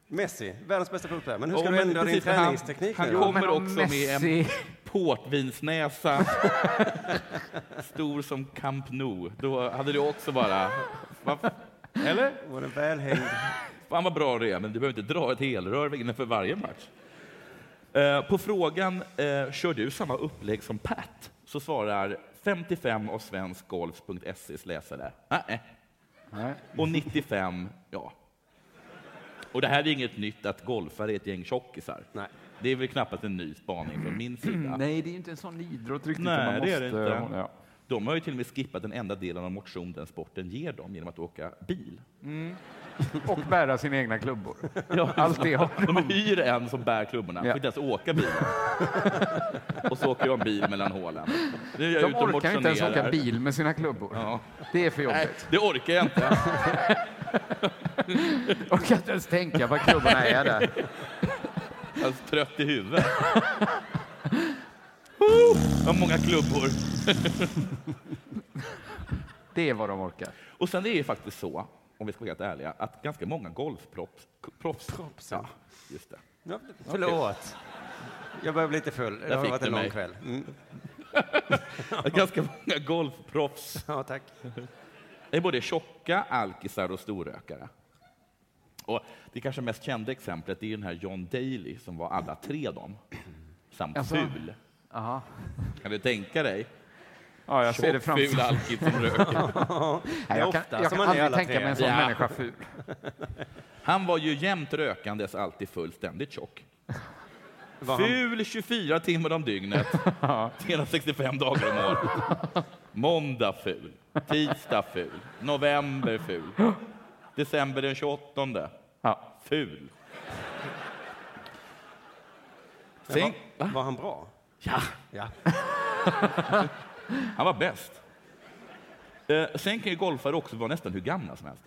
Speaker 7: Messi, världens bästa fotbollsspelare. Men hur ska
Speaker 6: Och
Speaker 7: du
Speaker 6: men
Speaker 7: ändra din
Speaker 6: precis, men han-
Speaker 7: träningsteknik
Speaker 6: Han
Speaker 7: nu då?
Speaker 6: kommer också med en portvinsnäsa, stor som Camp Nou. Då hade du också bara... Va, eller?
Speaker 7: Var den välhängd?
Speaker 6: Fan vad bra det är, men du behöver inte dra ett helrör inför varje match. Eh, På frågan eh, ”Kör du samma upplägg som Pat?” så svarar 55 av svenskgolf.ses läsare nej. Och 95 ja. Och det här är inget nytt att golfare är ett gäng tjockisar. Det är väl knappast en ny spaning från min sida.
Speaker 1: Nej, det är ju inte en sån idrott riktigt.
Speaker 6: Nej,
Speaker 1: man måste,
Speaker 6: det är det inte.
Speaker 1: Ja.
Speaker 6: De har ju till och med skippat den enda delen av motion den sporten ger dem genom att åka bil.
Speaker 1: Mm. Och bära sina egna klubbor.
Speaker 6: Ja,
Speaker 1: Allt det har
Speaker 6: de hyr en som bär klubborna,
Speaker 1: Ja.
Speaker 6: får inte ens åka bilen. och så åker jag bil mellan hålen. Nu är jag
Speaker 1: De
Speaker 6: ute och
Speaker 1: orkar ju inte ens
Speaker 6: motionerar.
Speaker 1: åka bil med sina klubbor. Det är för
Speaker 6: Nej,
Speaker 1: jobbigt.
Speaker 6: det orkar jag inte.
Speaker 1: Orkar inte ens tänka vad klubborna är där.
Speaker 6: Jag är så trött i huvudet. Oh, Vad många klubbor.
Speaker 1: det är vad de orkar.
Speaker 6: Och sen är det ju faktiskt så, om vi ska vara helt ärliga, att ganska många golfproffs... Proffs, ja, just det.
Speaker 7: Ja, förlåt. Jag börjar bli lite full. Det
Speaker 6: Där
Speaker 7: har
Speaker 6: fick
Speaker 7: varit
Speaker 6: du
Speaker 7: en lång
Speaker 6: mig.
Speaker 7: kväll. Mm.
Speaker 6: Ganska många golfproffs.
Speaker 7: Ja, tack.
Speaker 6: Det är både tjocka, alkisar och storrökare. Och det kanske mest kända exemplet är ju den här John Daly som var alla tre dem, samt
Speaker 1: Jaså?
Speaker 6: ful.
Speaker 1: Aha.
Speaker 6: Kan du tänka dig?
Speaker 1: Ja, jag ser det
Speaker 6: Tjock,
Speaker 1: framför
Speaker 6: ful
Speaker 1: mig.
Speaker 6: alkis som röker.
Speaker 1: Nej, jag kan- jag kan aldrig tänka mig en sån människa ful.
Speaker 6: Han var ju jämt rökandes, alltid full, ständigt tjock.
Speaker 7: Var han-
Speaker 6: Ful 24 timmar om dygnet, 365 dagar om året. Måndag ful, tisdag ful, november ful, december den 28. Ful.
Speaker 7: Men
Speaker 6: Tänk-
Speaker 7: var, var han bra?
Speaker 6: Ja.
Speaker 7: ja.
Speaker 6: Han var bäst. Eh, sen kan ju golfare också vara nästan hur gamla som helst.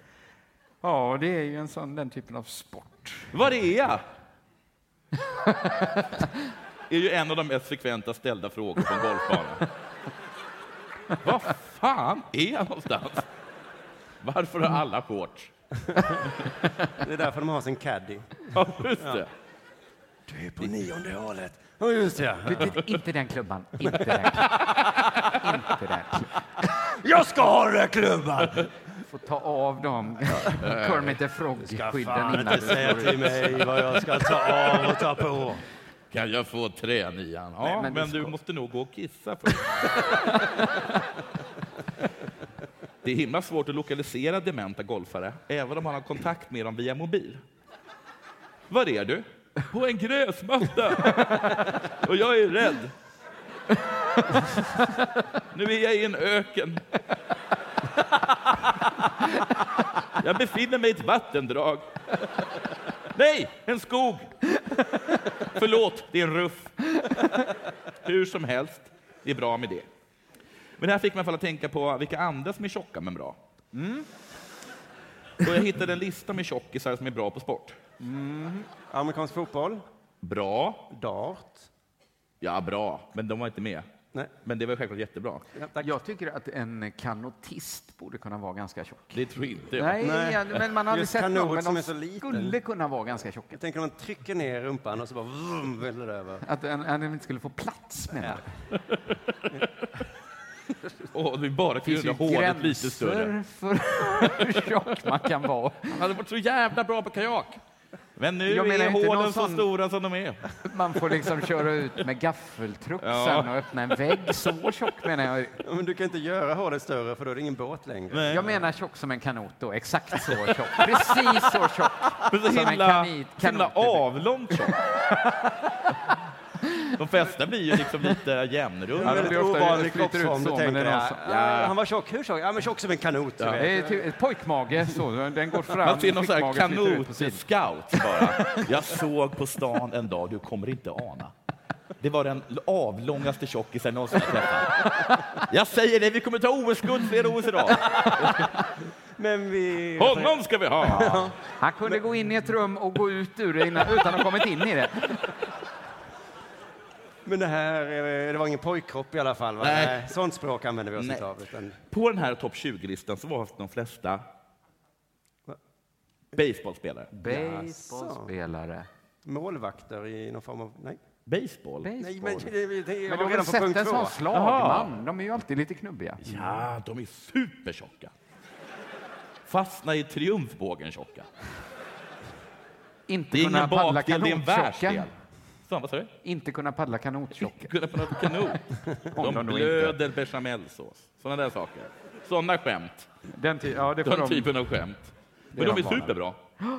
Speaker 1: Ja, det är ju en sån, den typen av sport.
Speaker 6: Var är jag? Det är ju en av de mest frekventa ställda frågor på en golfbana. Vad fan är jag någonstans? Varför har alla shorts?
Speaker 7: Det är därför de har sin caddy.
Speaker 6: Ja, just det.
Speaker 7: Du är på nionde hålet. Ja, just det.
Speaker 1: Du, du, inte den klubban. Inte den. inte den.
Speaker 7: Jag ska ha den där klubban!
Speaker 1: Får ta av dem Kermit the Frog-skydden innan
Speaker 7: fan inte
Speaker 1: du
Speaker 7: säga
Speaker 1: går
Speaker 7: till
Speaker 1: ut.
Speaker 7: mig vad jag ska ta av och ta på.
Speaker 6: Kan jag få tränian? Ja,
Speaker 1: Nej, men
Speaker 6: men,
Speaker 1: du
Speaker 6: du,
Speaker 1: ska-
Speaker 6: måste nog gå och kissa först. det är himla svårt att lokalisera dementa golfare, även om man har kontakt med dem via mobil. Var är du? På en gräsmatta. Och jag är rädd. Nu är jag i en öken. Jag befinner mig i ett vattendrag. Nej, en skog! Förlåt, det är en ruff. Hur som helst, det är bra med det. Men här fick man i alla fall att tänka på vilka andra som är tjocka men bra.
Speaker 7: Mm.
Speaker 6: Och jag hittade en lista med tjockisar som är bra på sport.
Speaker 7: Amerikansk fotboll.
Speaker 6: Bra.
Speaker 7: Dart.
Speaker 6: Ja, bra. Men de var inte med.
Speaker 7: Nej.
Speaker 6: Men det var självklart jättebra.
Speaker 1: Jag tycker att en kanotist borde kunna vara ganska tjock.
Speaker 6: Det tror inte jag.
Speaker 1: Nej, ja, men man hade
Speaker 7: Just
Speaker 1: sett
Speaker 7: kanot
Speaker 1: dem, men
Speaker 7: som
Speaker 1: de
Speaker 7: är så liten.
Speaker 1: skulle kunna vara ganska tjocka.
Speaker 7: Jag tänker om man trycker ner rumpan och så bara vroom, väller det över.
Speaker 1: Att en, att den inte skulle få plats menar jag.
Speaker 6: Åh, vi bara kunde
Speaker 1: ju
Speaker 6: göra hålet lite
Speaker 1: gränser
Speaker 6: större.
Speaker 1: för hur tjock man kan vara.
Speaker 6: Han hade varit så jävla bra på kajak. Men nu
Speaker 1: Jag menar
Speaker 6: är
Speaker 1: inte någon
Speaker 6: hålen så
Speaker 1: sån-
Speaker 6: stora som de är.
Speaker 1: Man får liksom köra ut med gaffeltruxen
Speaker 6: Ja.
Speaker 1: och öppna en vägg. Så tjock menar jag.
Speaker 7: Ja, Men du kan inte göra hålet större för då är det ingen båt längre.
Speaker 1: Jag menar tjock som en kanot då, exakt så tjock. Precis så tjock
Speaker 6: Men så
Speaker 1: som en
Speaker 6: himla,
Speaker 1: kanit,
Speaker 6: så himla
Speaker 1: kanot.
Speaker 6: avlångt tjock. De flesta blir ju liksom lite jämnrunda.
Speaker 7: Ja, det är ofta ovanlig kroppsform. Du tänker, ja, ja.
Speaker 6: Ja.
Speaker 7: han var tjock. Hur tjock? Ja, men tjock som en kanot.
Speaker 6: Ja.
Speaker 7: du vet.
Speaker 1: Det är ty- pojkmage, så. Den går fram.
Speaker 6: Man ser någon sån här
Speaker 1: flickmage flyter ut på sidan.
Speaker 6: kanot-scout bara. Jag såg på stan en dag, du kommer inte ana. Det var den avlångaste tjockisen jag någonsin träffat. Jag säger det, vi kommer ta OS-guld flera OS i rad.
Speaker 7: Men vi...
Speaker 6: Honom ska vi ha!
Speaker 1: Han kunde gå in i ett rum och gå ut ur det innan, utan att ha kommit in i det.
Speaker 7: Men det här, eh, det var ingen pojkkropp i alla fall. Va?
Speaker 6: Nej.
Speaker 7: Nej. Sånt språk använder vi oss
Speaker 6: Nej.
Speaker 7: inte av. Utan...
Speaker 6: På den här topp 20-listan så var de flesta baseballspelare.
Speaker 1: Baseballspelare.
Speaker 7: Målvakter i någon form av... Nej.
Speaker 6: Baseball?
Speaker 7: Nej, men det, det, det,
Speaker 1: Men
Speaker 7: jag var
Speaker 1: du har
Speaker 7: redan
Speaker 1: väl
Speaker 7: på
Speaker 1: sett
Speaker 7: punkt
Speaker 1: en
Speaker 7: två.
Speaker 1: sån slagman? De är ju alltid lite knubbiga.
Speaker 6: Ja, de är supertjocka. Fastna i triumfbågen tjocka.
Speaker 1: Inte
Speaker 6: Det är
Speaker 1: kunna
Speaker 6: ingen
Speaker 1: paddla
Speaker 6: bakdel, det är en
Speaker 1: kanottjocka.
Speaker 6: världsdel. Fan, vad sa du?
Speaker 1: Inte kunna paddla kanottjocka.
Speaker 6: Kunna på något kanot.
Speaker 1: Om
Speaker 6: De
Speaker 1: de nog
Speaker 6: blöder bechamelsås. Sådana där saker. Sådana skämt.
Speaker 1: Den, ty- ja, det får
Speaker 6: Den
Speaker 1: de-
Speaker 6: typen av skämt.
Speaker 1: Det är
Speaker 6: Men de
Speaker 1: de
Speaker 6: är
Speaker 1: vana vid.
Speaker 6: superbra.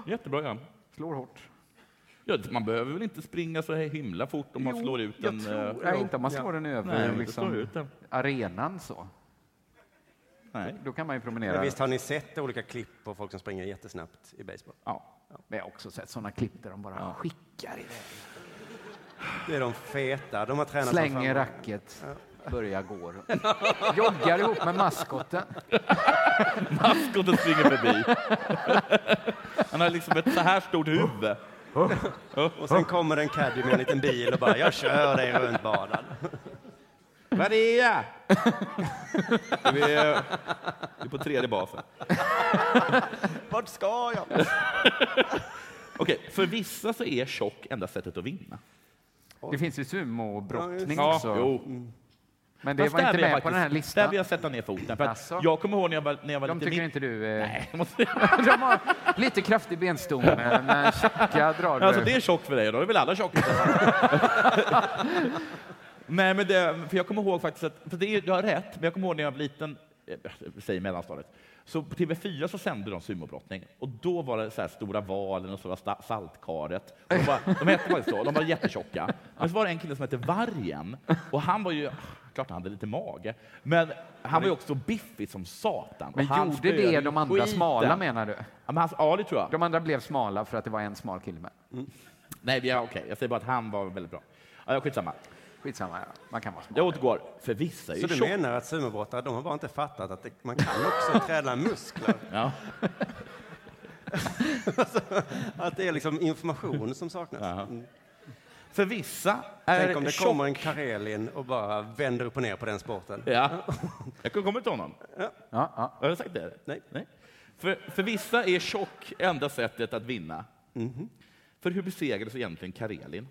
Speaker 6: Jättebra gör
Speaker 1: Slår hårt.
Speaker 6: ja, Man behöver väl inte springa så här himla fort om man
Speaker 1: Jo,
Speaker 6: slår ut
Speaker 1: jag
Speaker 6: en...
Speaker 1: tror- Nej, inte om man slår den över,
Speaker 6: eh, Nej, om man
Speaker 1: liksom.
Speaker 6: slår ut den.
Speaker 1: Arenan så.
Speaker 6: Nej.
Speaker 1: Då kan man ju promenera.
Speaker 7: Men visst har ni sett olika klipp på folk som springer jättesnabbt i baseball?
Speaker 6: Ja.
Speaker 1: Men jag har också sett sådana klipp där de bara skickar iväg.
Speaker 7: Det är de feta. De har tränat som
Speaker 1: Slänger
Speaker 7: Alltså, fan.
Speaker 1: racket, börjar gå. Joggar ihop med maskotten.
Speaker 6: Maskoten springer förbi. Han har liksom ett så här stort huvud.
Speaker 7: Och sen kommer en caddy med en liten bil och bara jag kör dig runt banan.
Speaker 6: Maria! Vi är, vi är på tredje basen.
Speaker 7: Vart ska jag?
Speaker 6: Okej, för vissa så är tjock enda sättet att vinna.
Speaker 1: Det finns ju sumobrottning
Speaker 6: Ja,
Speaker 1: också.
Speaker 6: jo.
Speaker 1: Men Alltså, det
Speaker 6: Fast
Speaker 1: var
Speaker 6: där
Speaker 1: inte
Speaker 6: vill jag
Speaker 1: med på
Speaker 6: faktiskt-
Speaker 1: den här listan.
Speaker 6: Där vill jag sätta ner foten. För att
Speaker 1: Alltså?
Speaker 6: jag kommer ihåg när jag var, när jag var
Speaker 1: De
Speaker 6: lite
Speaker 1: tycker
Speaker 6: mindre.
Speaker 1: inte du... Eh,
Speaker 6: Nej, jag måste...
Speaker 1: de har lite kraftig benstomme, men eh, tjocka drar
Speaker 6: Alltså,
Speaker 1: du.
Speaker 6: det är tjock för dig, då är väl alla tjocka. Nej, men det, för jag kommer ihåg faktiskt att, för det är, du har rätt, men jag kommer ihåg när jag var liten, eh, säg mellanstadiet, så på TV4 så sände de sumobrottning och då var det så här Stora Valen och så var sta- Saltkaret. Och de, var, de hette faktiskt så, de var jättetjocka. Men så var det en kille som hette Vargen och han var ju, klart han hade lite mage. Men han var ju också biffig som satan.
Speaker 1: Men
Speaker 6: Och han
Speaker 1: gjorde
Speaker 6: spöade
Speaker 1: det de andra
Speaker 6: skiten.
Speaker 1: smala menar du?
Speaker 6: Ja, men han, ja, det tror jag.
Speaker 1: De andra blev smala för att det var en smal kille med.
Speaker 6: Nej, vi har- okej. Jag säger bara att han var väldigt bra. Ja, skitsamma.
Speaker 1: Skitsamma, ja. Man kan vara smal.
Speaker 6: Jag återgår. För vissa är ju
Speaker 7: Så du
Speaker 6: tjocka.
Speaker 7: menar att sumobrottare, de har bara inte fattat att det, man kan också träna muskler?
Speaker 6: Ja.
Speaker 7: alltså, att det är liksom information som saknas. Mm.
Speaker 6: För vissa är
Speaker 7: Tänk om det
Speaker 6: tjock-
Speaker 7: kommer en Karelin och bara vänder upp och ner på den sporten.
Speaker 6: Ja. Jag kan komma till honom. Ja. Har jag sagt det? Nej. För, för vissa är tjock enda sättet att vinna.
Speaker 7: Mhm.
Speaker 6: För hur besegrades egentligen Karelin?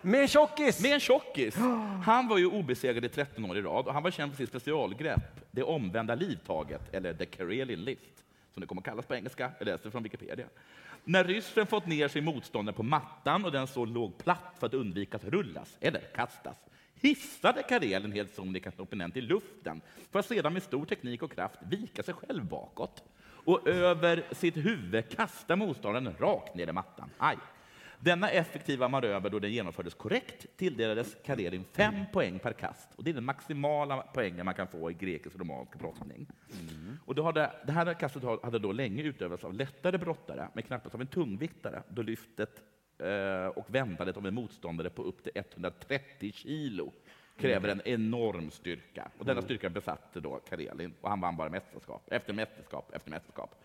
Speaker 7: Med en tjockis!
Speaker 6: Med en tjockis! Han var ju obesegrad i 13 år i rad och han var känd för sitt specialgrepp, det omvända livtaget, eller the Karelin lift, som det kommer kallas på engelska. Jag läser från Wikipedia. När ryssen fått ner sin motståndare på mattan och den så låg platt för att undvika att rullas eller kastas, hissade Karelen helt sonika sin opponent i luften för att sedan med stor teknik och kraft vika sig själv bakåt och över sitt huvud kasta motståndaren rakt ner i mattan. Aj! Denna effektiva manöver, då den genomfördes korrekt, tilldelades Karerin fem poäng per kast. Och det är den maximala poängen man kan få i grekisk och romansk brottning. Och då hade, det här kastet har- hade då länge utövats av lättare brottare, men knappast av en tungviktare, då lyftet eh, och vändandet av en motståndare på upp till 130 kilo kräver en enorm styrka. Och denna
Speaker 8: Mm.
Speaker 6: styrka besatte då Karelin, och han vann bara mästerskap efter mästerskap efter mästerskap.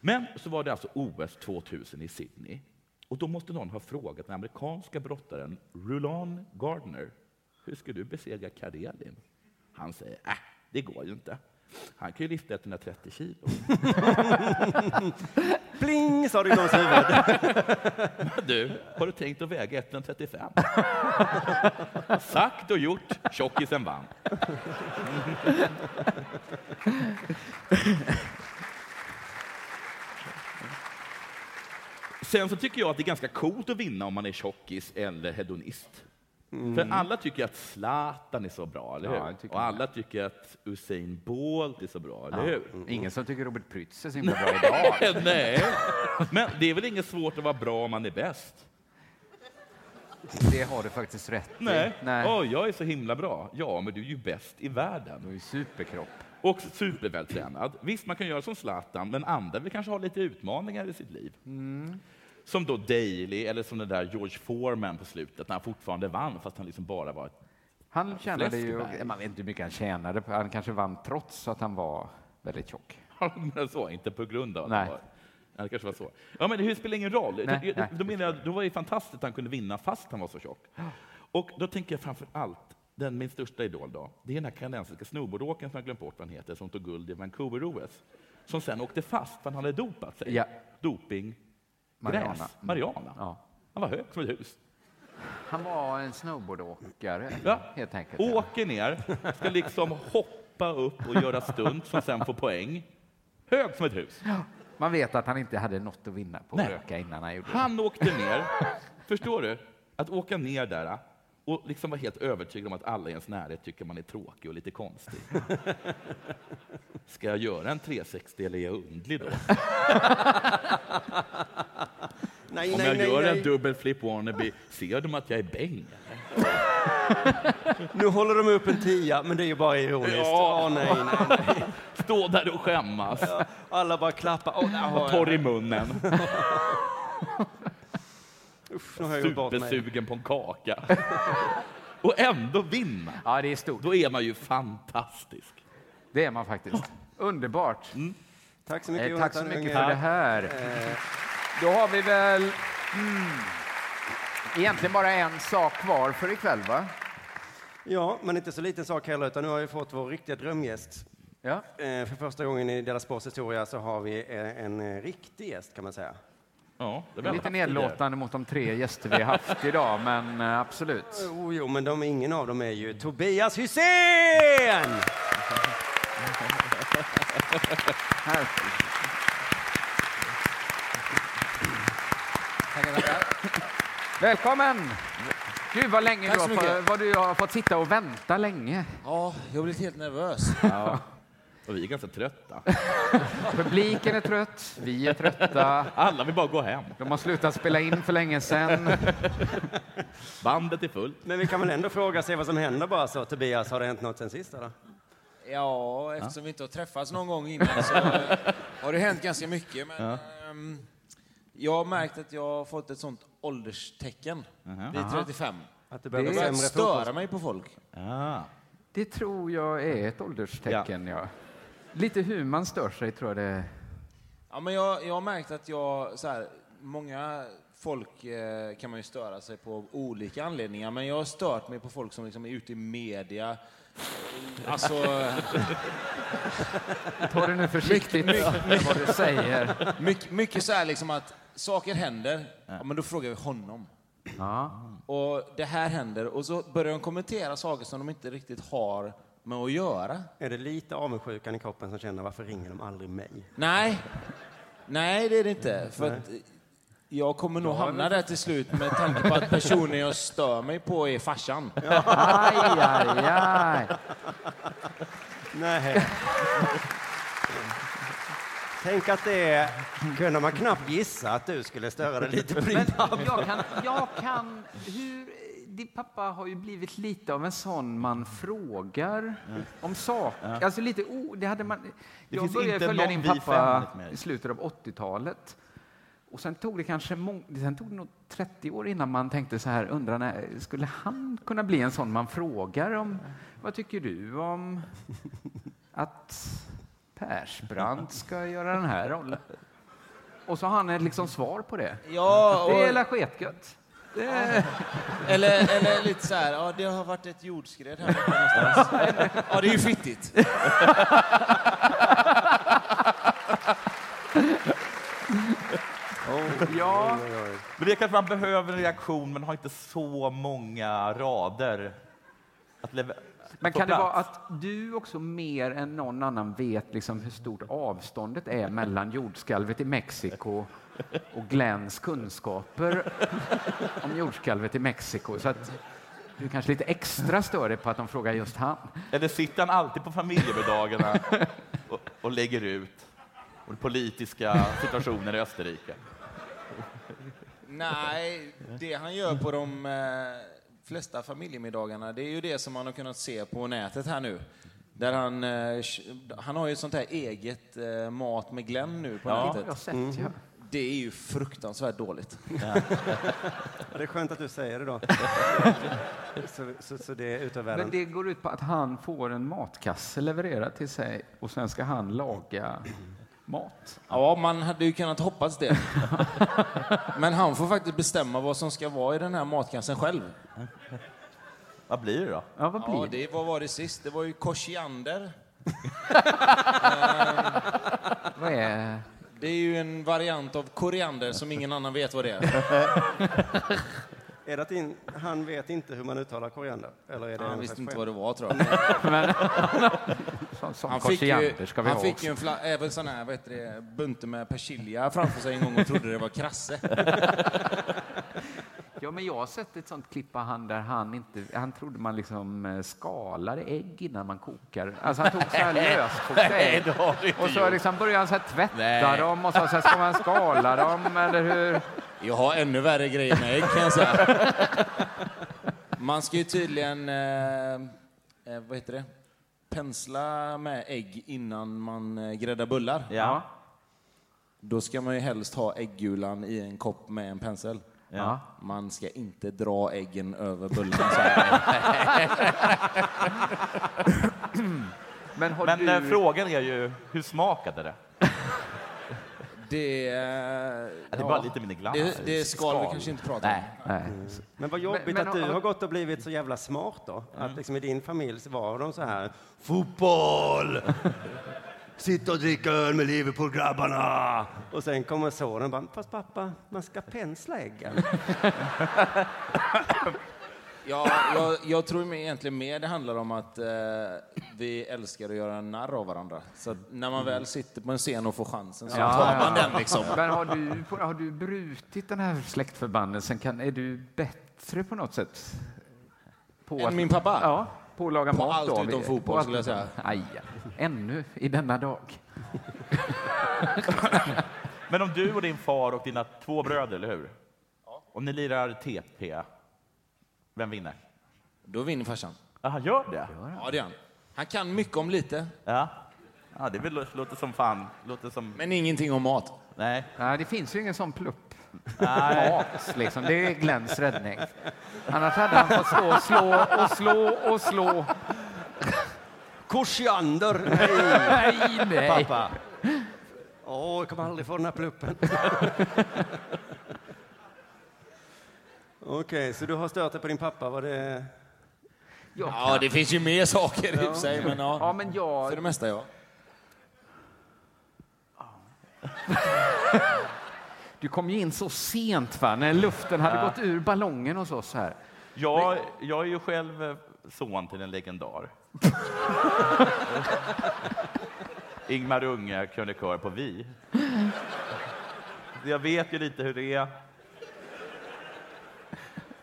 Speaker 6: Men så var det alltså OS 2000 i Sydney. Och då måste någon ha frågat den amerikanska brottaren Rulon Gardner, hur ska du besegra Karelin? Han säger, äh, det går ju inte. Han kan ju lyfta 130 kilo.
Speaker 7: Pling, sa det i någons huvud.
Speaker 6: Men du, har du tänkt att väga 135? Sagt och gjort, tjockisen vann. Sen så tycker jag att det är ganska coolt att vinna om man är tjockis eller hedonist. För alla tycker att Zlatan är så bra, eller hur?
Speaker 1: Mm. Ja, jag tycker
Speaker 6: och alla tycker att Usain Bolt är så bra, eller
Speaker 1: Ja.
Speaker 6: hur?
Speaker 1: Mm. Ingen som tycker Robert Prytz är så himla bra idag.
Speaker 6: Nej, men det är väl inget svårt att vara bra om man är bäst?
Speaker 1: Det har du faktiskt rätt i.
Speaker 6: Nej. Åh, jag är så himla bra. Ja, men du är ju bäst i världen. Du är superkropp. Och supervältränad. Visst, man kan göra som Zlatan, men andra vill kanske ha lite utmaningar i sitt liv. Som då Daily, eller som den där George Foreman på slutet, när han fortfarande vann, fast han liksom bara var ett
Speaker 1: Han tjänade ju,
Speaker 6: Fläskberg.
Speaker 1: man vet inte hur mycket han tjänade, han kanske vann trots att han var väldigt tjock.
Speaker 6: Men så, inte på grund av att
Speaker 1: Nej.
Speaker 6: han var... Ja, det kanske var så. Ja, men det spelar ingen roll.
Speaker 1: Nej,
Speaker 6: då,
Speaker 1: nej.
Speaker 6: Då menar jag, då var det fantastiskt att han kunde vinna fast han var så tjock. Och då tänker jag framför allt, den, min största idol då, det är den här kanadensiska snowboardåkaren som jag glömt bort vad han heter, som tog guld i Vancouver-OS, som sen åkte fast för han hade dopat sig.
Speaker 1: Ja.
Speaker 6: Doping,
Speaker 1: Mariana. Mm.
Speaker 6: gräs, Mariana. Han var hög som ett hus.
Speaker 1: Han var en snowboardåkare,
Speaker 6: Ja.
Speaker 1: helt enkelt.
Speaker 6: Åker ner, ska liksom hoppa upp och göra stunt som sen får poäng. Hög som ett hus.
Speaker 1: Man vet att han inte hade något att vinna på att
Speaker 6: Nej.
Speaker 1: röka innan han gjorde det.
Speaker 6: Han åkte ner. Förstår du? Att åka ner där och liksom vara helt övertygad om att alla i ens närhet tycker man är tråkig och lite konstig. Ska jag göra en 360 eller är jag undlig då?
Speaker 7: Nej,
Speaker 6: om
Speaker 7: nej,
Speaker 6: jag
Speaker 7: nej,
Speaker 6: gör en
Speaker 7: nej.
Speaker 6: dubbel flip wannabe, ser de att jag är bäng?
Speaker 7: Nu håller de upp en tia, men det är ju bara ironiskt.
Speaker 6: Ja.
Speaker 7: Åh, nej, nej, nej.
Speaker 6: Stå där och skämmas.
Speaker 7: Ja, alla bara klappar. Åh, där har jag.
Speaker 6: Torr i munnen.
Speaker 7: Usch, nu har jag gjort bort mig.
Speaker 6: Supersugen på en kaka. Och ändå vinna.
Speaker 1: Ja, det är stort.
Speaker 6: Då är man ju fantastisk.
Speaker 1: Det är man faktiskt. Underbart.
Speaker 7: Tack så mycket,
Speaker 1: Eh, tack så
Speaker 7: Jonathan
Speaker 1: mycket
Speaker 7: Unge.
Speaker 1: för det här.
Speaker 7: Eh.
Speaker 1: Då har vi väl mm, egentligen bara en sak kvar för ikväll, va?
Speaker 7: Ja, men inte så liten sak heller, utan nu har vi fått vår riktiga drömgäst. Eh, För första gången i Della Sports historia så har vi eh, en eh, riktig gäst, kan man säga.
Speaker 6: Ja,
Speaker 7: det har vi
Speaker 1: Lite
Speaker 7: haft tidigare.
Speaker 1: nedlåtande mot de tre gäster vi har haft idag, men eh, absolut.
Speaker 7: Jo, jo, men de, ingen av dem är ju Tobias Hysén!
Speaker 1: Här. Välkommen! Gud, vad länge
Speaker 16: Tack
Speaker 1: du
Speaker 16: så
Speaker 1: har,
Speaker 16: mycket.
Speaker 1: fått- vad du har fått sitta och vänta länge.
Speaker 16: Ja, jag har blivit helt nervös.
Speaker 1: Ja.
Speaker 6: Och vi är ganska trötta.
Speaker 1: Publiken är trött, vi är trötta.
Speaker 6: Alla vill bara gå hem.
Speaker 1: De har slutat spela in för länge sedan.
Speaker 6: Bandet är fullt.
Speaker 7: Men vi kan väl ändå fråga sig vad som händer bara så. Tobias, har det hänt något sen sist eller?
Speaker 8: Ja, eftersom vi inte har träffats någon gång innan så har det hänt ganska mycket. Men,
Speaker 7: Ja.
Speaker 8: ehm, jag har märkt att jag har fått ett sånt ålderstecken
Speaker 6: Aha.
Speaker 8: vid
Speaker 6: Aha.
Speaker 8: 35.
Speaker 7: Att
Speaker 8: det
Speaker 7: det
Speaker 8: börjar
Speaker 7: börjar bli
Speaker 8: att
Speaker 7: sämre
Speaker 8: störa
Speaker 7: fotboll.
Speaker 8: mig på folk.
Speaker 6: Ah.
Speaker 1: Det tror jag är ett ålderstecken, ja. Lite hur man stör sig tror jag det
Speaker 8: Ja, men jag, jag har märkt att jag, så här, många folk eh, kan man ju störa sig på av olika anledningar, men jag har stört mig på folk som liksom är ute i media. Alltså...
Speaker 1: Ta det nu försiktigt med vad du säger.
Speaker 8: Mycket, mycket så här liksom att saker händer, ja, men då frågar vi honom. Och det här händer och så börjar de kommentera saker som de inte riktigt har med att göra.
Speaker 7: Är det lite avundsjukan i kroppen som känner varför ringer de aldrig mig?
Speaker 8: Nej, nej det är det inte. För
Speaker 7: Nej.
Speaker 8: att jag kommer nog
Speaker 7: Ja, men-
Speaker 8: hamna där till slut med tanke på att personen jag stör mig på är farsan.
Speaker 7: Aj, aj, aj. Nej. Tänk att det kunde man knappt gissa att du skulle störa dig lite på din pappa.
Speaker 1: Jag kan, jag kan hur, din pappa har ju blivit lite av en sån man frågar om saker.
Speaker 6: Ja.
Speaker 1: Alltså lite, o- det hade man,
Speaker 6: Det
Speaker 1: jag
Speaker 6: finns
Speaker 1: började
Speaker 6: inte
Speaker 1: följa
Speaker 6: någon
Speaker 1: din
Speaker 6: vi
Speaker 1: pappa
Speaker 6: fem med.
Speaker 1: i slutet av 80-talet. Och sen tog det kanske mång- sen tog det nog 30 år innan man tänkte så här, undrar när, skulle han kunna bli en sån man frågar om, vad tycker du om att Persbrandt ska göra den här rollen? Och så har han ett liksom svar på det.
Speaker 8: Ja,
Speaker 1: Det
Speaker 8: och-
Speaker 1: är la sketgött. Det är...
Speaker 8: Eller, eller lite så här, ja det har varit ett jordskred här uppe någonstans. Ja, det är ju fittigt.
Speaker 6: ja. Men det är kanske man behöver en reaktion, men har inte så många rader. Att leve-
Speaker 1: Men
Speaker 6: få
Speaker 1: kan det
Speaker 6: plats.
Speaker 1: vara att du också mer än någon annan vet liksom hur stort avståndet är mellan jordskalvet i Mexiko och Glens kunskaper om jordskalvet i Mexiko? Så att du kanske lite extra stör dig på att de frågar just han.
Speaker 6: Eller sitter han alltid på familjemiddagarna och, och lägger ut om politiska situationer i Österrike?
Speaker 8: Nej, det han gör på de eh, flesta familjemiddagarna, det är ju det som man har kunnat se på nätet här nu. Där han, eh, sh- han har ju sånt här eget eh, mat med Glenn nu på
Speaker 7: Ja,
Speaker 8: nätet.
Speaker 7: jag har sett, Mm. ja.
Speaker 8: Det är ju fruktansvärt dåligt.
Speaker 7: Det är skönt att du säger det då. Så, så, så det är utav världen.
Speaker 1: Men det går ut på att han får en matkasse levererad till sig och sen ska han laga mat.
Speaker 8: Ja, man hade ju kunnat hoppas det. Men han får faktiskt bestämma vad som ska vara i den här matkassen själv.
Speaker 6: Vad blir det då?
Speaker 1: Ja,
Speaker 8: vad,
Speaker 6: blir
Speaker 8: det? vad var det sist? Det var ju koriander.
Speaker 1: Vad är...
Speaker 8: Det är ju en variant av koriander som ingen annan vet vad det är.
Speaker 7: Är det att in, han vet inte hur man uttalar koriander? Eller är
Speaker 8: Ja,
Speaker 7: det
Speaker 8: han
Speaker 7: en
Speaker 8: visste
Speaker 7: slags
Speaker 8: inte
Speaker 7: skämt?
Speaker 8: vad det var, tror jag. han fick ju, han fick ju en fla, även sån här, vad heter det, bunte med persilja framför sig en gång och trodde det var krasse.
Speaker 1: Ja, men jag har sett ett sånt klipp av han där han inte, han trodde man liksom eh, skalade ägg innan man kokar. Alltså han tog så här löskokta
Speaker 6: Nej,
Speaker 1: ägg
Speaker 6: det har du inte
Speaker 1: och så
Speaker 6: gjort.
Speaker 1: liksom började han så här tvätta
Speaker 6: Nej.
Speaker 1: dem och så här, ska man skala dem eller hur?
Speaker 8: Jag har ännu värre grejer med ägg kan jag säga. Man ska ju tydligen, eh, eh, vad heter det, pensla med ägg innan man eh, gräddar bullar.
Speaker 6: Ja.
Speaker 8: Då ska man ju helst ha äggulan i en kopp med en pensel.
Speaker 6: Ja.
Speaker 8: Man ska inte dra äggen över bullarna.
Speaker 1: Men, har
Speaker 6: Men
Speaker 8: du-
Speaker 6: eh, frågan är ju, hur smakade det?
Speaker 8: Det,
Speaker 6: det är bara lite mindre glass.
Speaker 8: Alltså, Det, det skal vi
Speaker 6: Skal.
Speaker 8: kanske inte prata om.
Speaker 7: Mm. Men vad jobbigt
Speaker 8: Men- men
Speaker 7: att du
Speaker 8: har-
Speaker 7: har gått och blivit så jävla smart då.
Speaker 8: Mm.
Speaker 7: Att liksom i din familj så var de så här. Fotboll! Sitta och dricka öl med Liverpool-grabbarna! Och sen kommer sonen bara, fast pappa, man ska pensla äggen.
Speaker 8: Ja, jag, jag tror mer- egentligen mer det handlar om att eh, vi älskar att göra narr av varandra. Så att när man väl sitter på en scen och får chansen så tar man den liksom.
Speaker 1: Men har du, har du brutit den här släktförbannelsen? Kan, är du bättre på något sätt? På
Speaker 8: Än min pappa?
Speaker 1: Ja. På att laga
Speaker 8: På
Speaker 1: mat då?
Speaker 8: allt utom
Speaker 1: Vi-
Speaker 8: fotboll,
Speaker 1: på allt
Speaker 8: skulle jag
Speaker 1: utom-
Speaker 8: säga.
Speaker 1: Aj, ännu i denna dag.
Speaker 6: Men om du och din far och dina två bröder, eller hur? Om ni lirar TP, vem vinner?
Speaker 8: Då vinner farsan.
Speaker 6: Jaha, gör det?
Speaker 8: Ja, det gör han. Han kan mycket om lite.
Speaker 6: Ja. ja det väl, låter som fan. Låter som...
Speaker 8: Men ingenting om mat.
Speaker 6: Nej.
Speaker 1: Nej, det finns ju ingen sån plupp.
Speaker 6: Nej.
Speaker 1: Mat, liksom. Det är Glens räddning. Annars hade han fått stå och slå och slå och slå.
Speaker 7: Korsiander!
Speaker 1: Nej, nej.
Speaker 7: Pappa. Åh, jag kommer aldrig få den här pluppen. Okej, så du har stört dig på din pappa. Var det...
Speaker 8: Ja, det finns ju mer saker i och för sig, men ja.
Speaker 1: ja men jag...
Speaker 8: För det mesta, ja.
Speaker 1: Du kom ju in så sent, va? när luften hade
Speaker 6: Ja.
Speaker 1: gått ur ballongen hos oss här.
Speaker 6: Jag, jag är ju själv eh, son till en legendar. Ingmar Unge, krönikör på Vi. Så Jag vet ju lite hur det är.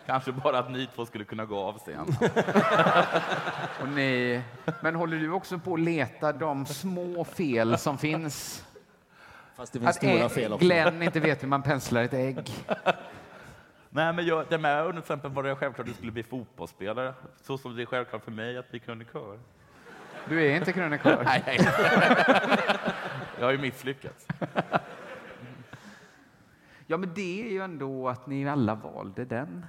Speaker 6: Kanske bara att ni två skulle kunna gå av sig.
Speaker 1: Och ni... Men håller du också på att leta de små fel som finns?
Speaker 8: Fast
Speaker 6: det finns stora fel också.
Speaker 1: Glenn inte vet hur man penslar ett ägg.
Speaker 6: Nej, men jag, det med under till exempel var det självklart att du skulle bli fotbollsspelare, så som det är självklart för mig att bli krönikör.
Speaker 1: Du är inte krönikör.
Speaker 6: Nej, nej. jag har ju misslyckats.
Speaker 1: Ja, men det är ju ändå att ni alla valde den.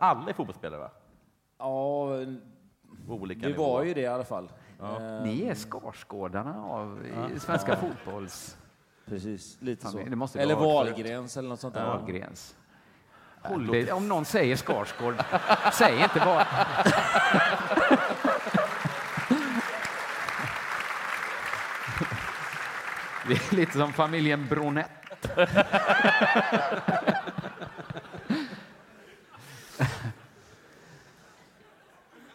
Speaker 6: Alla är fotbollsspelare, va?
Speaker 8: Ja, vi var
Speaker 1: nivåer.
Speaker 8: ju det i alla fall. Ehm,
Speaker 1: Ni är Skarsgårdarna av
Speaker 8: Ja.
Speaker 1: i svenska
Speaker 8: Ja.
Speaker 1: fotbolls...
Speaker 8: Precis, lite så.
Speaker 1: Fan, det måste vi
Speaker 8: Eller
Speaker 1: ha hört förut.
Speaker 8: Wahlgrens eller något sånt där.
Speaker 1: Wahlgrens.
Speaker 8: Ja.
Speaker 1: Håll dig- Om någon säger Skarsgård, säg inte bara... Det är lite som familjen Bronett.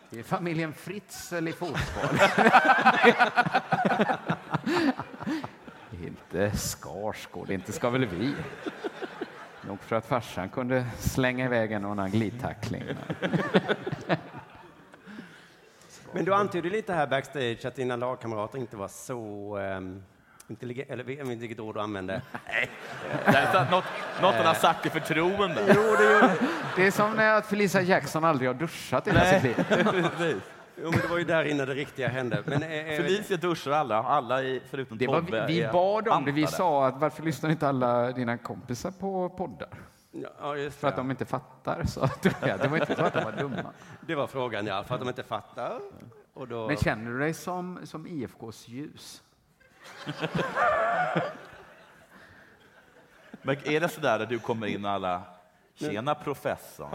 Speaker 1: Det är familjen Fritzl i fotboll. inte Skarsgård, inte ska väl vi. Nog för att farsan kunde slänga iväg en och annan glidtackling.
Speaker 7: Men du antydde lite här backstage att dina lagkamrater inte var så um, intelligenta, eller jag vet inte vilket ord du använde. Nej.
Speaker 6: Där satt något- något han har sagt i förtroende. Jo,
Speaker 1: det Det är som när Felicia Jackson aldrig har duschat i hela sitt
Speaker 7: Nej,
Speaker 1: liv.
Speaker 7: precis. Jo, men det var ju där inne det riktiga hände. Men, eh, eh,
Speaker 6: Felicia duschar alla, alla i, förutom
Speaker 1: Det var,
Speaker 6: Tobbe.
Speaker 1: vi- vi
Speaker 6: är
Speaker 1: bad om det. Vi
Speaker 6: bantade.
Speaker 1: sa att varför lyssnar inte alla dina kompisar på poddar?
Speaker 7: Ja, just
Speaker 1: För att de inte fattar, sa du. Det var inte så att de var dumma.
Speaker 7: Det var frågan, ja. För att de inte fattar. Och då...
Speaker 1: Men känner du dig som, som IFKs ljus?
Speaker 6: Men är det så där att du kommer in och alla Tjena professorn.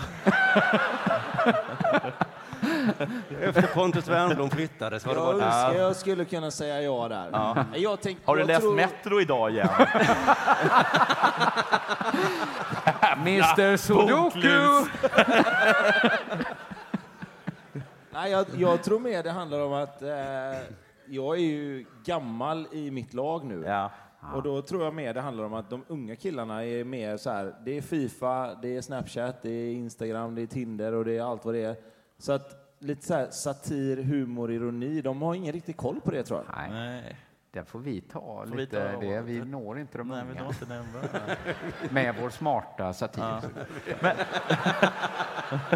Speaker 7: Efter Pontus Wernbloom flyttades var det
Speaker 8: Jag
Speaker 7: bara...
Speaker 8: önskar
Speaker 7: Ja.
Speaker 8: jag skulle kunna säga ja där.
Speaker 7: Ja.
Speaker 8: Jag tänkte,
Speaker 6: Har du
Speaker 8: jag
Speaker 6: läst
Speaker 8: tror-
Speaker 6: Metro idag igen?
Speaker 1: Mr Sudoku!
Speaker 8: Nej, jag, jag tror mer det handlar om att eh, jag är ju gammal i mitt lag nu. Och då tror jag mer det handlar om att de unga killarna är mer så här, det är Fifa, det är Snapchat, det är Instagram, det är Tinder och det är allt vad det är. Så att lite så här satir, humor, ironi, de har ingen riktig koll på det tror jag.
Speaker 6: Nej.
Speaker 1: Den får vi ta
Speaker 8: vi
Speaker 1: lite.
Speaker 8: ta
Speaker 1: Vi, det. vi når inte de
Speaker 6: vi
Speaker 1: unga.
Speaker 6: når inte den bra.
Speaker 1: Med vår smarta satir.
Speaker 6: Ja.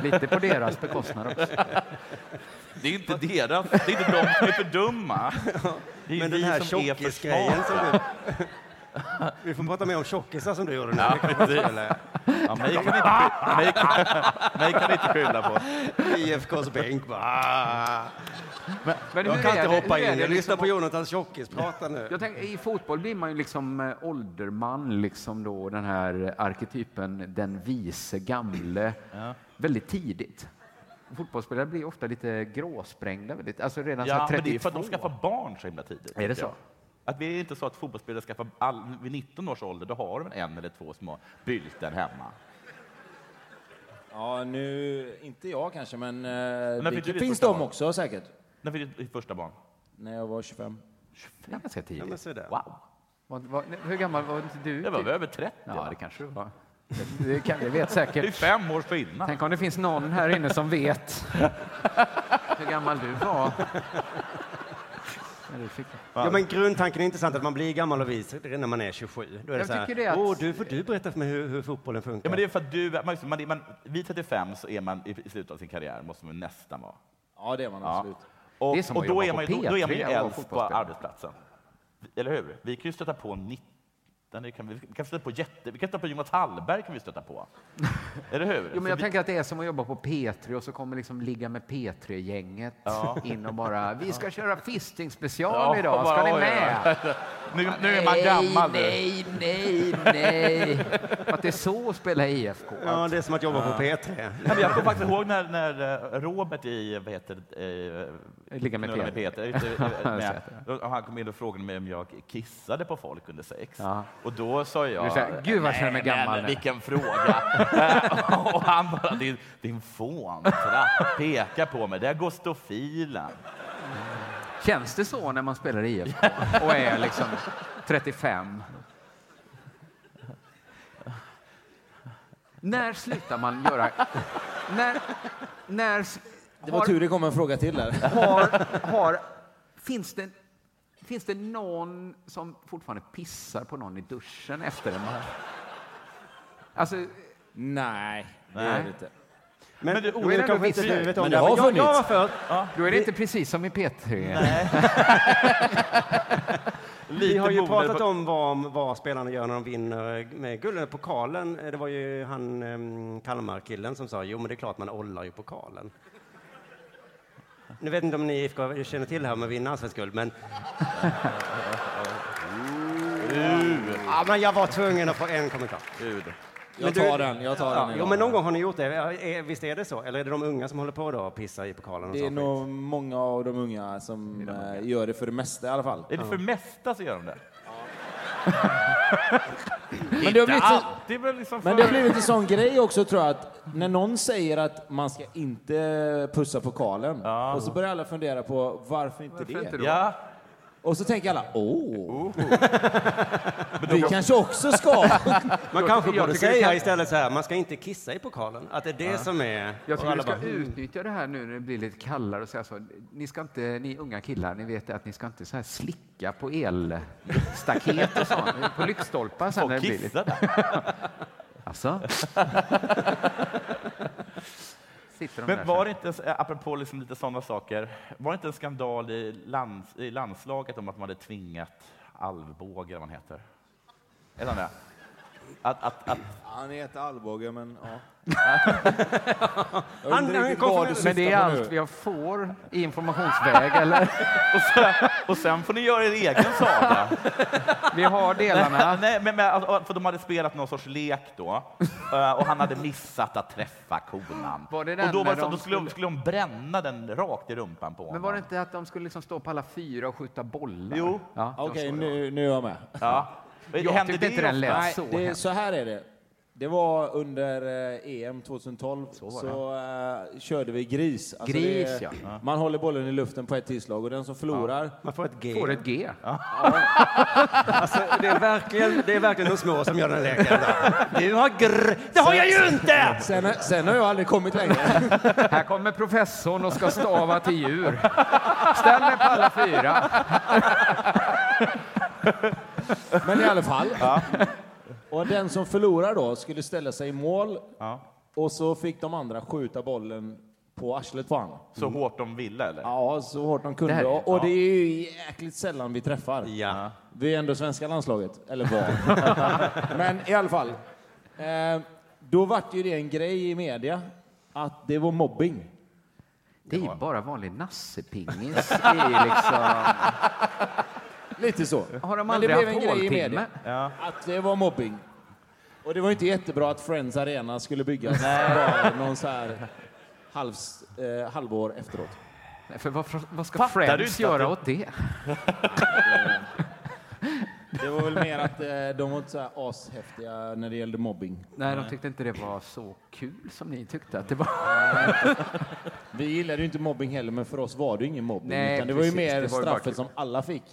Speaker 1: Lite på deras bekostnad också.
Speaker 6: Det är inte deras, det är inte de som är för dumma. Det är
Speaker 7: Men
Speaker 6: vi
Speaker 7: den här
Speaker 6: som är för
Speaker 7: tjockisgrejen som
Speaker 6: smarta.
Speaker 7: du... Vi får prata mer om tjockisar som du gjorde nu.
Speaker 6: Ja,
Speaker 7: Det kan vara
Speaker 6: precis.
Speaker 7: kul, eh.
Speaker 6: Ja, mig kan ni inte sky- mig kan- mig kan ni inte skylla på.
Speaker 7: IFKs bänk bara...
Speaker 1: Men,
Speaker 7: jag
Speaker 1: hur
Speaker 7: kan
Speaker 1: är
Speaker 7: inte
Speaker 1: det-
Speaker 7: hoppa
Speaker 1: hur är
Speaker 7: in.
Speaker 1: det
Speaker 7: Jag lyssnar
Speaker 1: liksom-
Speaker 7: på Jonathans tjockisprata nu.
Speaker 1: Jag tänker, I fotboll blir man ju liksom eh, ålderman, liksom då den här arketypen den vise gamle, väldigt tidigt. Fotbollsspelare blir ofta lite gråsprängda, väldigt, alltså redan så
Speaker 6: Ja,
Speaker 1: här
Speaker 6: men
Speaker 1: 32.
Speaker 6: det är för att de skaffar barn så himla tidigt.
Speaker 1: Är det
Speaker 6: tycker jag. Att det är inte så att fotbollsspelare skaffar all, vid 19 års ålder, då har de en eller två små bylten hemma.
Speaker 8: Ja, nu, inte jag kanske, men eh,
Speaker 6: när
Speaker 8: det
Speaker 6: fick du ditt
Speaker 8: finns
Speaker 6: första
Speaker 8: de
Speaker 6: barn?
Speaker 8: också säkert.
Speaker 6: När fick du ditt första barn?
Speaker 8: När jag var 25.
Speaker 1: Det är ganska tidigt.
Speaker 7: Wow.
Speaker 1: Vad- vad- hur gammal var inte du?
Speaker 6: Jag var väl över 30.
Speaker 1: Ja, det kanske du var. Det, det, kan, det vet säkert.
Speaker 6: Det är fem år skillnad.
Speaker 1: Tänk om det finns någon här inne som vet hur gammal du var. När du fick
Speaker 7: Ja, men grundtanken är intressant att man blir gammal och vis redan när man är 27. Då är det
Speaker 6: Jag
Speaker 7: så här,
Speaker 6: tycker det att-
Speaker 7: Åh, du får du berätta för mig hur, hur fotbollen funkar.
Speaker 6: Ja, men det är för att du, man, man, man, vid 35 så är man i, i slutet av sin karriär, måste man nästan vara.
Speaker 8: Ja, det är man absolut.
Speaker 6: Och,
Speaker 8: Det är som
Speaker 6: och
Speaker 8: att
Speaker 6: då,
Speaker 8: jobba
Speaker 6: är man, ju-
Speaker 8: på
Speaker 6: då, då är man ju
Speaker 8: P3 och vara
Speaker 6: äldst på
Speaker 8: fotbollsspelare.
Speaker 6: arbetsplatsen. Eller hur? Vi kan ju stöta på 19, det kan, vi vi kan stöta på jätte, vi kan stöta på Jonas Hallberg kan vi stöta på. Eller hur?
Speaker 1: Jo,
Speaker 6: Så
Speaker 1: men jag
Speaker 6: vi-
Speaker 1: tänker att det är som att jobba på P3 och så kommer liksom ligga med P3-gänget
Speaker 6: Ja.
Speaker 1: in och bara vi ska köra fisting special
Speaker 6: Ja,
Speaker 1: idag, ska
Speaker 6: bara,
Speaker 1: ni
Speaker 6: oj,
Speaker 1: med?
Speaker 6: oj, oj. Nu- nu är man gammal, du.
Speaker 1: Nej, nej, nej, nej. Att det är så att spela IFK.
Speaker 7: Ja, det är som att jobba på
Speaker 6: Ja.
Speaker 7: P3.
Speaker 6: Ja, men jag kommer faktiskt ihåg när, när eh, Robert i, vad heter det, eh,
Speaker 1: Ligga med
Speaker 6: Knulla
Speaker 1: Peter.
Speaker 6: Peter, inte, eh,
Speaker 1: Jag
Speaker 6: med,
Speaker 1: vet
Speaker 6: och han kom in och frågade mig om jag kissade på folk under sex. Och då sa
Speaker 1: Du
Speaker 6: jag,
Speaker 1: sa, "Gud, vad jag känner mig
Speaker 6: "Nej,
Speaker 1: gammal
Speaker 6: men
Speaker 1: nu."
Speaker 6: vilken fråga. och han bara, din, din fåntratt pekar på mig, där går stofilen.
Speaker 1: Känns det så när man spelar i IFK och är liksom 35? När slutar man göra... När, när,
Speaker 8: Det var tur det kom en fråga till där.
Speaker 1: Har, har, finns, det, finns det någon som fortfarande pissar på någon i duschen efter en match? Alltså,
Speaker 8: nej,
Speaker 1: det gör det
Speaker 8: inte.
Speaker 7: Men,
Speaker 1: men du,
Speaker 7: Då är det kanske inte du vet om
Speaker 1: men
Speaker 7: det, men jag, jag var för...
Speaker 1: Då är det inte precis som i P3.
Speaker 7: Vi har ju
Speaker 1: Lite boende
Speaker 7: pratat
Speaker 1: på-
Speaker 7: om vad, vad spelarna gör när de vinner eh, med guld. Eller Pokalen, eh, det var ju han em, Kalmar-killen som sa jo men det är klart man ollar ju pokalen. Nu vet inte om ni IFK känner till det här med att vinna allsvensk guld, men... ja, men jag var tvungen att få en kommentar.
Speaker 8: Jag
Speaker 7: Men
Speaker 8: tar den, jag tar
Speaker 7: ja,
Speaker 8: den
Speaker 7: Jo,
Speaker 8: idag.
Speaker 7: men någon gång har ni gjort det. Eh, eh, Visst är det så? Eller är det de unga som håller på då och pissar i pokalen? Och
Speaker 8: Det är
Speaker 7: sånt?
Speaker 8: nog många av de unga som eh, gör det för det mesta i alla fall.
Speaker 6: Är det för mesta så gör de det?
Speaker 8: Men det har blivit så-
Speaker 6: alltid, men liksom
Speaker 8: Men det har
Speaker 6: för-
Speaker 8: blivit en sån grej också tror jag att när någon säger att man ska inte pussa pokalen och så börjar alla fundera på varför inte
Speaker 6: Varför
Speaker 8: det?
Speaker 6: inte då? Ja.
Speaker 8: Och så tänker alla åh, vi kanske också ska.
Speaker 7: Man kanske borde säga istället så här, man ska inte kissa i pokalen. Att det är det
Speaker 1: Ja.
Speaker 7: som är...
Speaker 1: Jag
Speaker 7: och
Speaker 1: tycker
Speaker 7: alla
Speaker 1: du ska
Speaker 7: bara, "Mm."
Speaker 1: utnyttja det här nu när det blir lite kallare och säga så. Ni ska inte, ni unga killar, ni vet att ni ska inte så här slicka på elstaket och sånt, på lyktstolpar sen
Speaker 6: Folk
Speaker 1: när det blir
Speaker 6: kissar
Speaker 1: lite... Alltså? Sitter de där
Speaker 6: Men
Speaker 1: så här.
Speaker 6: var det inte, apropå liksom lite sådana saker, var det inte en skandal i, lands, i landslaget om att man hade tvingat Alvbåge, eller vad han heter? Är det han det? Att, att, att,
Speaker 8: Han heter Alvbåge men ja.
Speaker 1: Jag undrar riktigt vad du syftar Men det är
Speaker 6: på nu.
Speaker 1: allt vi får i informationsväg, eller?
Speaker 6: och, sen, och sen får ni göra er egen saga.
Speaker 1: Vi har delarna.
Speaker 6: Nej, men, men, alltså, för de hade spelat någon sorts lek då eh, och han hade missat att träffa konan.
Speaker 1: Var det den
Speaker 6: och då, var
Speaker 1: när
Speaker 6: det så,
Speaker 1: de
Speaker 6: då skulle,
Speaker 1: skulle-
Speaker 6: skulle de bränna den rakt i rumpan på
Speaker 1: Men
Speaker 6: honom.
Speaker 1: var det inte att de skulle liksom stå på alla fyra och skjuta bollar?
Speaker 6: Jo.
Speaker 1: Ja, det var
Speaker 8: Okej,
Speaker 1: så det
Speaker 8: nu, nu är jag med.
Speaker 6: Ja.
Speaker 1: Jag Hände tyckte det inte den lät ofta? så
Speaker 8: det,
Speaker 1: hemskt.
Speaker 8: så här är det. Det var under eh, EM 2012 så,
Speaker 1: var
Speaker 8: eh, körde vi gris. Alltså
Speaker 1: Gris,
Speaker 8: det,
Speaker 1: ja.
Speaker 8: Man håller bollen i luften på ett tillslag och den som förlorar...
Speaker 7: Man får ett G.
Speaker 1: Får ett G.
Speaker 7: Alltså, det, är verkligen, det är verkligen de små som gör den leken. där. Du har grr... Det
Speaker 8: har jag ju inte! Sen, sen har jag aldrig kommit längre.
Speaker 1: Här kommer professorn och ska stava till djur. Ställ dig på alla fyra.
Speaker 8: Men i alla fall. Och den som förlorar då skulle ställa sig i mål och så fick de andra skjuta bollen på arslet på honom.
Speaker 6: Så hårt de ville, eller?
Speaker 8: Ja, så hårt de kunde.
Speaker 6: Det här är-
Speaker 8: och och det är ju jäkligt sällan vi träffar.
Speaker 7: Ja.
Speaker 8: Vi är ändå svenska landslaget, eller var. Men i alla fall. Eh, då vart ju det en grej i media att det var mobbing.
Speaker 1: Det är ju bara vanlig nassepingis. Det är liksom...
Speaker 8: Lite så.
Speaker 1: Har de
Speaker 8: Men det
Speaker 1: aldrig
Speaker 8: blev en
Speaker 1: haft
Speaker 8: grej i
Speaker 1: håltimme?
Speaker 8: media. Att det var mobbing. Och det var inte jättebra att Friends Arena skulle byggas bara någon så här halvs, eh, halvår efteråt.
Speaker 1: Nej, för vad, vad ska
Speaker 8: Fattar du
Speaker 1: Friends
Speaker 8: inte att
Speaker 1: göra
Speaker 8: det-
Speaker 1: åt det?
Speaker 8: Det var väl mer att eh, de var inte så här ashäftiga när det gällde mobbing.
Speaker 1: Nej, de tyckte inte det var så kul som ni tyckte att det var.
Speaker 8: Vi gillade ju inte mobbing heller, men för oss var det ju ingen mobbing.
Speaker 1: Nej,
Speaker 8: utan det var
Speaker 1: precis.
Speaker 8: ju mer
Speaker 1: Det var ju bara
Speaker 8: straffet
Speaker 1: kul.
Speaker 8: som alla fick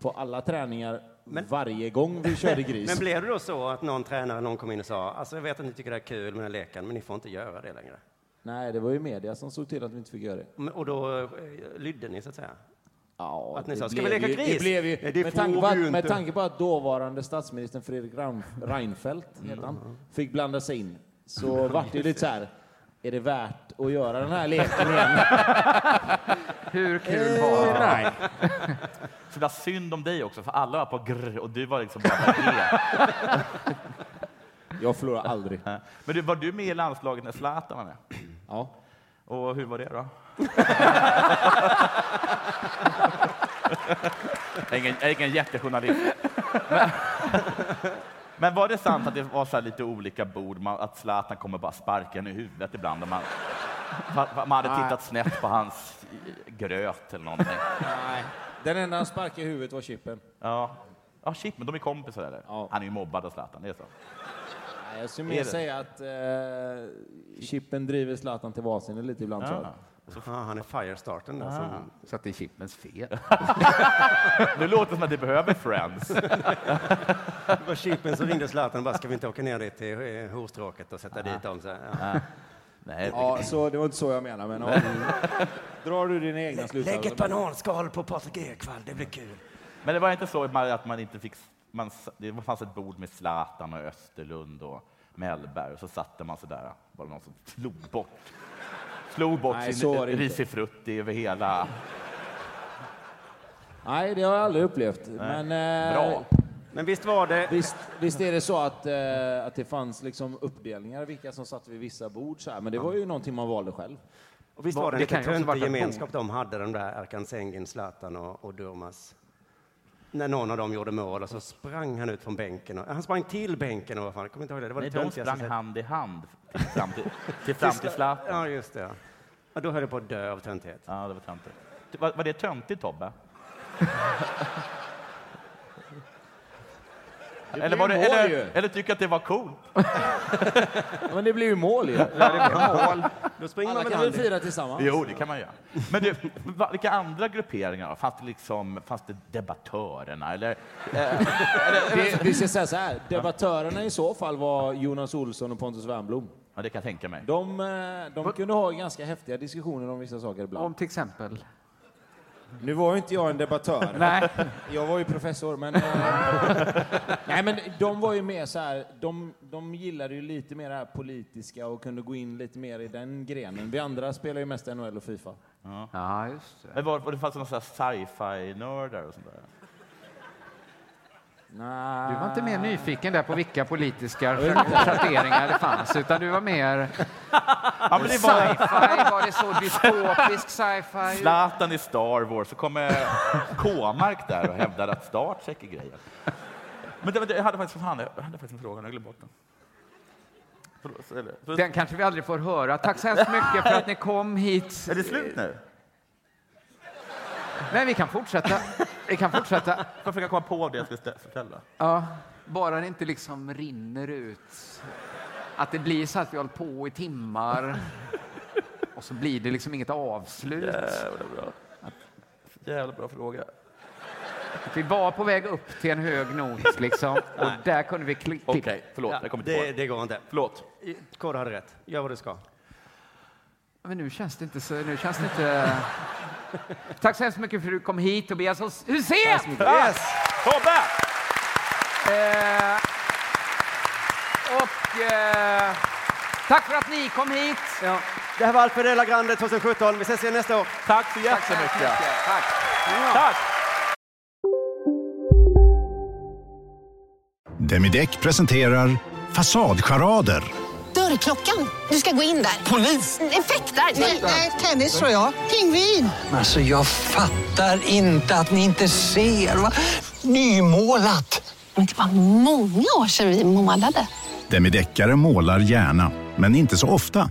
Speaker 8: på alla träningar varje gång vi körde gris.
Speaker 7: Men blev det då så att någon tränare, någon kom in och sa alltså jag vet att ni tycker det är kul med den här leken, men ni får inte göra det längre?
Speaker 8: Nej, det var ju media som såg till att vi inte fick göra det.
Speaker 7: Men- Och då eh, lydde ni så att säga?
Speaker 8: Ja,
Speaker 7: Att ni
Speaker 8: det
Speaker 7: sa, ska vi
Speaker 8: blev
Speaker 7: leka
Speaker 8: ju-
Speaker 7: gris?
Speaker 8: Det blev ju,
Speaker 7: Nej, det
Speaker 8: med,
Speaker 7: får
Speaker 8: tanke på
Speaker 7: vi
Speaker 8: att,
Speaker 7: ju
Speaker 8: med
Speaker 7: inte.
Speaker 8: tanke på att dåvarande statsministern Fredrik Ram- Reinfeldt, heter
Speaker 7: Mm.
Speaker 8: han, fick blanda sig in, så vart det ju lite så här, är det värt att göra den här leken igen?
Speaker 1: Hur
Speaker 6: kul var det?
Speaker 8: Nej.
Speaker 6: Så det var synd om dig också, för alla var på grr och du var liksom bara på e.
Speaker 8: Jag förlorar aldrig.
Speaker 6: Men du, var du med i landslaget när Zlatan var med?
Speaker 8: Ja.
Speaker 6: Och hur var det då? jag, är ingen, jag är ingen jättejournalist. Men, men var det sant att det var så här lite olika bord, man, att Zlatan kommer bara sparka en i huvudet ibland? Och man, fa- fa- man hade
Speaker 8: Nej.
Speaker 6: tittat snett på hans gröt eller någonting.
Speaker 8: Nej. Den enda han sparkade i huvudet var Chippen.
Speaker 6: Ja. ja, shit, men de är kompisar eller? Han är ju mobbad av Zlatan, det är så.
Speaker 8: Nej, Jag
Speaker 6: Är
Speaker 8: skulle mer
Speaker 6: det?
Speaker 8: säga att eh, Chippen driver Zlatan till vansinne lite ibland. tror jag.
Speaker 7: han är firestarten där. Som...
Speaker 8: Eh.
Speaker 1: Så att det är Chippens fel.
Speaker 6: Nu låter det som att det behöver Friends.
Speaker 7: det var Chippen som ringde Zlatan och bara, ska vi inte åka ner dit till eh, horstråket och sätta dit dem? Så, här, ja.
Speaker 8: Ja, så det var inte så jag menade, men ja, drar du dina egna slutsatser.
Speaker 7: Lägg ett bananskal på Patrik Ekwall, det blir kul.
Speaker 6: Men det var inte så att man- att man inte fick... Man, s- det fanns ett bord med Zlatan och Österlund och Mellberg och så satte man så där. Var det någon som slog bort, slog bort
Speaker 8: Nej, så
Speaker 6: sin
Speaker 8: var det inte.
Speaker 6: risifrutti över hela...
Speaker 8: Nej, det har jag aldrig upplevt.
Speaker 6: Nej.
Speaker 8: Men, eh,
Speaker 6: Bra.
Speaker 7: Men visst var det...
Speaker 8: Visst, visst är det så att, eh, att det fanns liksom uppdelningar, vilka som satt vid vissa bord så här, men det var ju någonting man valde själv.
Speaker 7: Och visst var det en lite töntig gemenskap de hade, de där Erkan Zengin, Zlatan och, och Durmaz? När någon av dem gjorde mål och så sprang han ut från bänken. Och, han sprang till bänken och vad fan, jag kommer inte ihåg det. det var
Speaker 6: Nej,
Speaker 7: det
Speaker 6: de
Speaker 7: töntigaste
Speaker 6: sprang
Speaker 7: jag sett.
Speaker 6: hand i hand fram till, till, fram till Zlatan.
Speaker 7: Ja, just det. ja. Ja, då höll jag på att dö av töntighet.
Speaker 6: Ja, det var töntigt. Var, var det töntigt, Tobbe?
Speaker 8: blev
Speaker 6: eller, var det,
Speaker 8: ju mål
Speaker 6: eller,
Speaker 8: ju.
Speaker 6: eller tycker att det var coolt?
Speaker 8: Men det blir ju mål ju.
Speaker 7: Då springer
Speaker 8: Alla
Speaker 6: man väl
Speaker 8: kan väl
Speaker 6: hand i-
Speaker 8: fira tillsammans?
Speaker 6: Jo, det kan man göra. Men du, va- vilka andra grupperingar då? Fanns det, liksom, fanns det debattörerna? Eller,
Speaker 8: Vi, vi ska säga så här, debattörerna i så fall var Jonas Olsson och Pontus Wernbloom.
Speaker 6: Ja, det kan jag tänka mig.
Speaker 8: De, eh, de kunde ha ganska häftiga diskussioner om vissa saker ibland.
Speaker 1: Om till exempel?
Speaker 8: Nu var ju inte jag en debattör.
Speaker 1: Nej.
Speaker 8: Jag var ju professor, men... eh, Nej, men de var ju mer så här... De, de gillade ju lite mer det här politiska och kunde gå in lite mer i den grenen. Vi andra spelar ju mest NHL och Fifa.
Speaker 6: Ja.
Speaker 1: ja, just
Speaker 6: Men var, var det fanns det några sci-fi-nördar och sånt där?
Speaker 1: Du var inte mer nyfiken där på vilka politiska
Speaker 6: Ah. vet inte.
Speaker 1: schatteringar det fanns, utan du var mer...
Speaker 6: Ja, men det var-
Speaker 1: Sci-fi, var det så dystopisk sci-fi?
Speaker 6: Zlatan i Star Wars, så kommer K-mark där och hävdar att Star Trek är grejen. Men det, var- jag, hade faktiskt, fan, jag hade faktiskt en fråga, jag glömde bort den. Förlåt, eller- förlåt.
Speaker 1: Den kanske vi aldrig får höra. Tack så hemskt mycket för att ni kom hit.
Speaker 6: Är det slut nu?
Speaker 1: Nej, vi kan fortsätta. Vi kan fortsätta. Jag
Speaker 6: försöka komma på det jag skulle stä- förtälla.
Speaker 1: Ja, bara det inte liksom rinner ut. Att det blir så att vi håller på i timmar och så blir det liksom inget avslut.
Speaker 6: Jävla bra. Jävla bra fråga.
Speaker 1: Att vi var på väg upp till en hög not liksom och
Speaker 7: Nej.
Speaker 1: där kunde vi kli- klippa.
Speaker 7: Ja, det, det går inte.
Speaker 6: Förlåt.
Speaker 7: Kåre hade rätt. Gör vad du ska.
Speaker 1: Men nu känns det inte så... Nu känns det inte... Tack så hemskt mycket för att du kom hit, Tobias
Speaker 6: Tack så
Speaker 1: Hysén!
Speaker 6: mycket. Yes! Ah! Tobbe!
Speaker 1: Eh, och eh, tack för att ni kom hit.
Speaker 7: Det här var allt för Della Grande 2017. Vi ses igen nästa år.
Speaker 6: Tack så jättemycket.
Speaker 1: Tack.
Speaker 6: Tack.
Speaker 16: Demideck presenterar Fasadcharader.
Speaker 17: Dörrklockan. Du ska gå in där. Polis? Effektar? Nej, nej, tennis tror jag. Pingvin.
Speaker 18: Alltså jag fattar inte att ni inte ser. Va? Nymålat!
Speaker 17: Men det var många år sedan vi målade.
Speaker 16: Demideckare målar gärna, men inte så ofta.